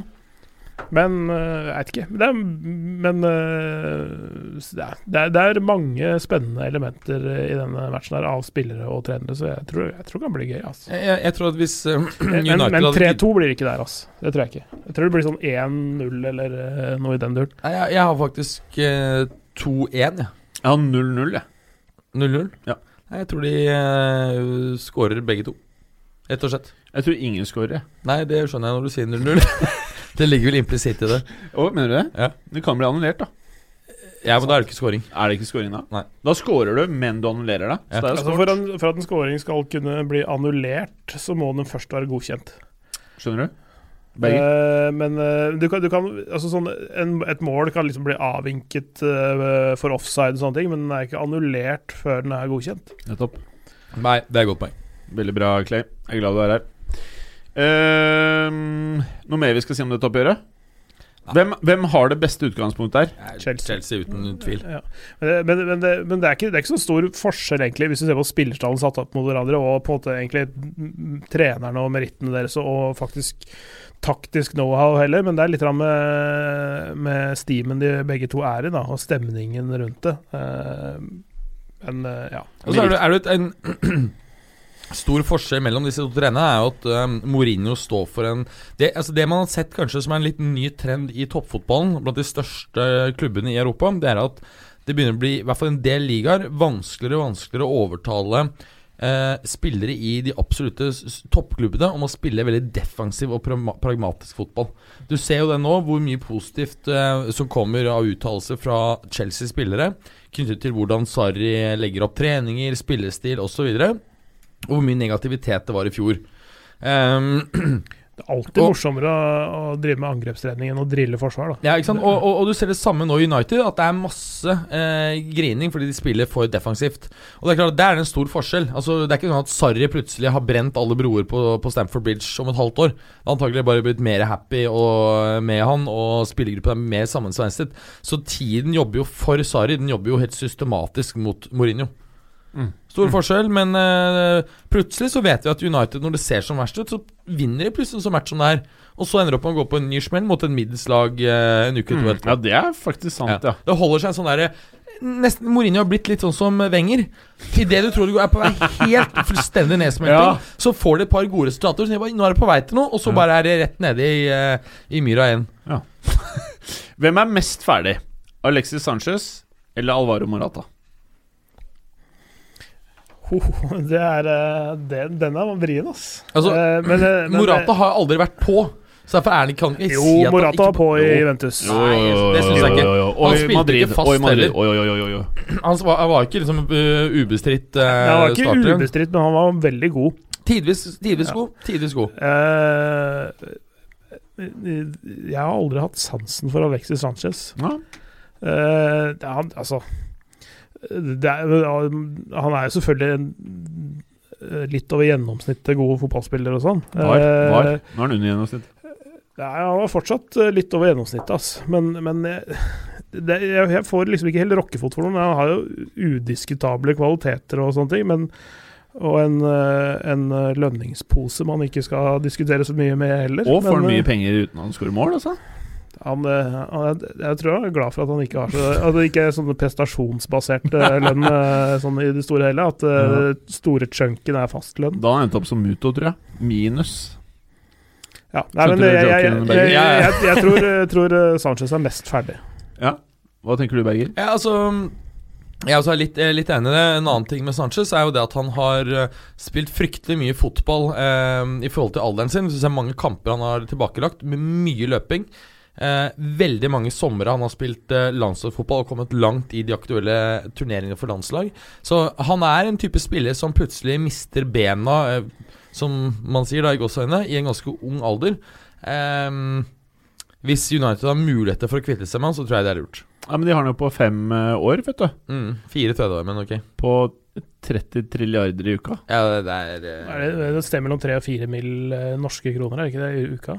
Men øh, jeg vet ikke. Det er, men øh, s- det er- det, er, det er mange spennende elementer øh, i denne matchen her, av spillere og trenere, så jeg tror, jeg tror det kan bli gøy. Altså. Jeg, jeg- jeg tror at hvis eh, Men, United men hadde 3-2 blir det ikke der, altså. Det tror jeg ikke. Jeg tror det blir sånn 1-0 eller øh, noe i den duren. Nei, jeg, jeg har faktisk eh, 2-1, jeg. Jeg har 0-0, jeg. 0-0. Ja. Nei, jeg tror de eh, skårer begge to. Rett og slett. Jeg tror ingen scorer, jeg. Nei, det skjønner jeg når du sier 0-0. det ligger vel implisitt i det. Å, mener du det? Ja. Det kan bli annullert, da. Ja, men da er det ikke scoring. Er det ikke scoring da? Nei. Da scorer du, men du annullerer deg. Ja. Så det er jo Altså, scoring. for, en, for at en scoring skal kunne bli annullert, så må den først være godkjent. Skjønner du? Begge. Eh, men eh, du kan, du kan altså sånn, en, Et mål kan liksom bli avvinket eh, for offside og sånne ting, men den er ikke annullert før den er godkjent. Nettopp. Nei, det er et godt poeng. Veldig bra, Clay. Jeg er glad du er her. Ehm, noe mer vi skal si om dette oppgjøret? Nei. Hvem, hvem har det beste utgangspunktet her? Chelsea. Chelsea uten tvil. Ja. Men, det- men, men, det, men det, er ikke, det er ikke så stor forskjell, egentlig, hvis du ser på spillerstallen satt opp mot hverandre, og på en måte egentlig mm, trenerne og merittene deres, og faktisk taktisk know-how heller, men det er litt grann med, med stimen de begge to er i, da, og stemningen rundt det. Eh, Men eh, ja. Og så er det, er det en stor forskjell mellom disse to trendene er jo at eh, Mourinho står for en det, altså det man har sett kanskje som er en litt ny trend i toppfotballen, blant de største klubbene i Europa, det er at det begynner å bli, i hvert fall en del ligaer, vanskeligere og vanskeligere å overtale eh, spillere i de absolutte s- s- toppklubbene om å spille veldig defensiv og pragma- pragmatisk fotball. Du ser jo det nå, hvor mye positivt eh, som kommer av uttalelser fra Chelsea-spillere knyttet til hvordan Sarri legger opp treninger, spillestil osv. Og, så videre, og hvor mye negativitet det var i fjor. Ehm, Det er alltid Og- morsommere å, å drive med angrepstrening enn å drille forsvar, da. Ja, ikke sant? Og, og, og du ser det samme nå i United, at det er masse eh, grining fordi de spiller for defensivt. Og det er klart, der er det en stor forskjell. Altså, det er ikke sånn at Sarri plutselig har brent alle broer på, på Stamford Bridge om et halvt år. Det har antagelig bare blitt mer happy og, med han, og spillergruppa er mer sammensveiset. Så tiden jobber jo for Sarri, den jobber jo helt systematisk mot Mourinho. Stor forskjell, men eh, plutselig så vet vi at United, når det ser som verst ut, så vinner de plutselig en sånn match som det her. Og så ender det opp med å gå på en ny smell mot en middels lag eh, en uke to Ja, etterpå. det er faktisk sant, ja. Det holder seg en sånn derre Nesten Mourinho har blitt litt sånn som Wenger. Idet du tror du er på vei helt fullstendig nedsmelting, Ja. så får du et par gode resultater. Så tenker du bare, nå er det på vei til noe, og så bare er det rett nede i, eh, i myra igjen. Hvem er mest ferdig? Alexis Sanchez eller Alvaro Morata? Ho, ho, det er, eh, det, den er vrien, ass. Altså, Eh, men, eh, men- Morata har aldri vært på, så derfor er han kan ikke Jo, si at han ikke- Morata er på i Juventus. Jo. Nei, det synes jeg ikke. Han Og i spilte Madrid, ikke og fast i Madrid. Oi, heller. oi, oi, oi, oi. Han var, han var ikke liksom uh, ubestridt uh, Han var ikke starter. ubestridt, men han var veldig god. Tidvis, tidvis god. Tidvis god. Eh, jeg har aldri hatt sansen for Alexis Sanchez. Ja. Eh, det er han, altså det er, eh, Han er jo selvfølgelig en, eh, litt over gjennomsnittet god fotballspiller og sånn. Var, var. Eh, Nå er han under gjennomsnitt. Nei, han var fortsatt eh, litt over gjennomsnittet, ass. Men, men jeg, det, jeg, jeg får liksom ikke helt rockefot for noe. men Han har jo udiskutable kvaliteter og sånne ting. Men, og en, eh, en eh, lønningspose man ikke skal diskutere så mye med heller. Og får men, mye eh, penger uten han scorer mål, altså. han, eh, han, jeg, jeg tror han er glad for at han ikke har så At det ikke er sånn prestasjonsbasert eh, lønn eh, sånn i det store hele. At eh, store chunken er fastlønn. Da har han endt opp som Muto, tror jeg. Minus. Ja. Nei, Skjønte men du jeg, jeg, jeg, joken, Berger? jeg, jeg, jeg tror, jeg tror eh, Sanchez er mest ferdig. Ja. Hva tenker du, Berger? Ja, altså jeg er også litt, eh, litt enig i det. En annen ting med Sanchez er jo det at han har eh, spilt fryktelig mye fotball eh, i forhold til alderen sin. Hvis du ser mange kamper han har tilbakelagt, med mye løping. Eh, veldig mange somre han har spilt eh, landslagsfotball og kommet langt i de aktuelle turneringene for landslag. Så han er en type spiller som plutselig mister bena, eh, som man sier da i gåseøynene, i en ganske ung alder. Eh, hvis United har muligheter for å kvitte seg med han, så tror jeg det er lurt. Ja, men De har han jo på fem eh, år, vet du. Mm, fire tredjeår, men ok. På 30 trilliarder i uka. Ja, det eh, det er Er det, det er et sted mellom tre og fire mil eh, norske kroner, er det ikke det, i uka?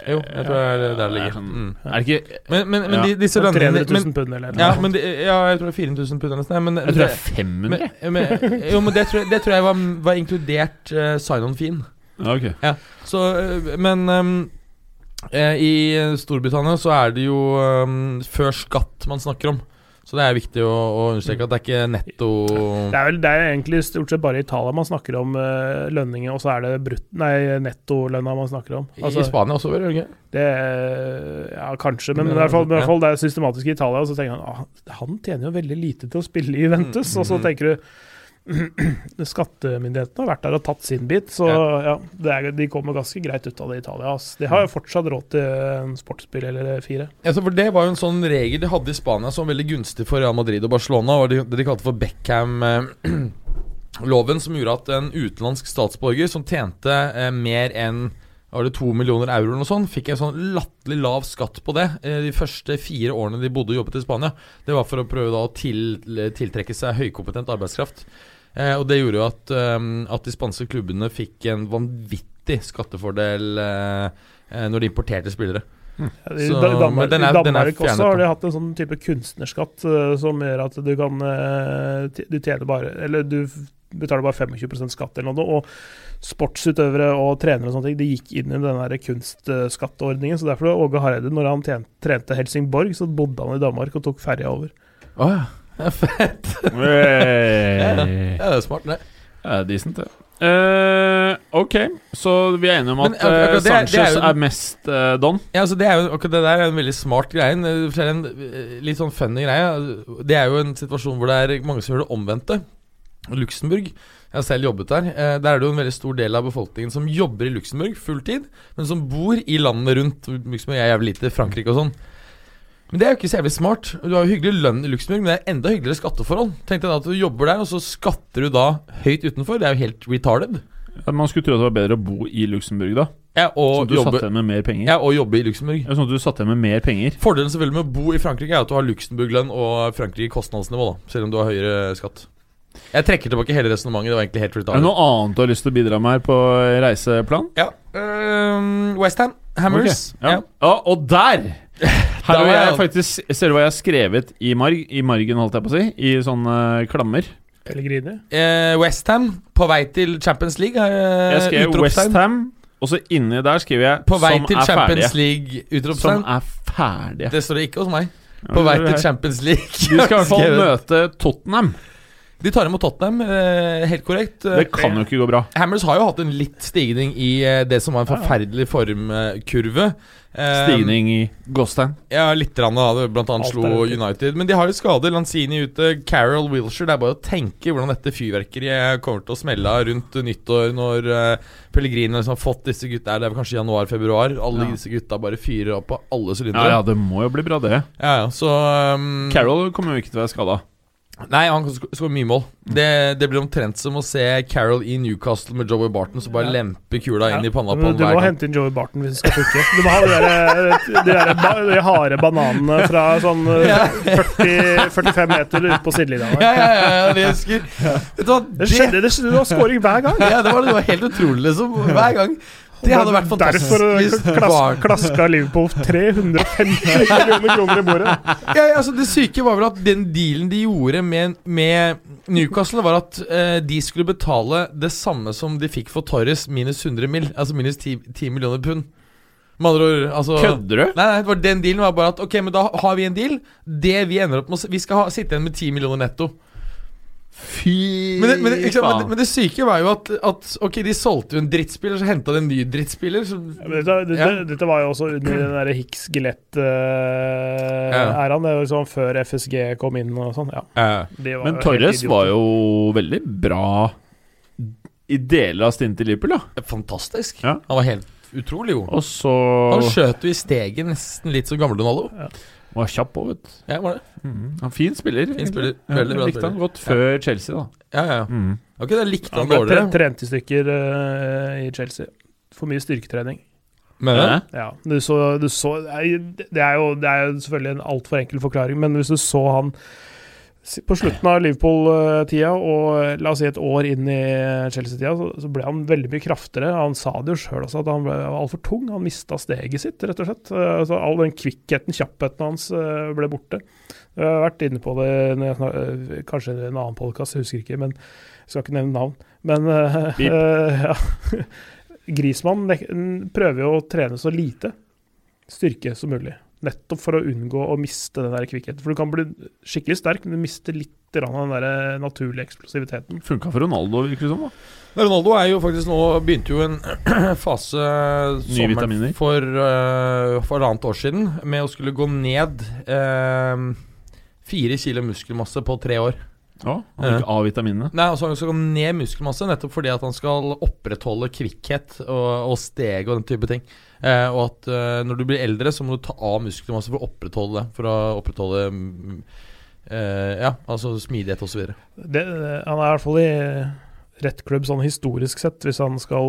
Jo, jeg tror det er der det ligger. sånn- Mm. Er det ikke Men, men, men Ja. de, disse lønningene 300 000 men, pund eller noe. ja, men de, ja, jeg tror det er 4000 pund eller noe sånt. Men, Jeg tror det er 500. men, men, jo, men det tror jeg, det tror jeg var, var inkludert eh, sign-on-fien. Ja, ok. Så, eh, men ehm, eh, i Storbritannia så er det jo ehm, før skatt man snakker om. Så det er viktig å, å understreke at det er ikke netto Det er vel det er egentlig stort sett bare i Italia man snakker om eh, lønninger, og så er det brutt, nei, nettolønna man snakker om. Altså, I Spania også, vel? Jørgen? det, eh, ja, kanskje, men i hvert fall, i hvert fall det er systematisk i Italia. Og så tenker han ah, han tjener jo veldig lite til å spille i Juventus, og så tenker du Skattemyndighetene har vært der og tatt sin bit, så ja, det er, de kommer ganske greit ut av det i Italia. ass. De har jo fortsatt råd til eh, en sportsbil eller fire. Altså for Det var jo en sånn regel de hadde i Spania som var veldig gunstig for Real Madrid og Barcelona. Var det, det de kalte for Beckham-loven, som gjorde at en utenlandsk statsborger som tjente eh, mer enn var det to millioner euro, eller noe sånt, fikk en sånn latterlig lav skatt på det eh, de første fire årene de bodde og jobbet i Spania. Det var for å prøve da å til, eh, tiltrekke seg høykompetent arbeidskraft. Eh, og det gjorde jo at, eh, at de spanske klubbene fikk en vanvittig skattefordel eh, eh, når de importerte spillere. Ja, I Så- Da- i Danmark, men den er- den er i Danmark fjernet, også har de da. hatt en sånn type kunstnerskatt eh, som gjør at du kan eh, t- Du tjener bare Eller du f- betaler bare 25 skatt eller noe. Og sportsutøvere og trenere og sånne ting, de gikk inn i den der kunstskatteordningen. Så derfor var Åge Hareide, når han tjente, trente Helsingborg, så bodde han i Danmark og tok ferja over. Å ja. ja. Fett. Hey. Ja, det er smart, det. Ja, decent, det. Eh, ok, så vi er enige om Men at ak- eh, akkurat det er- det er Sanchez er, jo- mest eh, don. Ja, altså det, er jo, akkurat det der er en veldig smart greie. En, eh, flere en eh, litt sånn funny greie. Det er jo en situasjon hvor det er mange som gjør det omvendte. Luxembourg. Jeg har selv jobbet der. Eh, Der er det jo en veldig stor del av befolkningen som jobber i Luxembourg fulltid, men som bor i landene rundt. Luxembourg er jævlig lite, Frankrike og sånn. Men det er jo ikke så jævlig smart. Du har jo hyggelig lønn i Luxembourg, men det er enda hyggeligere skatteforhold. Tenk deg da at du jobber der, og så skatter du da høyt utenfor. Det er jo helt retarded. Man skulle tro at det var bedre å bo i Luxembourg, da. Ja, Så og du satt jobbe, igjen med mer penger? ja, og jobbe i Luxembourg. Ja. Sånn at du satt igjen med mer penger? Fordelen selvfølgelig med å bo i Frankrike er at du har Luxembourg-lønn og Frankrike kostnadsnivå, da, selv om du har høyere skatt. Jeg trekker tilbake hele resonnementet. Det var egentlig Er helt det retarded. noe annet du har lyst til å bidra med her på reiseplan? Ja. ehm, Westham Hammers. Ok, Ja. Ja. Ja, og der! Her Da har var jeg jeg- faktisk Ser du hva jeg har skrevet i marg? I margen, holdt jeg på å si. I sånne klammer. Pellegrini. Eh, West Westham på vei til Champions League. eh, Jeg skrev utropstegn. Westham, og så inni der skriver jeg På vei 'som til er Champions ferdige'. League. Som Utropstegn. er ferdige. Det står det ikke hos meg. Ja, På vei det er til her. Champions League. De skal i hvert fall Skrevet. møte Tottenham. De tar imot Tottenham, eh, helt korrekt. Eh, Det kan jo ikke gå bra. Hammers har jo hatt en litt stigning i eh, det som var en forferdelig formkurve. Eh, Stigning i Gåstein. Ja, litt rann, da. Blant annet Alt er slo ute. United. Men de har jo skader. Lanzini ute, Carol Wilshere. Det er bare å tenke hvordan dette fyrverkeriet kommer til å smelle av rundt nyttår, når uh, Pellegrino liksom har fått disse gutta her. Det er vel kanskje januar-februar. Alle Ja. disse gutta bare fyrer opp på alle Ja, sylindere. ja, det må jo bli bra, det. Ja, ja, så ehm, Carol kommer jo ikke til å være skada. Nei, han kan sk- skåre mye mål. Det, det blir omtrent som å se Carol i Newcastle med Joey Barton, som bare Ja. lemper kula inn i panna på Men ham Du hver må gang. hente inn Joey Barton hvis du skal pukke. Du må ha de der, eh, de der ba, de harde bananene fra sånn eh, 40, 45 meter ut på sidelinja. Ja, der. ja, ja, ja, det husker Vet du hva, Det skjedde, det skjedde, det var scoring hver gang. Ja, det var, det var helt utrolig, liksom. Hver gang. Det hadde vært fantastisk hvis Derfor klas, Barton klaska Liverpool 350 millioner kroner i bordet. ja, ja, altså, Det syke var vel at den dealen de gjorde med, med Newcastle, var at eh, de skulle betale det samme som de fikk for Torres, minus 100 mill. Altså minus 10, 10 millioner pund. Med andre ord, altså Kødder du? Nei, nei, det var den dealen var bare at Ok, men da har vi en deal. Det vi ender opp med å s- Vi skal ha, sitte igjen med 10 millioner netto. Fy Men det, men, det, ikke sant, men, det, faen. men det syke var jo at, at Ok, de solgte jo en drittspiller, så henta de en ny drittspiller. Så Ja, men Dette, dette, Ja. dette var jo også under den der Hicks Ja. Gillett-æraen. det var liksom før FSG kom inn og sånn. Ja, de var Men helt Torres idioter. var jo veldig bra i deler av stintet til Liverpool, da. Fantastisk. Ja. Han var helt utrolig god. Og så Han skjøt jo i steget nesten litt som gamle Donaldo. var kjapp òg, vet du. Ja, var det? Han Fin spiller. Mm. Fin spiller. Ja, Veldig bra Likte han spiller. godt før Chelsea, da. Ja, ja. Mm. Ok, det likte Han han ble tre, dårligere. trent i stykker eh, i Chelsea. For mye styrketrening. Men Ja. Ja, du så, du så nei, det, er jo, det er jo selvfølgelig en altfor enkel forklaring, men hvis du så han s- på slutten av Liverpool-tida og eh, la oss si et år inn i Chelsea-tida, så, så ble han veldig mye kraftigere. Han sa det jo sjøl også, at han ble altfor tung. Han mista steget sitt, rett og slett. Eh, Så all den kvikkheten, kjappheten hans, eh, ble borte. Jeg har vært inne på det når jeg snak, eh, kanskje i en annen podkast, jeg husker ikke, men jeg skal ikke nevne navn. Men eh, Pip. eh, ja. Grismann nek- n- prøver jo å trene så lite styrke som mulig. Nettopp for å unngå å miste den der kvikkheten. For du kan bli skikkelig sterk, men du mister litt grann av den der eh, naturlige eksplosiviteten. Funka for Ronaldo, virker det som. da Ronaldo er jo faktisk nå Begynte jo en fase sommeren vitaminer. for uh, for halvannet år siden med å skulle gå ned eh, fire kilo muskelmasse på tre år. Ja, Han fikk A-vitaminene. Nei, altså Han skal gå ned muskelmasse nettopp fordi at han skal opprettholde kvikkhet og, og steg og den type ting. Eh, og at eh, når du blir eldre, så må du ta av muskelmasse for å opprettholde det. For å opprettholde mm, eh, Ja, altså smidighet osv. Det, eh, han er i hvert fall i rett klubb sånn historisk sett, hvis han skal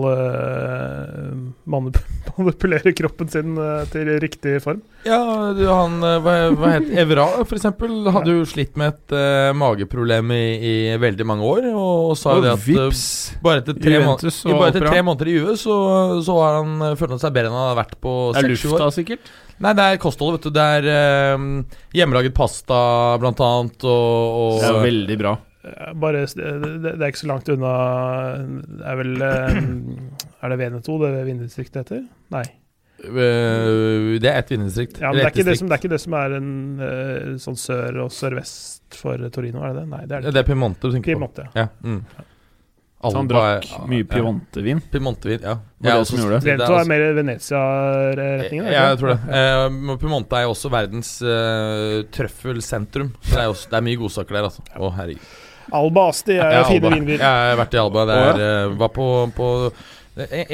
eh, manip manipulere kroppen sin eh, til riktig form. Ja, du, han eh, hva, hva het Evra, for eksempel, hadde jo slitt med et eh, mageproblem i, i veldig mange år. Og, og sa jo Og det at eh, vips! bare etter tre, måneder, Juventus og bare etter opera. tre måneder i Juve, så, så har han, eh, følte han seg bedre enn han har vært på Det er seks-sju år. lufta, sikkert. Nei, det er kostholdet, vet du. Det er ehm, hjemmelaget pasta, blant annet, og, Det er og veldig bra. Eh, Bare, s- det, det det er ikke så langt unna Det er vel eh, Er det Veneto det vindistriktet heter? Nei. øh, Det er ett vinnerdistrikt. Ja, men det, er ikke det, som, det er ikke det som er en eh, sånn sør og sørvest for Torino, er det det? Nei, det er det. Det er Piemonte du tenker på. Piemonte. ja. Ja, mm. Så han drakk mye Piemontevin. Ja, Piemontevin, ja. det Jeg som også- gjorde det. er Veneto også- er mer Venezia-retningen? Ja, jeg tror det. Eh, men Piemonte er jo også verdens eh, trøffelsentrum. Så Det er, også, det er mye godsaker der, altså. Å, herregud. Alba Asti er Ja, jo fine Alba. vinbiler. Jeg har vært i Alba. Det Å, er, eh, var på, på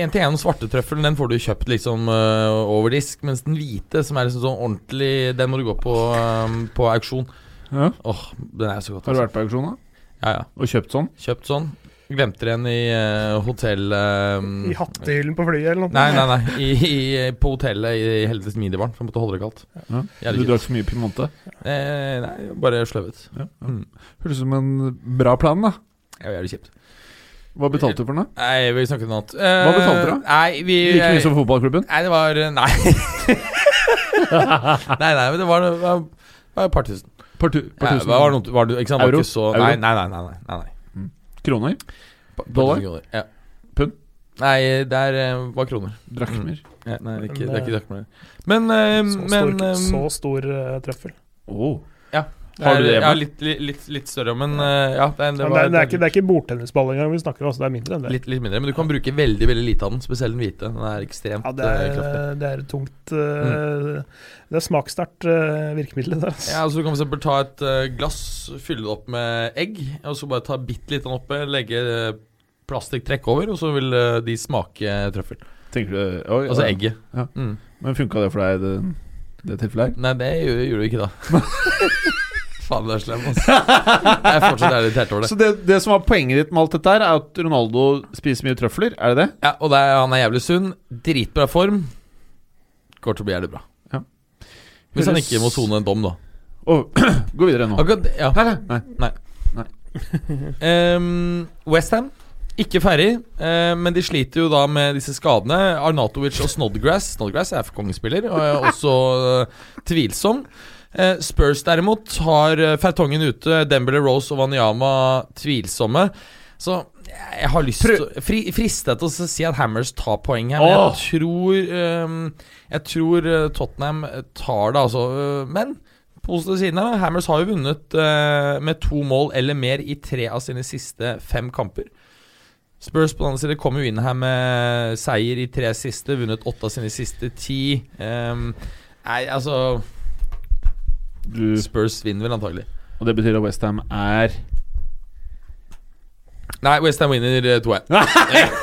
en til en svartetrøffelen den får du kjøpt liksom eh, over disk, mens den hvite, som er liksom sånn ordentlig, den må du gå på, eh, på auksjon. Ja. Åh, den er så godt. Har du Altså. vært på auksjon da? Ja, ja. og kjøpt sånn? Kjøpt sånn. Glemte den i eh, hotell... eh, I hattehyllen på flyet eller noe. Nei, nei, nei. I, i, på hotellet i Helvetes Midibaren, for jeg måtte holde det kaldt. Ja. Du Jævlig kjipt. drakk for mye Piemonte. Eh, nei, bare sløvet. Høres ut som en bra plan, da. Det var jævlig kjipt. Hva betalte du for den, da? Nei, vi snakket om noe annet. Eh, Hva betalte dere? Nei, vi eh, Like mye som fotballklubben? Nei, det var Nei. nei, nei, men det var Det var, det var et par tusen. Par tu, par Ja, tusen var noe, var, det- ikke sant, det Euro? Var ikke så, Euro? nei, nei, nei. nei, nei, nei, nei. kroner? Par- par Dollar? tusen kroner, Ja. Pund? Nei, der eh, var kroner. Drakmer? Ja, nei, det er ikke, Men, det er ikke eh, drakmer. Men, eh, Så stor, men eh, så stor eh, trøffel. Oh. Har du det hjemme? Ja, litt, litt, litt, litt større, men eh, ja. Det, det, Det, men det, var, er, det, er ikke, det er ikke bordtennisball engang vi snakker om, altså det er mindre enn det. litt, litt mindre. Men du kan bruke veldig veldig lite av den, spesielt den hvite. Den er ekstremt Ja, det eh, er, kraftig. Mm. det er tungt eh, Det er smakssterkt eh, virkemiddel. Det, altså. Ja, altså Du kan for eksempel ta et eh, glass, fylle det opp med egg, og så bare ta bitte litt av den oppe, legge eh, plastikktrekk over, og så vil eh, de smake trøffel. Tenker du oi, Altså oi. egget. Ja. Mm. Men funka det for deg, det, det tilfellet her? Nei, det gjorde, gjorde du ikke da. Faen, du er slem, altså. Jeg er fortsatt irritert over det. Så det, det som var poenget ditt med alt dette her, er at Ronaldo spiser mye trøfler? Er det det? Ja, Og det er, han er jævlig sunn. Dritbra form. Går til å bli jævlig bra. Ja. Hvis han Høres- ikke må sone en dom, da. Og gå videre nå. Akkurat, ja. Nei, nei, nei. Ehm, West Ham, ikke ferdig, eh, men de sliter jo da med disse skadene. Arnatovic og Snodgrass. Snodgrass er for kongespiller, og er også eh, tvilsom. Eh, Spurs derimot har eh, Fertongen ute, Dembele Rose og Wanyama tvilsomme. Så jeg har lyst til å- fri, Fristet til å si at Hammers tar poeng her, men Åh! jeg tror ehm, Jeg tror eh, Tottenham tar det, altså. eh, Men positive siden her. da. Hammers har jo vunnet eh, med to mål eller mer i tre av sine siste fem kamper. Spurs på den andre siden kom jo inn her med seier i tre siste, vunnet åtte av sine siste ti. Ehm, nei, altså Du, Spurs vinner vel antagelig. og det betyr at Westham er Nei, Westham vinner eh, 2-1. Nei,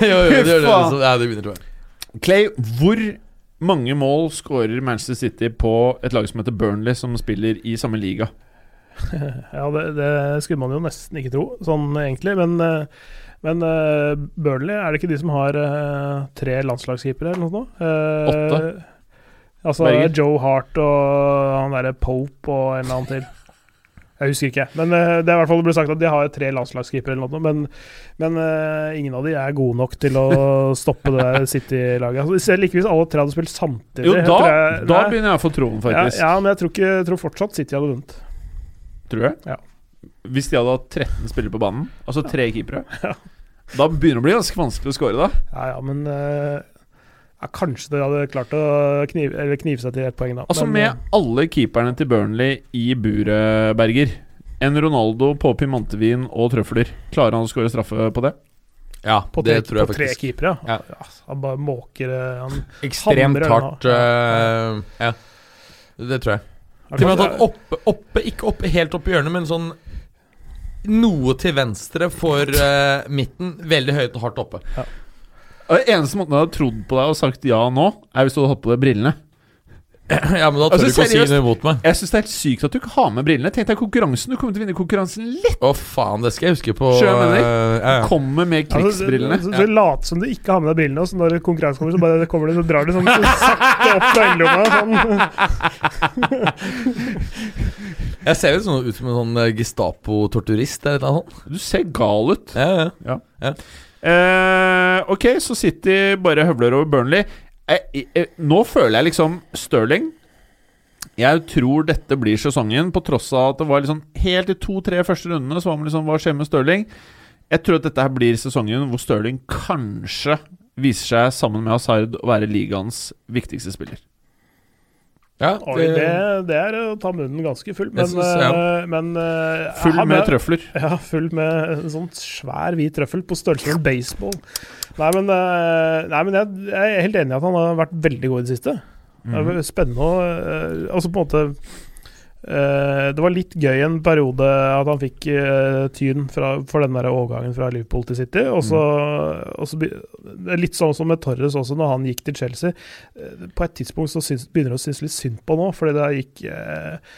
jo, jo, det gjør det. faen. Så, ja, de vinner 2-1. Clay, hvor mange mål skårer Manchester City på et lag som heter Burnley, som spiller i samme liga? Ja, det, det skulle man jo nesten ikke tro, sånn egentlig. Men, eh, men eh, Burnley, er det ikke de som har eh, tre landslagskeepere eller noe sånt? nå? Eh, Åtte. Altså Berger. Joe Hart og han derre Pope og en eller annen til. Jeg husker ikke, men eh, det er i hvert fall det ble sagt at de har tre landslagskeepere eller noe. Men, men eh, ingen av de er gode nok til å stoppe det der City-laget. Altså, selv ikke hvis alle tre hadde spilt samtidig. Jo, jeg da, tror jeg- da Nei. begynner jeg å få troen, faktisk. Ja, ja, men jeg tror, ikke, jeg tror fortsatt City hadde vunnet. Tror jeg. Ja. Hvis de hadde hatt 13 spillere på banen, altså tre keepere Da begynner det å bli ganske vanskelig å skåre, da. Ja, ja, men eh, ja, Kanskje dere hadde klart å knive, eller knive seg til ett poeng, da. Altså Men, eh, med alle keeperne til Burnley i buret, Berger. En Ronaldo på pimantevin og trøfler. Klarer han å skåre straffe på det? Ja, på tre, det tror jeg på tre faktisk. keepere, ja. Ja. Ja, altså, Han bare måker eh, han, Ekstremt Hamrer, hardt. da. eh, ja. Det tror jeg. Til og med Altså, at han oppe, oppe, ikke oppe helt oppe i hjørnet, men sånn noe til venstre for eh, midten. Veldig høyt og hardt oppe. Og Eneste måten jeg hadde trodd på deg og sagt ja nå, er hvis du hadde hatt på deg brillene. ja, men da tør Altså, du ikke å si seriøst. noe imot meg. Jeg syns det er helt sykt at du ikke har med brillene. Tenk deg konkurransen, du kommer til å vinne konkurransen litt! Å, faen, det skal jeg huske på. Skjønner jeg mener. eh, ja, ja. Kommer med krigsbrillene. Altså, du du later som du ikke har med deg brillene, og så når konkurransen kommer, så bare kommer du, så drar du sånn sakte opp fra øyelomma. Sånn. Jeg ser jo sånn ut som en sånn eh, Gestapo-torturist eller noe sånt. Du ser gal ut. Ja, ja. Eh, ok, så City bare høvler over Burnley. Eh, eh, nå føler jeg liksom Sterling Jeg tror dette blir sesongen, på tross av at det var liksom helt i to-tre første rundene så var man liksom Hva skjer med Sterling? Jeg tror at dette her blir sesongen hvor Sterling kanskje viser seg, sammen med Hazard, å være ligaens viktigste spiller. ja Oi, det, Det, det er å ta munnen ganske full, men, Jeg synes, ja. eh, men eh, Full han med er- trøfler. Ja, full med en sånn svær hvit trøffel på størrelse med en baseball. Nei, men, eh, nei, men jeg, jeg er helt enig i at han har vært veldig god i det siste. Det Mhm. er vel spennende å eh, Altså, på en måte eh, Det var litt gøy en periode at han fikk eh, tyn fra, for den der overgangen fra Liverpool til City. Og så, og så be- det er Litt sånn som med Torres også, når han gikk til Chelsea. Eh, På et tidspunkt så syns, begynner det å synes litt synd på nå, fordi det gikk eh,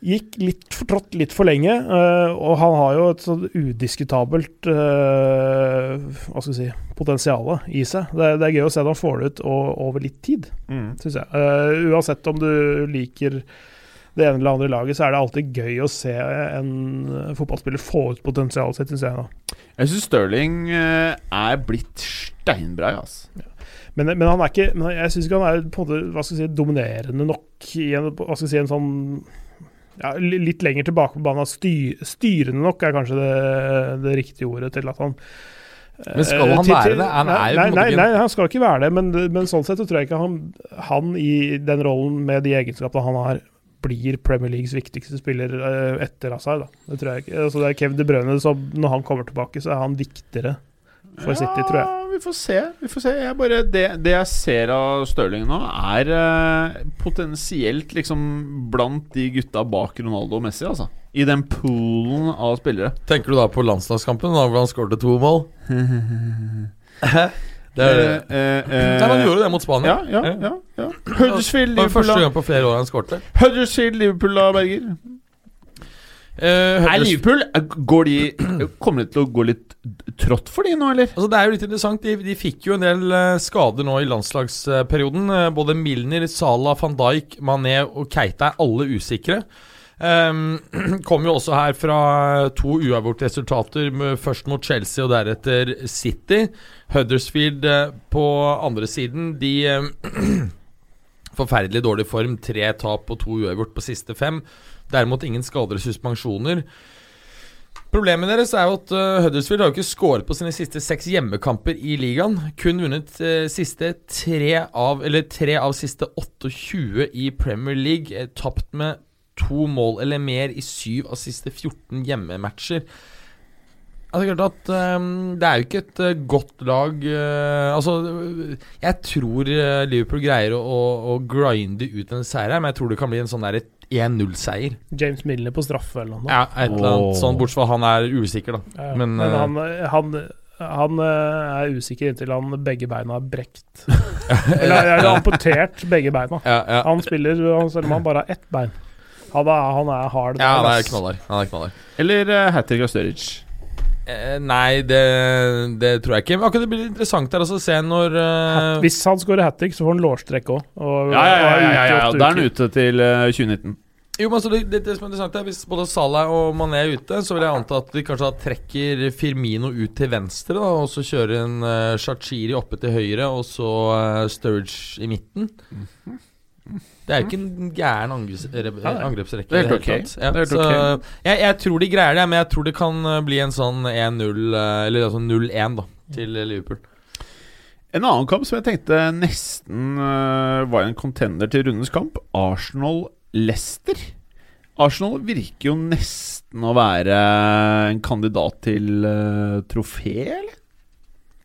Gikk litt for trått litt for lenge, eh, og han har jo et sånn udiskutabelt eh, Hva skal vi si potensial i seg. Det, er- det er gøy å se at han får det ut og, over litt tid, Mm. syns jeg. Eh, uansett om du liker det ene eller andre laget, så er det alltid gøy å se en fotballspiller få ut potensialet sitt, syns jeg. da. Jeg syns Stirling eh, er blitt steinbra, ja, altså. Men, men han er ikke men Jeg syns ikke han er på en måte, hva skal jeg si, dominerende nok i en, hva skal jeg si, en sånn ja, li- Litt lenger tilbake på banen. Sty, styrende nok er kanskje det, det riktige ordet til at han Men skal eh, han til- være til- det? Han nei, er jo på nei, en måte nei, ikke en- nei, han skal ikke være det, men, men sånn sett så tror jeg ikke han, han i den rollen med de egenskapene han har, blir Premier Leagues viktigste spiller eh, etter Hazard. Da. Det tror jeg ikke. Altså, det er Kevin De Bruyne som når han kommer tilbake, så er han viktigere for City, tror jeg. Ja, vi får se. Vi får se. Jeg bare, det, det jeg ser av Stirling nå, er eh, potensielt liksom blant de gutta bak Ronaldo og Messi, altså. I den poolen av spillere. Tenker du da på landslagskampen, da, hvor han skårte to mål? det er det. Eh, eh, Nei, men han gjorde det mot Spania. ja, ja, ja, ja. Huddersfield, Det var første Liverpool, gang på flere år han skårte. da. Huddersfield, Liverpool da, Berger. Eh, Er Huddersfield- Liverpool går de, Kommer det til å gå litt trått for de nå, eller? Altså, det er jo litt interessant. De, de fikk jo en del eh, skader nå i landslagsperioden. Eh, Både Milner, Salah, van Dijk, Mané og Keita er alle usikre. Um, kom jo også her fra eh, to uavgjorte resultater, med- først mot Chelsea og deretter City. Huddersfield eh, på andre siden, de eh, Forferdelig dårlig form. Tre tap og to uavgjort på siste fem. Derimot ingen skader og suspensjoner. Problemet deres er jo at eh, Huddersfield har jo ikke skåret på sine siste seks hjemmekamper i ligaen. Kun vunnet eh, siste tre av, eller tre av siste 28 i Premier League. eh, tapt med to mål eller mer i syv av siste 14 hjemmematcher. Altså, det er klart at eh, det er jo ikke et eh, godt lag eh, Altså, jeg tror eh, Liverpool greier å, å, å grinde ut en seier her, men jeg tror det kan bli en sånn der 1-0-seier. James Milner på straffe eller noe. Ja, et eller annet sånn, bortsett fra han er usikker, da. Ja, Men, Men, eh, han, han, han eh, er usikker inntil han begge beina er brekt. Eller han er amputert begge beina. Ja, ja. Han spiller han- selv om han bare har ett bein. Han er, han er hard. Ja, han er ass. knallhard. Han er knallhard. Eller uh, hat trick av Sturridge? Eh, nei, det, det tror jeg ikke. Men akkurat det blir interessant der også å se når eh, Hvis han scorer hat trick, så får han lårstrekk òg. Og, Ja, ja, ja. ja, og er ute i ja, ja. åtte Da er han uker. ute til eh, 2019. Jo, men altså, det, det, det som er interessant er Hvis både Salah og Mané er ute, så vil jeg anta at de kanskje da trekker Firmino ut til venstre, da, og så kjører en eh, Shaqiri oppe til høyre, og så eh, Sturridge i midten. Det er jo ikke en gæren angreps Nei, nei. angrepsrekke. Det er i helt hele ok. tatt. Det Ja, er helt så, jeg, jeg tror de greier det, men jeg tror det kan eh, bli en sånn 1-0, eh, eller altså 0-1, da, til Liverpool. En annen kamp som jeg tenkte nesten eh, var en contender til rundens kamp, Arsenal-Leicester. Arsenal virker jo nesten å være en kandidat til eh, trofé, eller?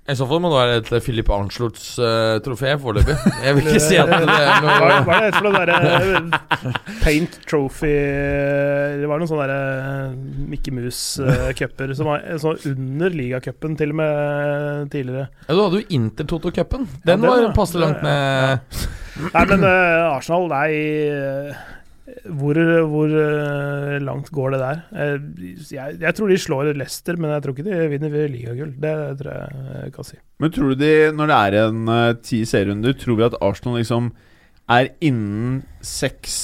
I så fall må det være et Philip Arnslots eh, trofé foreløpig. Jeg vil ikke si at det er Hva noe hva er det for noe derre eh, Paint Trophy eh, Det var noen sånne derre eh, Mickey Mouse-cuper som var sånn under ligacupen til og med eh, tidligere. Ja, Du hadde jo Inter-Toto-cupen. Den Ja, det var var- passe langt ja, ja, ned. Nei, men eh, Arsenal, nei eh, Hvor, hvor eh, langt går det der? Eh, jeg, jeg tror de slår Leicester, men jeg tror ikke de vinner ved ligagull. Det tror jeg jeg kan si. Men tror du de, når det er en eh, ti serierunder, tror vi at Arsenal liksom er innen seks,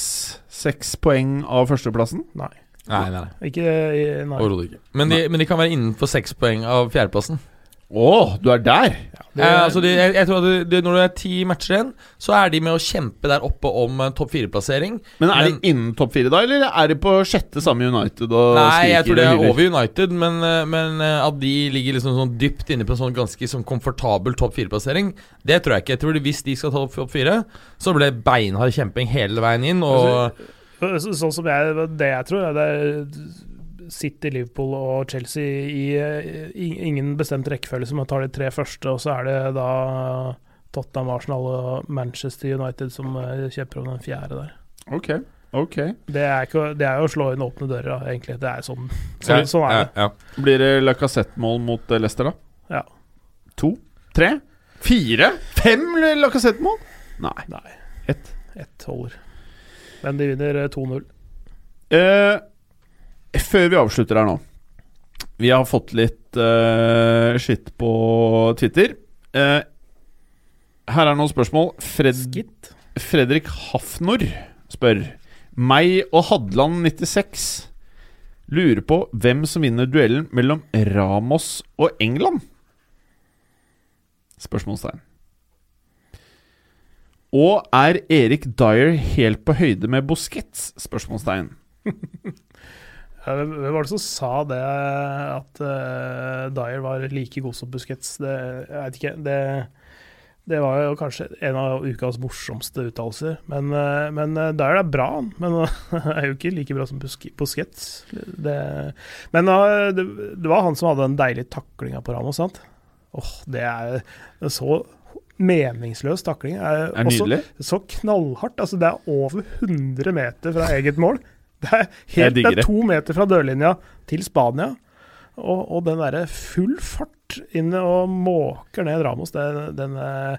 seks poeng av førsteplassen? Nei. Nei, nei, nei. Ikke eh, nei. Overhodet ikke. Men de, men de kan være innenfor seks poeng av fjerdeplassen. Å, du er der! Det- eh, altså de, jeg, jeg tror at det- det- Når det er ti matcher igjen, så er de med å kjempe der oppe om eh, topp fire-plassering. Men er Men- de innen topp fire da, eller er de på sjette sammen med United og Nei, jeg skriker tror det og er hyler? over United, men, eh, men eh, at de ligger liksom sånn dypt inne på en sånn ganske sånn komfortabel topp fire-plassering, det tror jeg ikke. Jeg tror de, Hvis de skal ta opp topp fire, så blir det beinhard kjemping hele veien inn. Og Så- så- Sånn som jeg, det jeg tror, er det er City, Liverpool og Chelsea i, eh, i ingen bestemt rekkefølge som tar de tre første, og så er det da Tottenham, Arsenal og Manchester United som eh, kjemper om den fjerde der. Ok, ok. Det er, ikke, det er jo å slå inn åpne dører, da, egentlig. Det er sånn, sånn, sånn er det. Ja, ja. Blir det Lacassette-mål mot eh, Leicester, da? Ja. To? Tre? Fire? Fem Lacassette-mål? Nei. Nei. Ett. Ett holder. Men de vinner eh, 2-0. Eh, før vi avslutter her nå Vi har fått litt eh, skitt på Twitter. Eh, her er noen spørsmål. Fred Fredrik Hafnor spør meg og Hadeland96 lurer på hvem som vinner duellen mellom Ramos og England. Spørsmålstegn. Og er Erik Dyer helt på høyde med Busquets? Spørsmålstegn. Ja, Hvem hvem var det som sa det, at eh, Dyer var like god som Busquets? Det, jeg vet ikke. Det, det var jo kanskje en av ukas morsomste uttalelser. Men, eh, men eh, Dyer er bra, han. Men han er jo ikke like bra som Busk Busquets. Det, men eh, det, det var han som hadde den deilige taklinga på Ramos, sant? Åh, det er en så meningsløs takling. Er, Er også- nydelig. så knallhardt. Altså, det er over 100 meter fra eget mål. Det er, Jeg helt, digger det er det. to meter fra dørlinja til Spania. Og, og den derre full fart inn og måker ned Ramos, det, den, eh,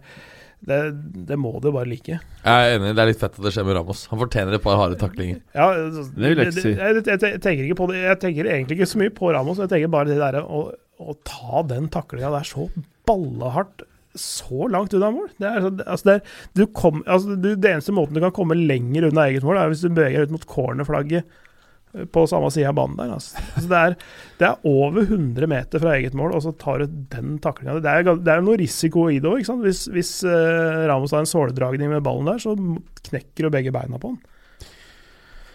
det, det må du bare like. Jeg er enig, det er litt fett at det skjer med Ramos. Han fortjener et par harde taklinger. Ja, altså, Det vil jeg ikke si. Jeg, jeg, jeg tenker ikke på det. Jeg tenker egentlig ikke så mye på Ramos, jeg tenker bare det derre å, å ta den taklinga der så ballehardt så langt unna mål. Det, er, så- altså det, er, du kom, altså du, det eneste måten du kan komme lenger unna eget mål, er hvis du beveger ut mot cornerflagget eh, på samme side av banen der. Altså. Altså det, er, det er over 100 meter fra eget mål, og så tar du den taklinga. Det er gal- det er jo noe risiko i det òg. Hvis, hvis eh, Ramos har en såledragning med ballen der, så knekker du begge beina på han.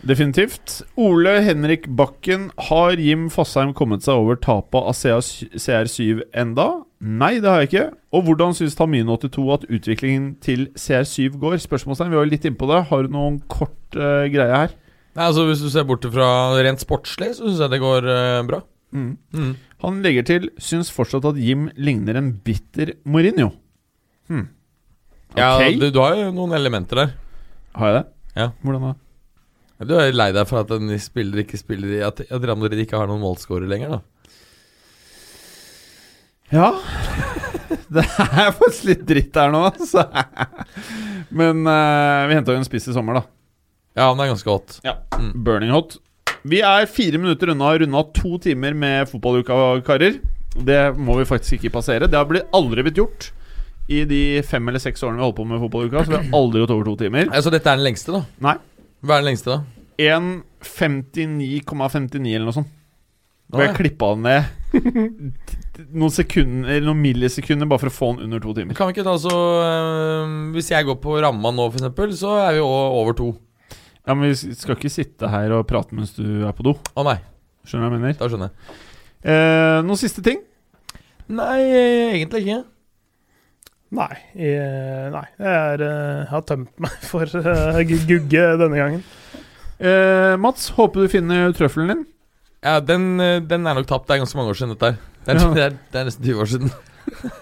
Definitivt. Ole Henrik Bakken, har Jim Fosheim kommet seg over tapet av CR7 enda? Nei, det har jeg ikke. Og hvordan syns Tamino82 at utviklingen til CR7 går? Spørsmålstegn, vi var jo litt inne på det. Har du noen kort eh, greie her? Nei, altså Hvis du ser bort fra rent sportslig, så syns jeg det går eh, bra. Mm. Han legger til syns fortsatt at Jim ligner en bitter Mourinho. Hm. Ok, Ja, du, du har jo noen elementer der. har jeg det? Ja. Hvordan da? Du er lei deg for at en spiller ikke spiller i At, at Real Madrid ikke har noen målscorer lenger, da. Ja. Det er faktisk litt dritt her nå, altså. Men eh, vi henta jo en spiss i sommer, da. Ja, han er ganske hot. Burning hot. Vi er fire minutter unna å runde av to timer med fotballuka, karer. Det må vi faktisk ikke passere. Det har blitt aldri blitt gjort i de fem eller seks årene vi har holdt på med fotballuka. Så vi har aldri gått over to timer. Ja, så dette er den lengste, da? Nei. Hva er den lengste, da? 1.59,59 eller noe sånt. Og Å, jeg ja. klippa den ned noen sekunder Eller noen millisekunder bare for å få den under to timer. Kan vi ikke ta så eh, Hvis jeg går på ramma nå, for eksempel, så er vi å- over to. Ja, men Vi skal ikke sitte her og prate mens du er på do. Å nei, Skjønner du hva jeg mener? da skjønner jeg. Eh, noen siste ting? Nei, egentlig ikke. Nei. eh, nei. Jeg er, eh, har tømt meg for eh, gu- gugge denne gangen. Eh, Mats, håper du finner trøffelen din. Ja, den, eh, den er nok tapt. Det er ganske mange år siden, dette her. Det er, Ja. det er, det er nesten 20 år siden.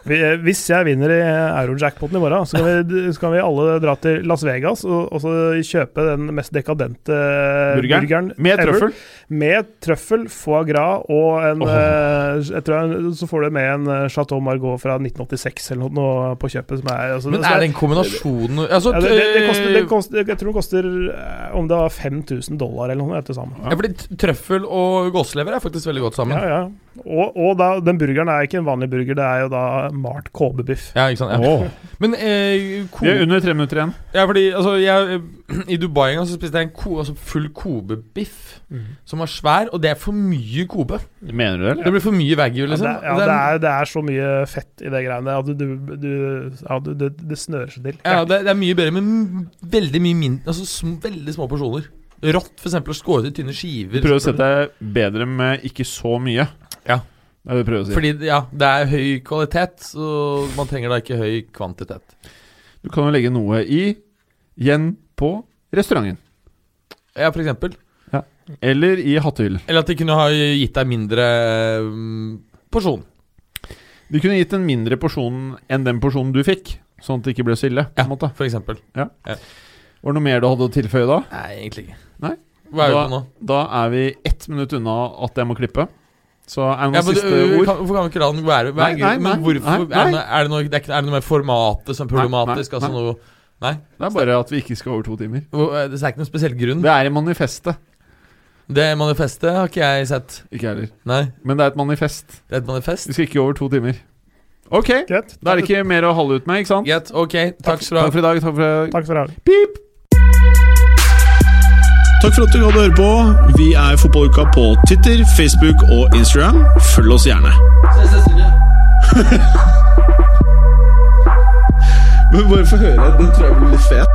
Vi, eh, hvis jeg vinner i eurojackpoten i morgen, så kan vi, så kan vi alle dra til Las Vegas og, og så kjøpe den mest dekadente Burgeren? Eh, burgeren, Med ever. trøffel. Med trøffel, foie gras og en eh, jeg tror jeg, Så får du med en eh, Chateau Margot fra 1986 eller noe på kjøpet. Som er, altså, Men så er det en kombinasjon altså, ja, det, det, det koster, det koster, Jeg tror det koster eh, om det var 5000 dollar eller noe til sammen. Ja, fordi t- Trøffel og gåselever er faktisk veldig godt sammen. Ja, Ja, ja. Og, og da, den burgeren er ikke en vanlig burger, det er jo da malt kåbebiff. ikke sant? Ja. Åh. Men eh, ko Vi er under tre minutter igjen. ja, fordi, altså, jeg, I Dubai en gang så spiste jeg en ko, altså, full kobebiff Mm. som var svær, og det er for mye kobe. Mener du det, eller? Det blir for mye wagyu, Ja, det, liksom. ja, det, er, det er så mye fett i det greiene der at du, du, du, ja, du, det, det snører seg til. ja, det, det er mye bedre, men m- veldig mye mindre Altså sm, veldig små porsjoner. Rått, for eksempel, å skåre til tynne skiver. Prøv å sette deg bedre med ikke så mye. Ja. Det er det du prøver å si. Fordi ja, det er høy kvalitet, så man trenger da ikke høy kvantitet. Du kan jo legge noe i igjen på restauranten. Ja, for eksempel. Eller i hattehyllen. Eller at de kunne ha gitt deg mindre mm, porsjon. De kunne gitt en mindre porsjon enn den porsjonen du fikk, sånn at det ikke ble så ille. På en måte. For eksempel. Var det noe mer du hadde å tilføye da? Nei, egentlig ikke. Nei. Hva er vi Da- på nå? Da er vi ett minutt unna at jeg må klippe. Så er det noen Ja, men, siste øh, ord? kan, hvorfor kan vi ikke la den være? Hva er Nei, nei, grunnen? Men nei, hvorfor? nei, Er, det noe, er, det noe, det er, ikke, er det noe med formatet som er problematisk? Nei, nei, altså noe eh, Nei? Det er bare at vi ikke skal over to timer. Hvor- øh, Det er ikke noen spesiell grunn? Det er i manifestet. Det manifestet har ikke jeg sett. Ikke jeg heller. Nei, Men det er et manifest. det er et manifest. Vi skal ikke over to timer. Ok, Greit. da er det ikke mer å holde ut med, ikke sant? Greit, ok. Takk skal du ha. Takk for i dag. Takk for i dag. Takk for i dag. Pip! Takk for at du hadde høre på. Vi er Fotballuka på Twitter, Facebook og Instagram. Følg oss gjerne. Men bare få høre. Den tror jeg blir litt fet.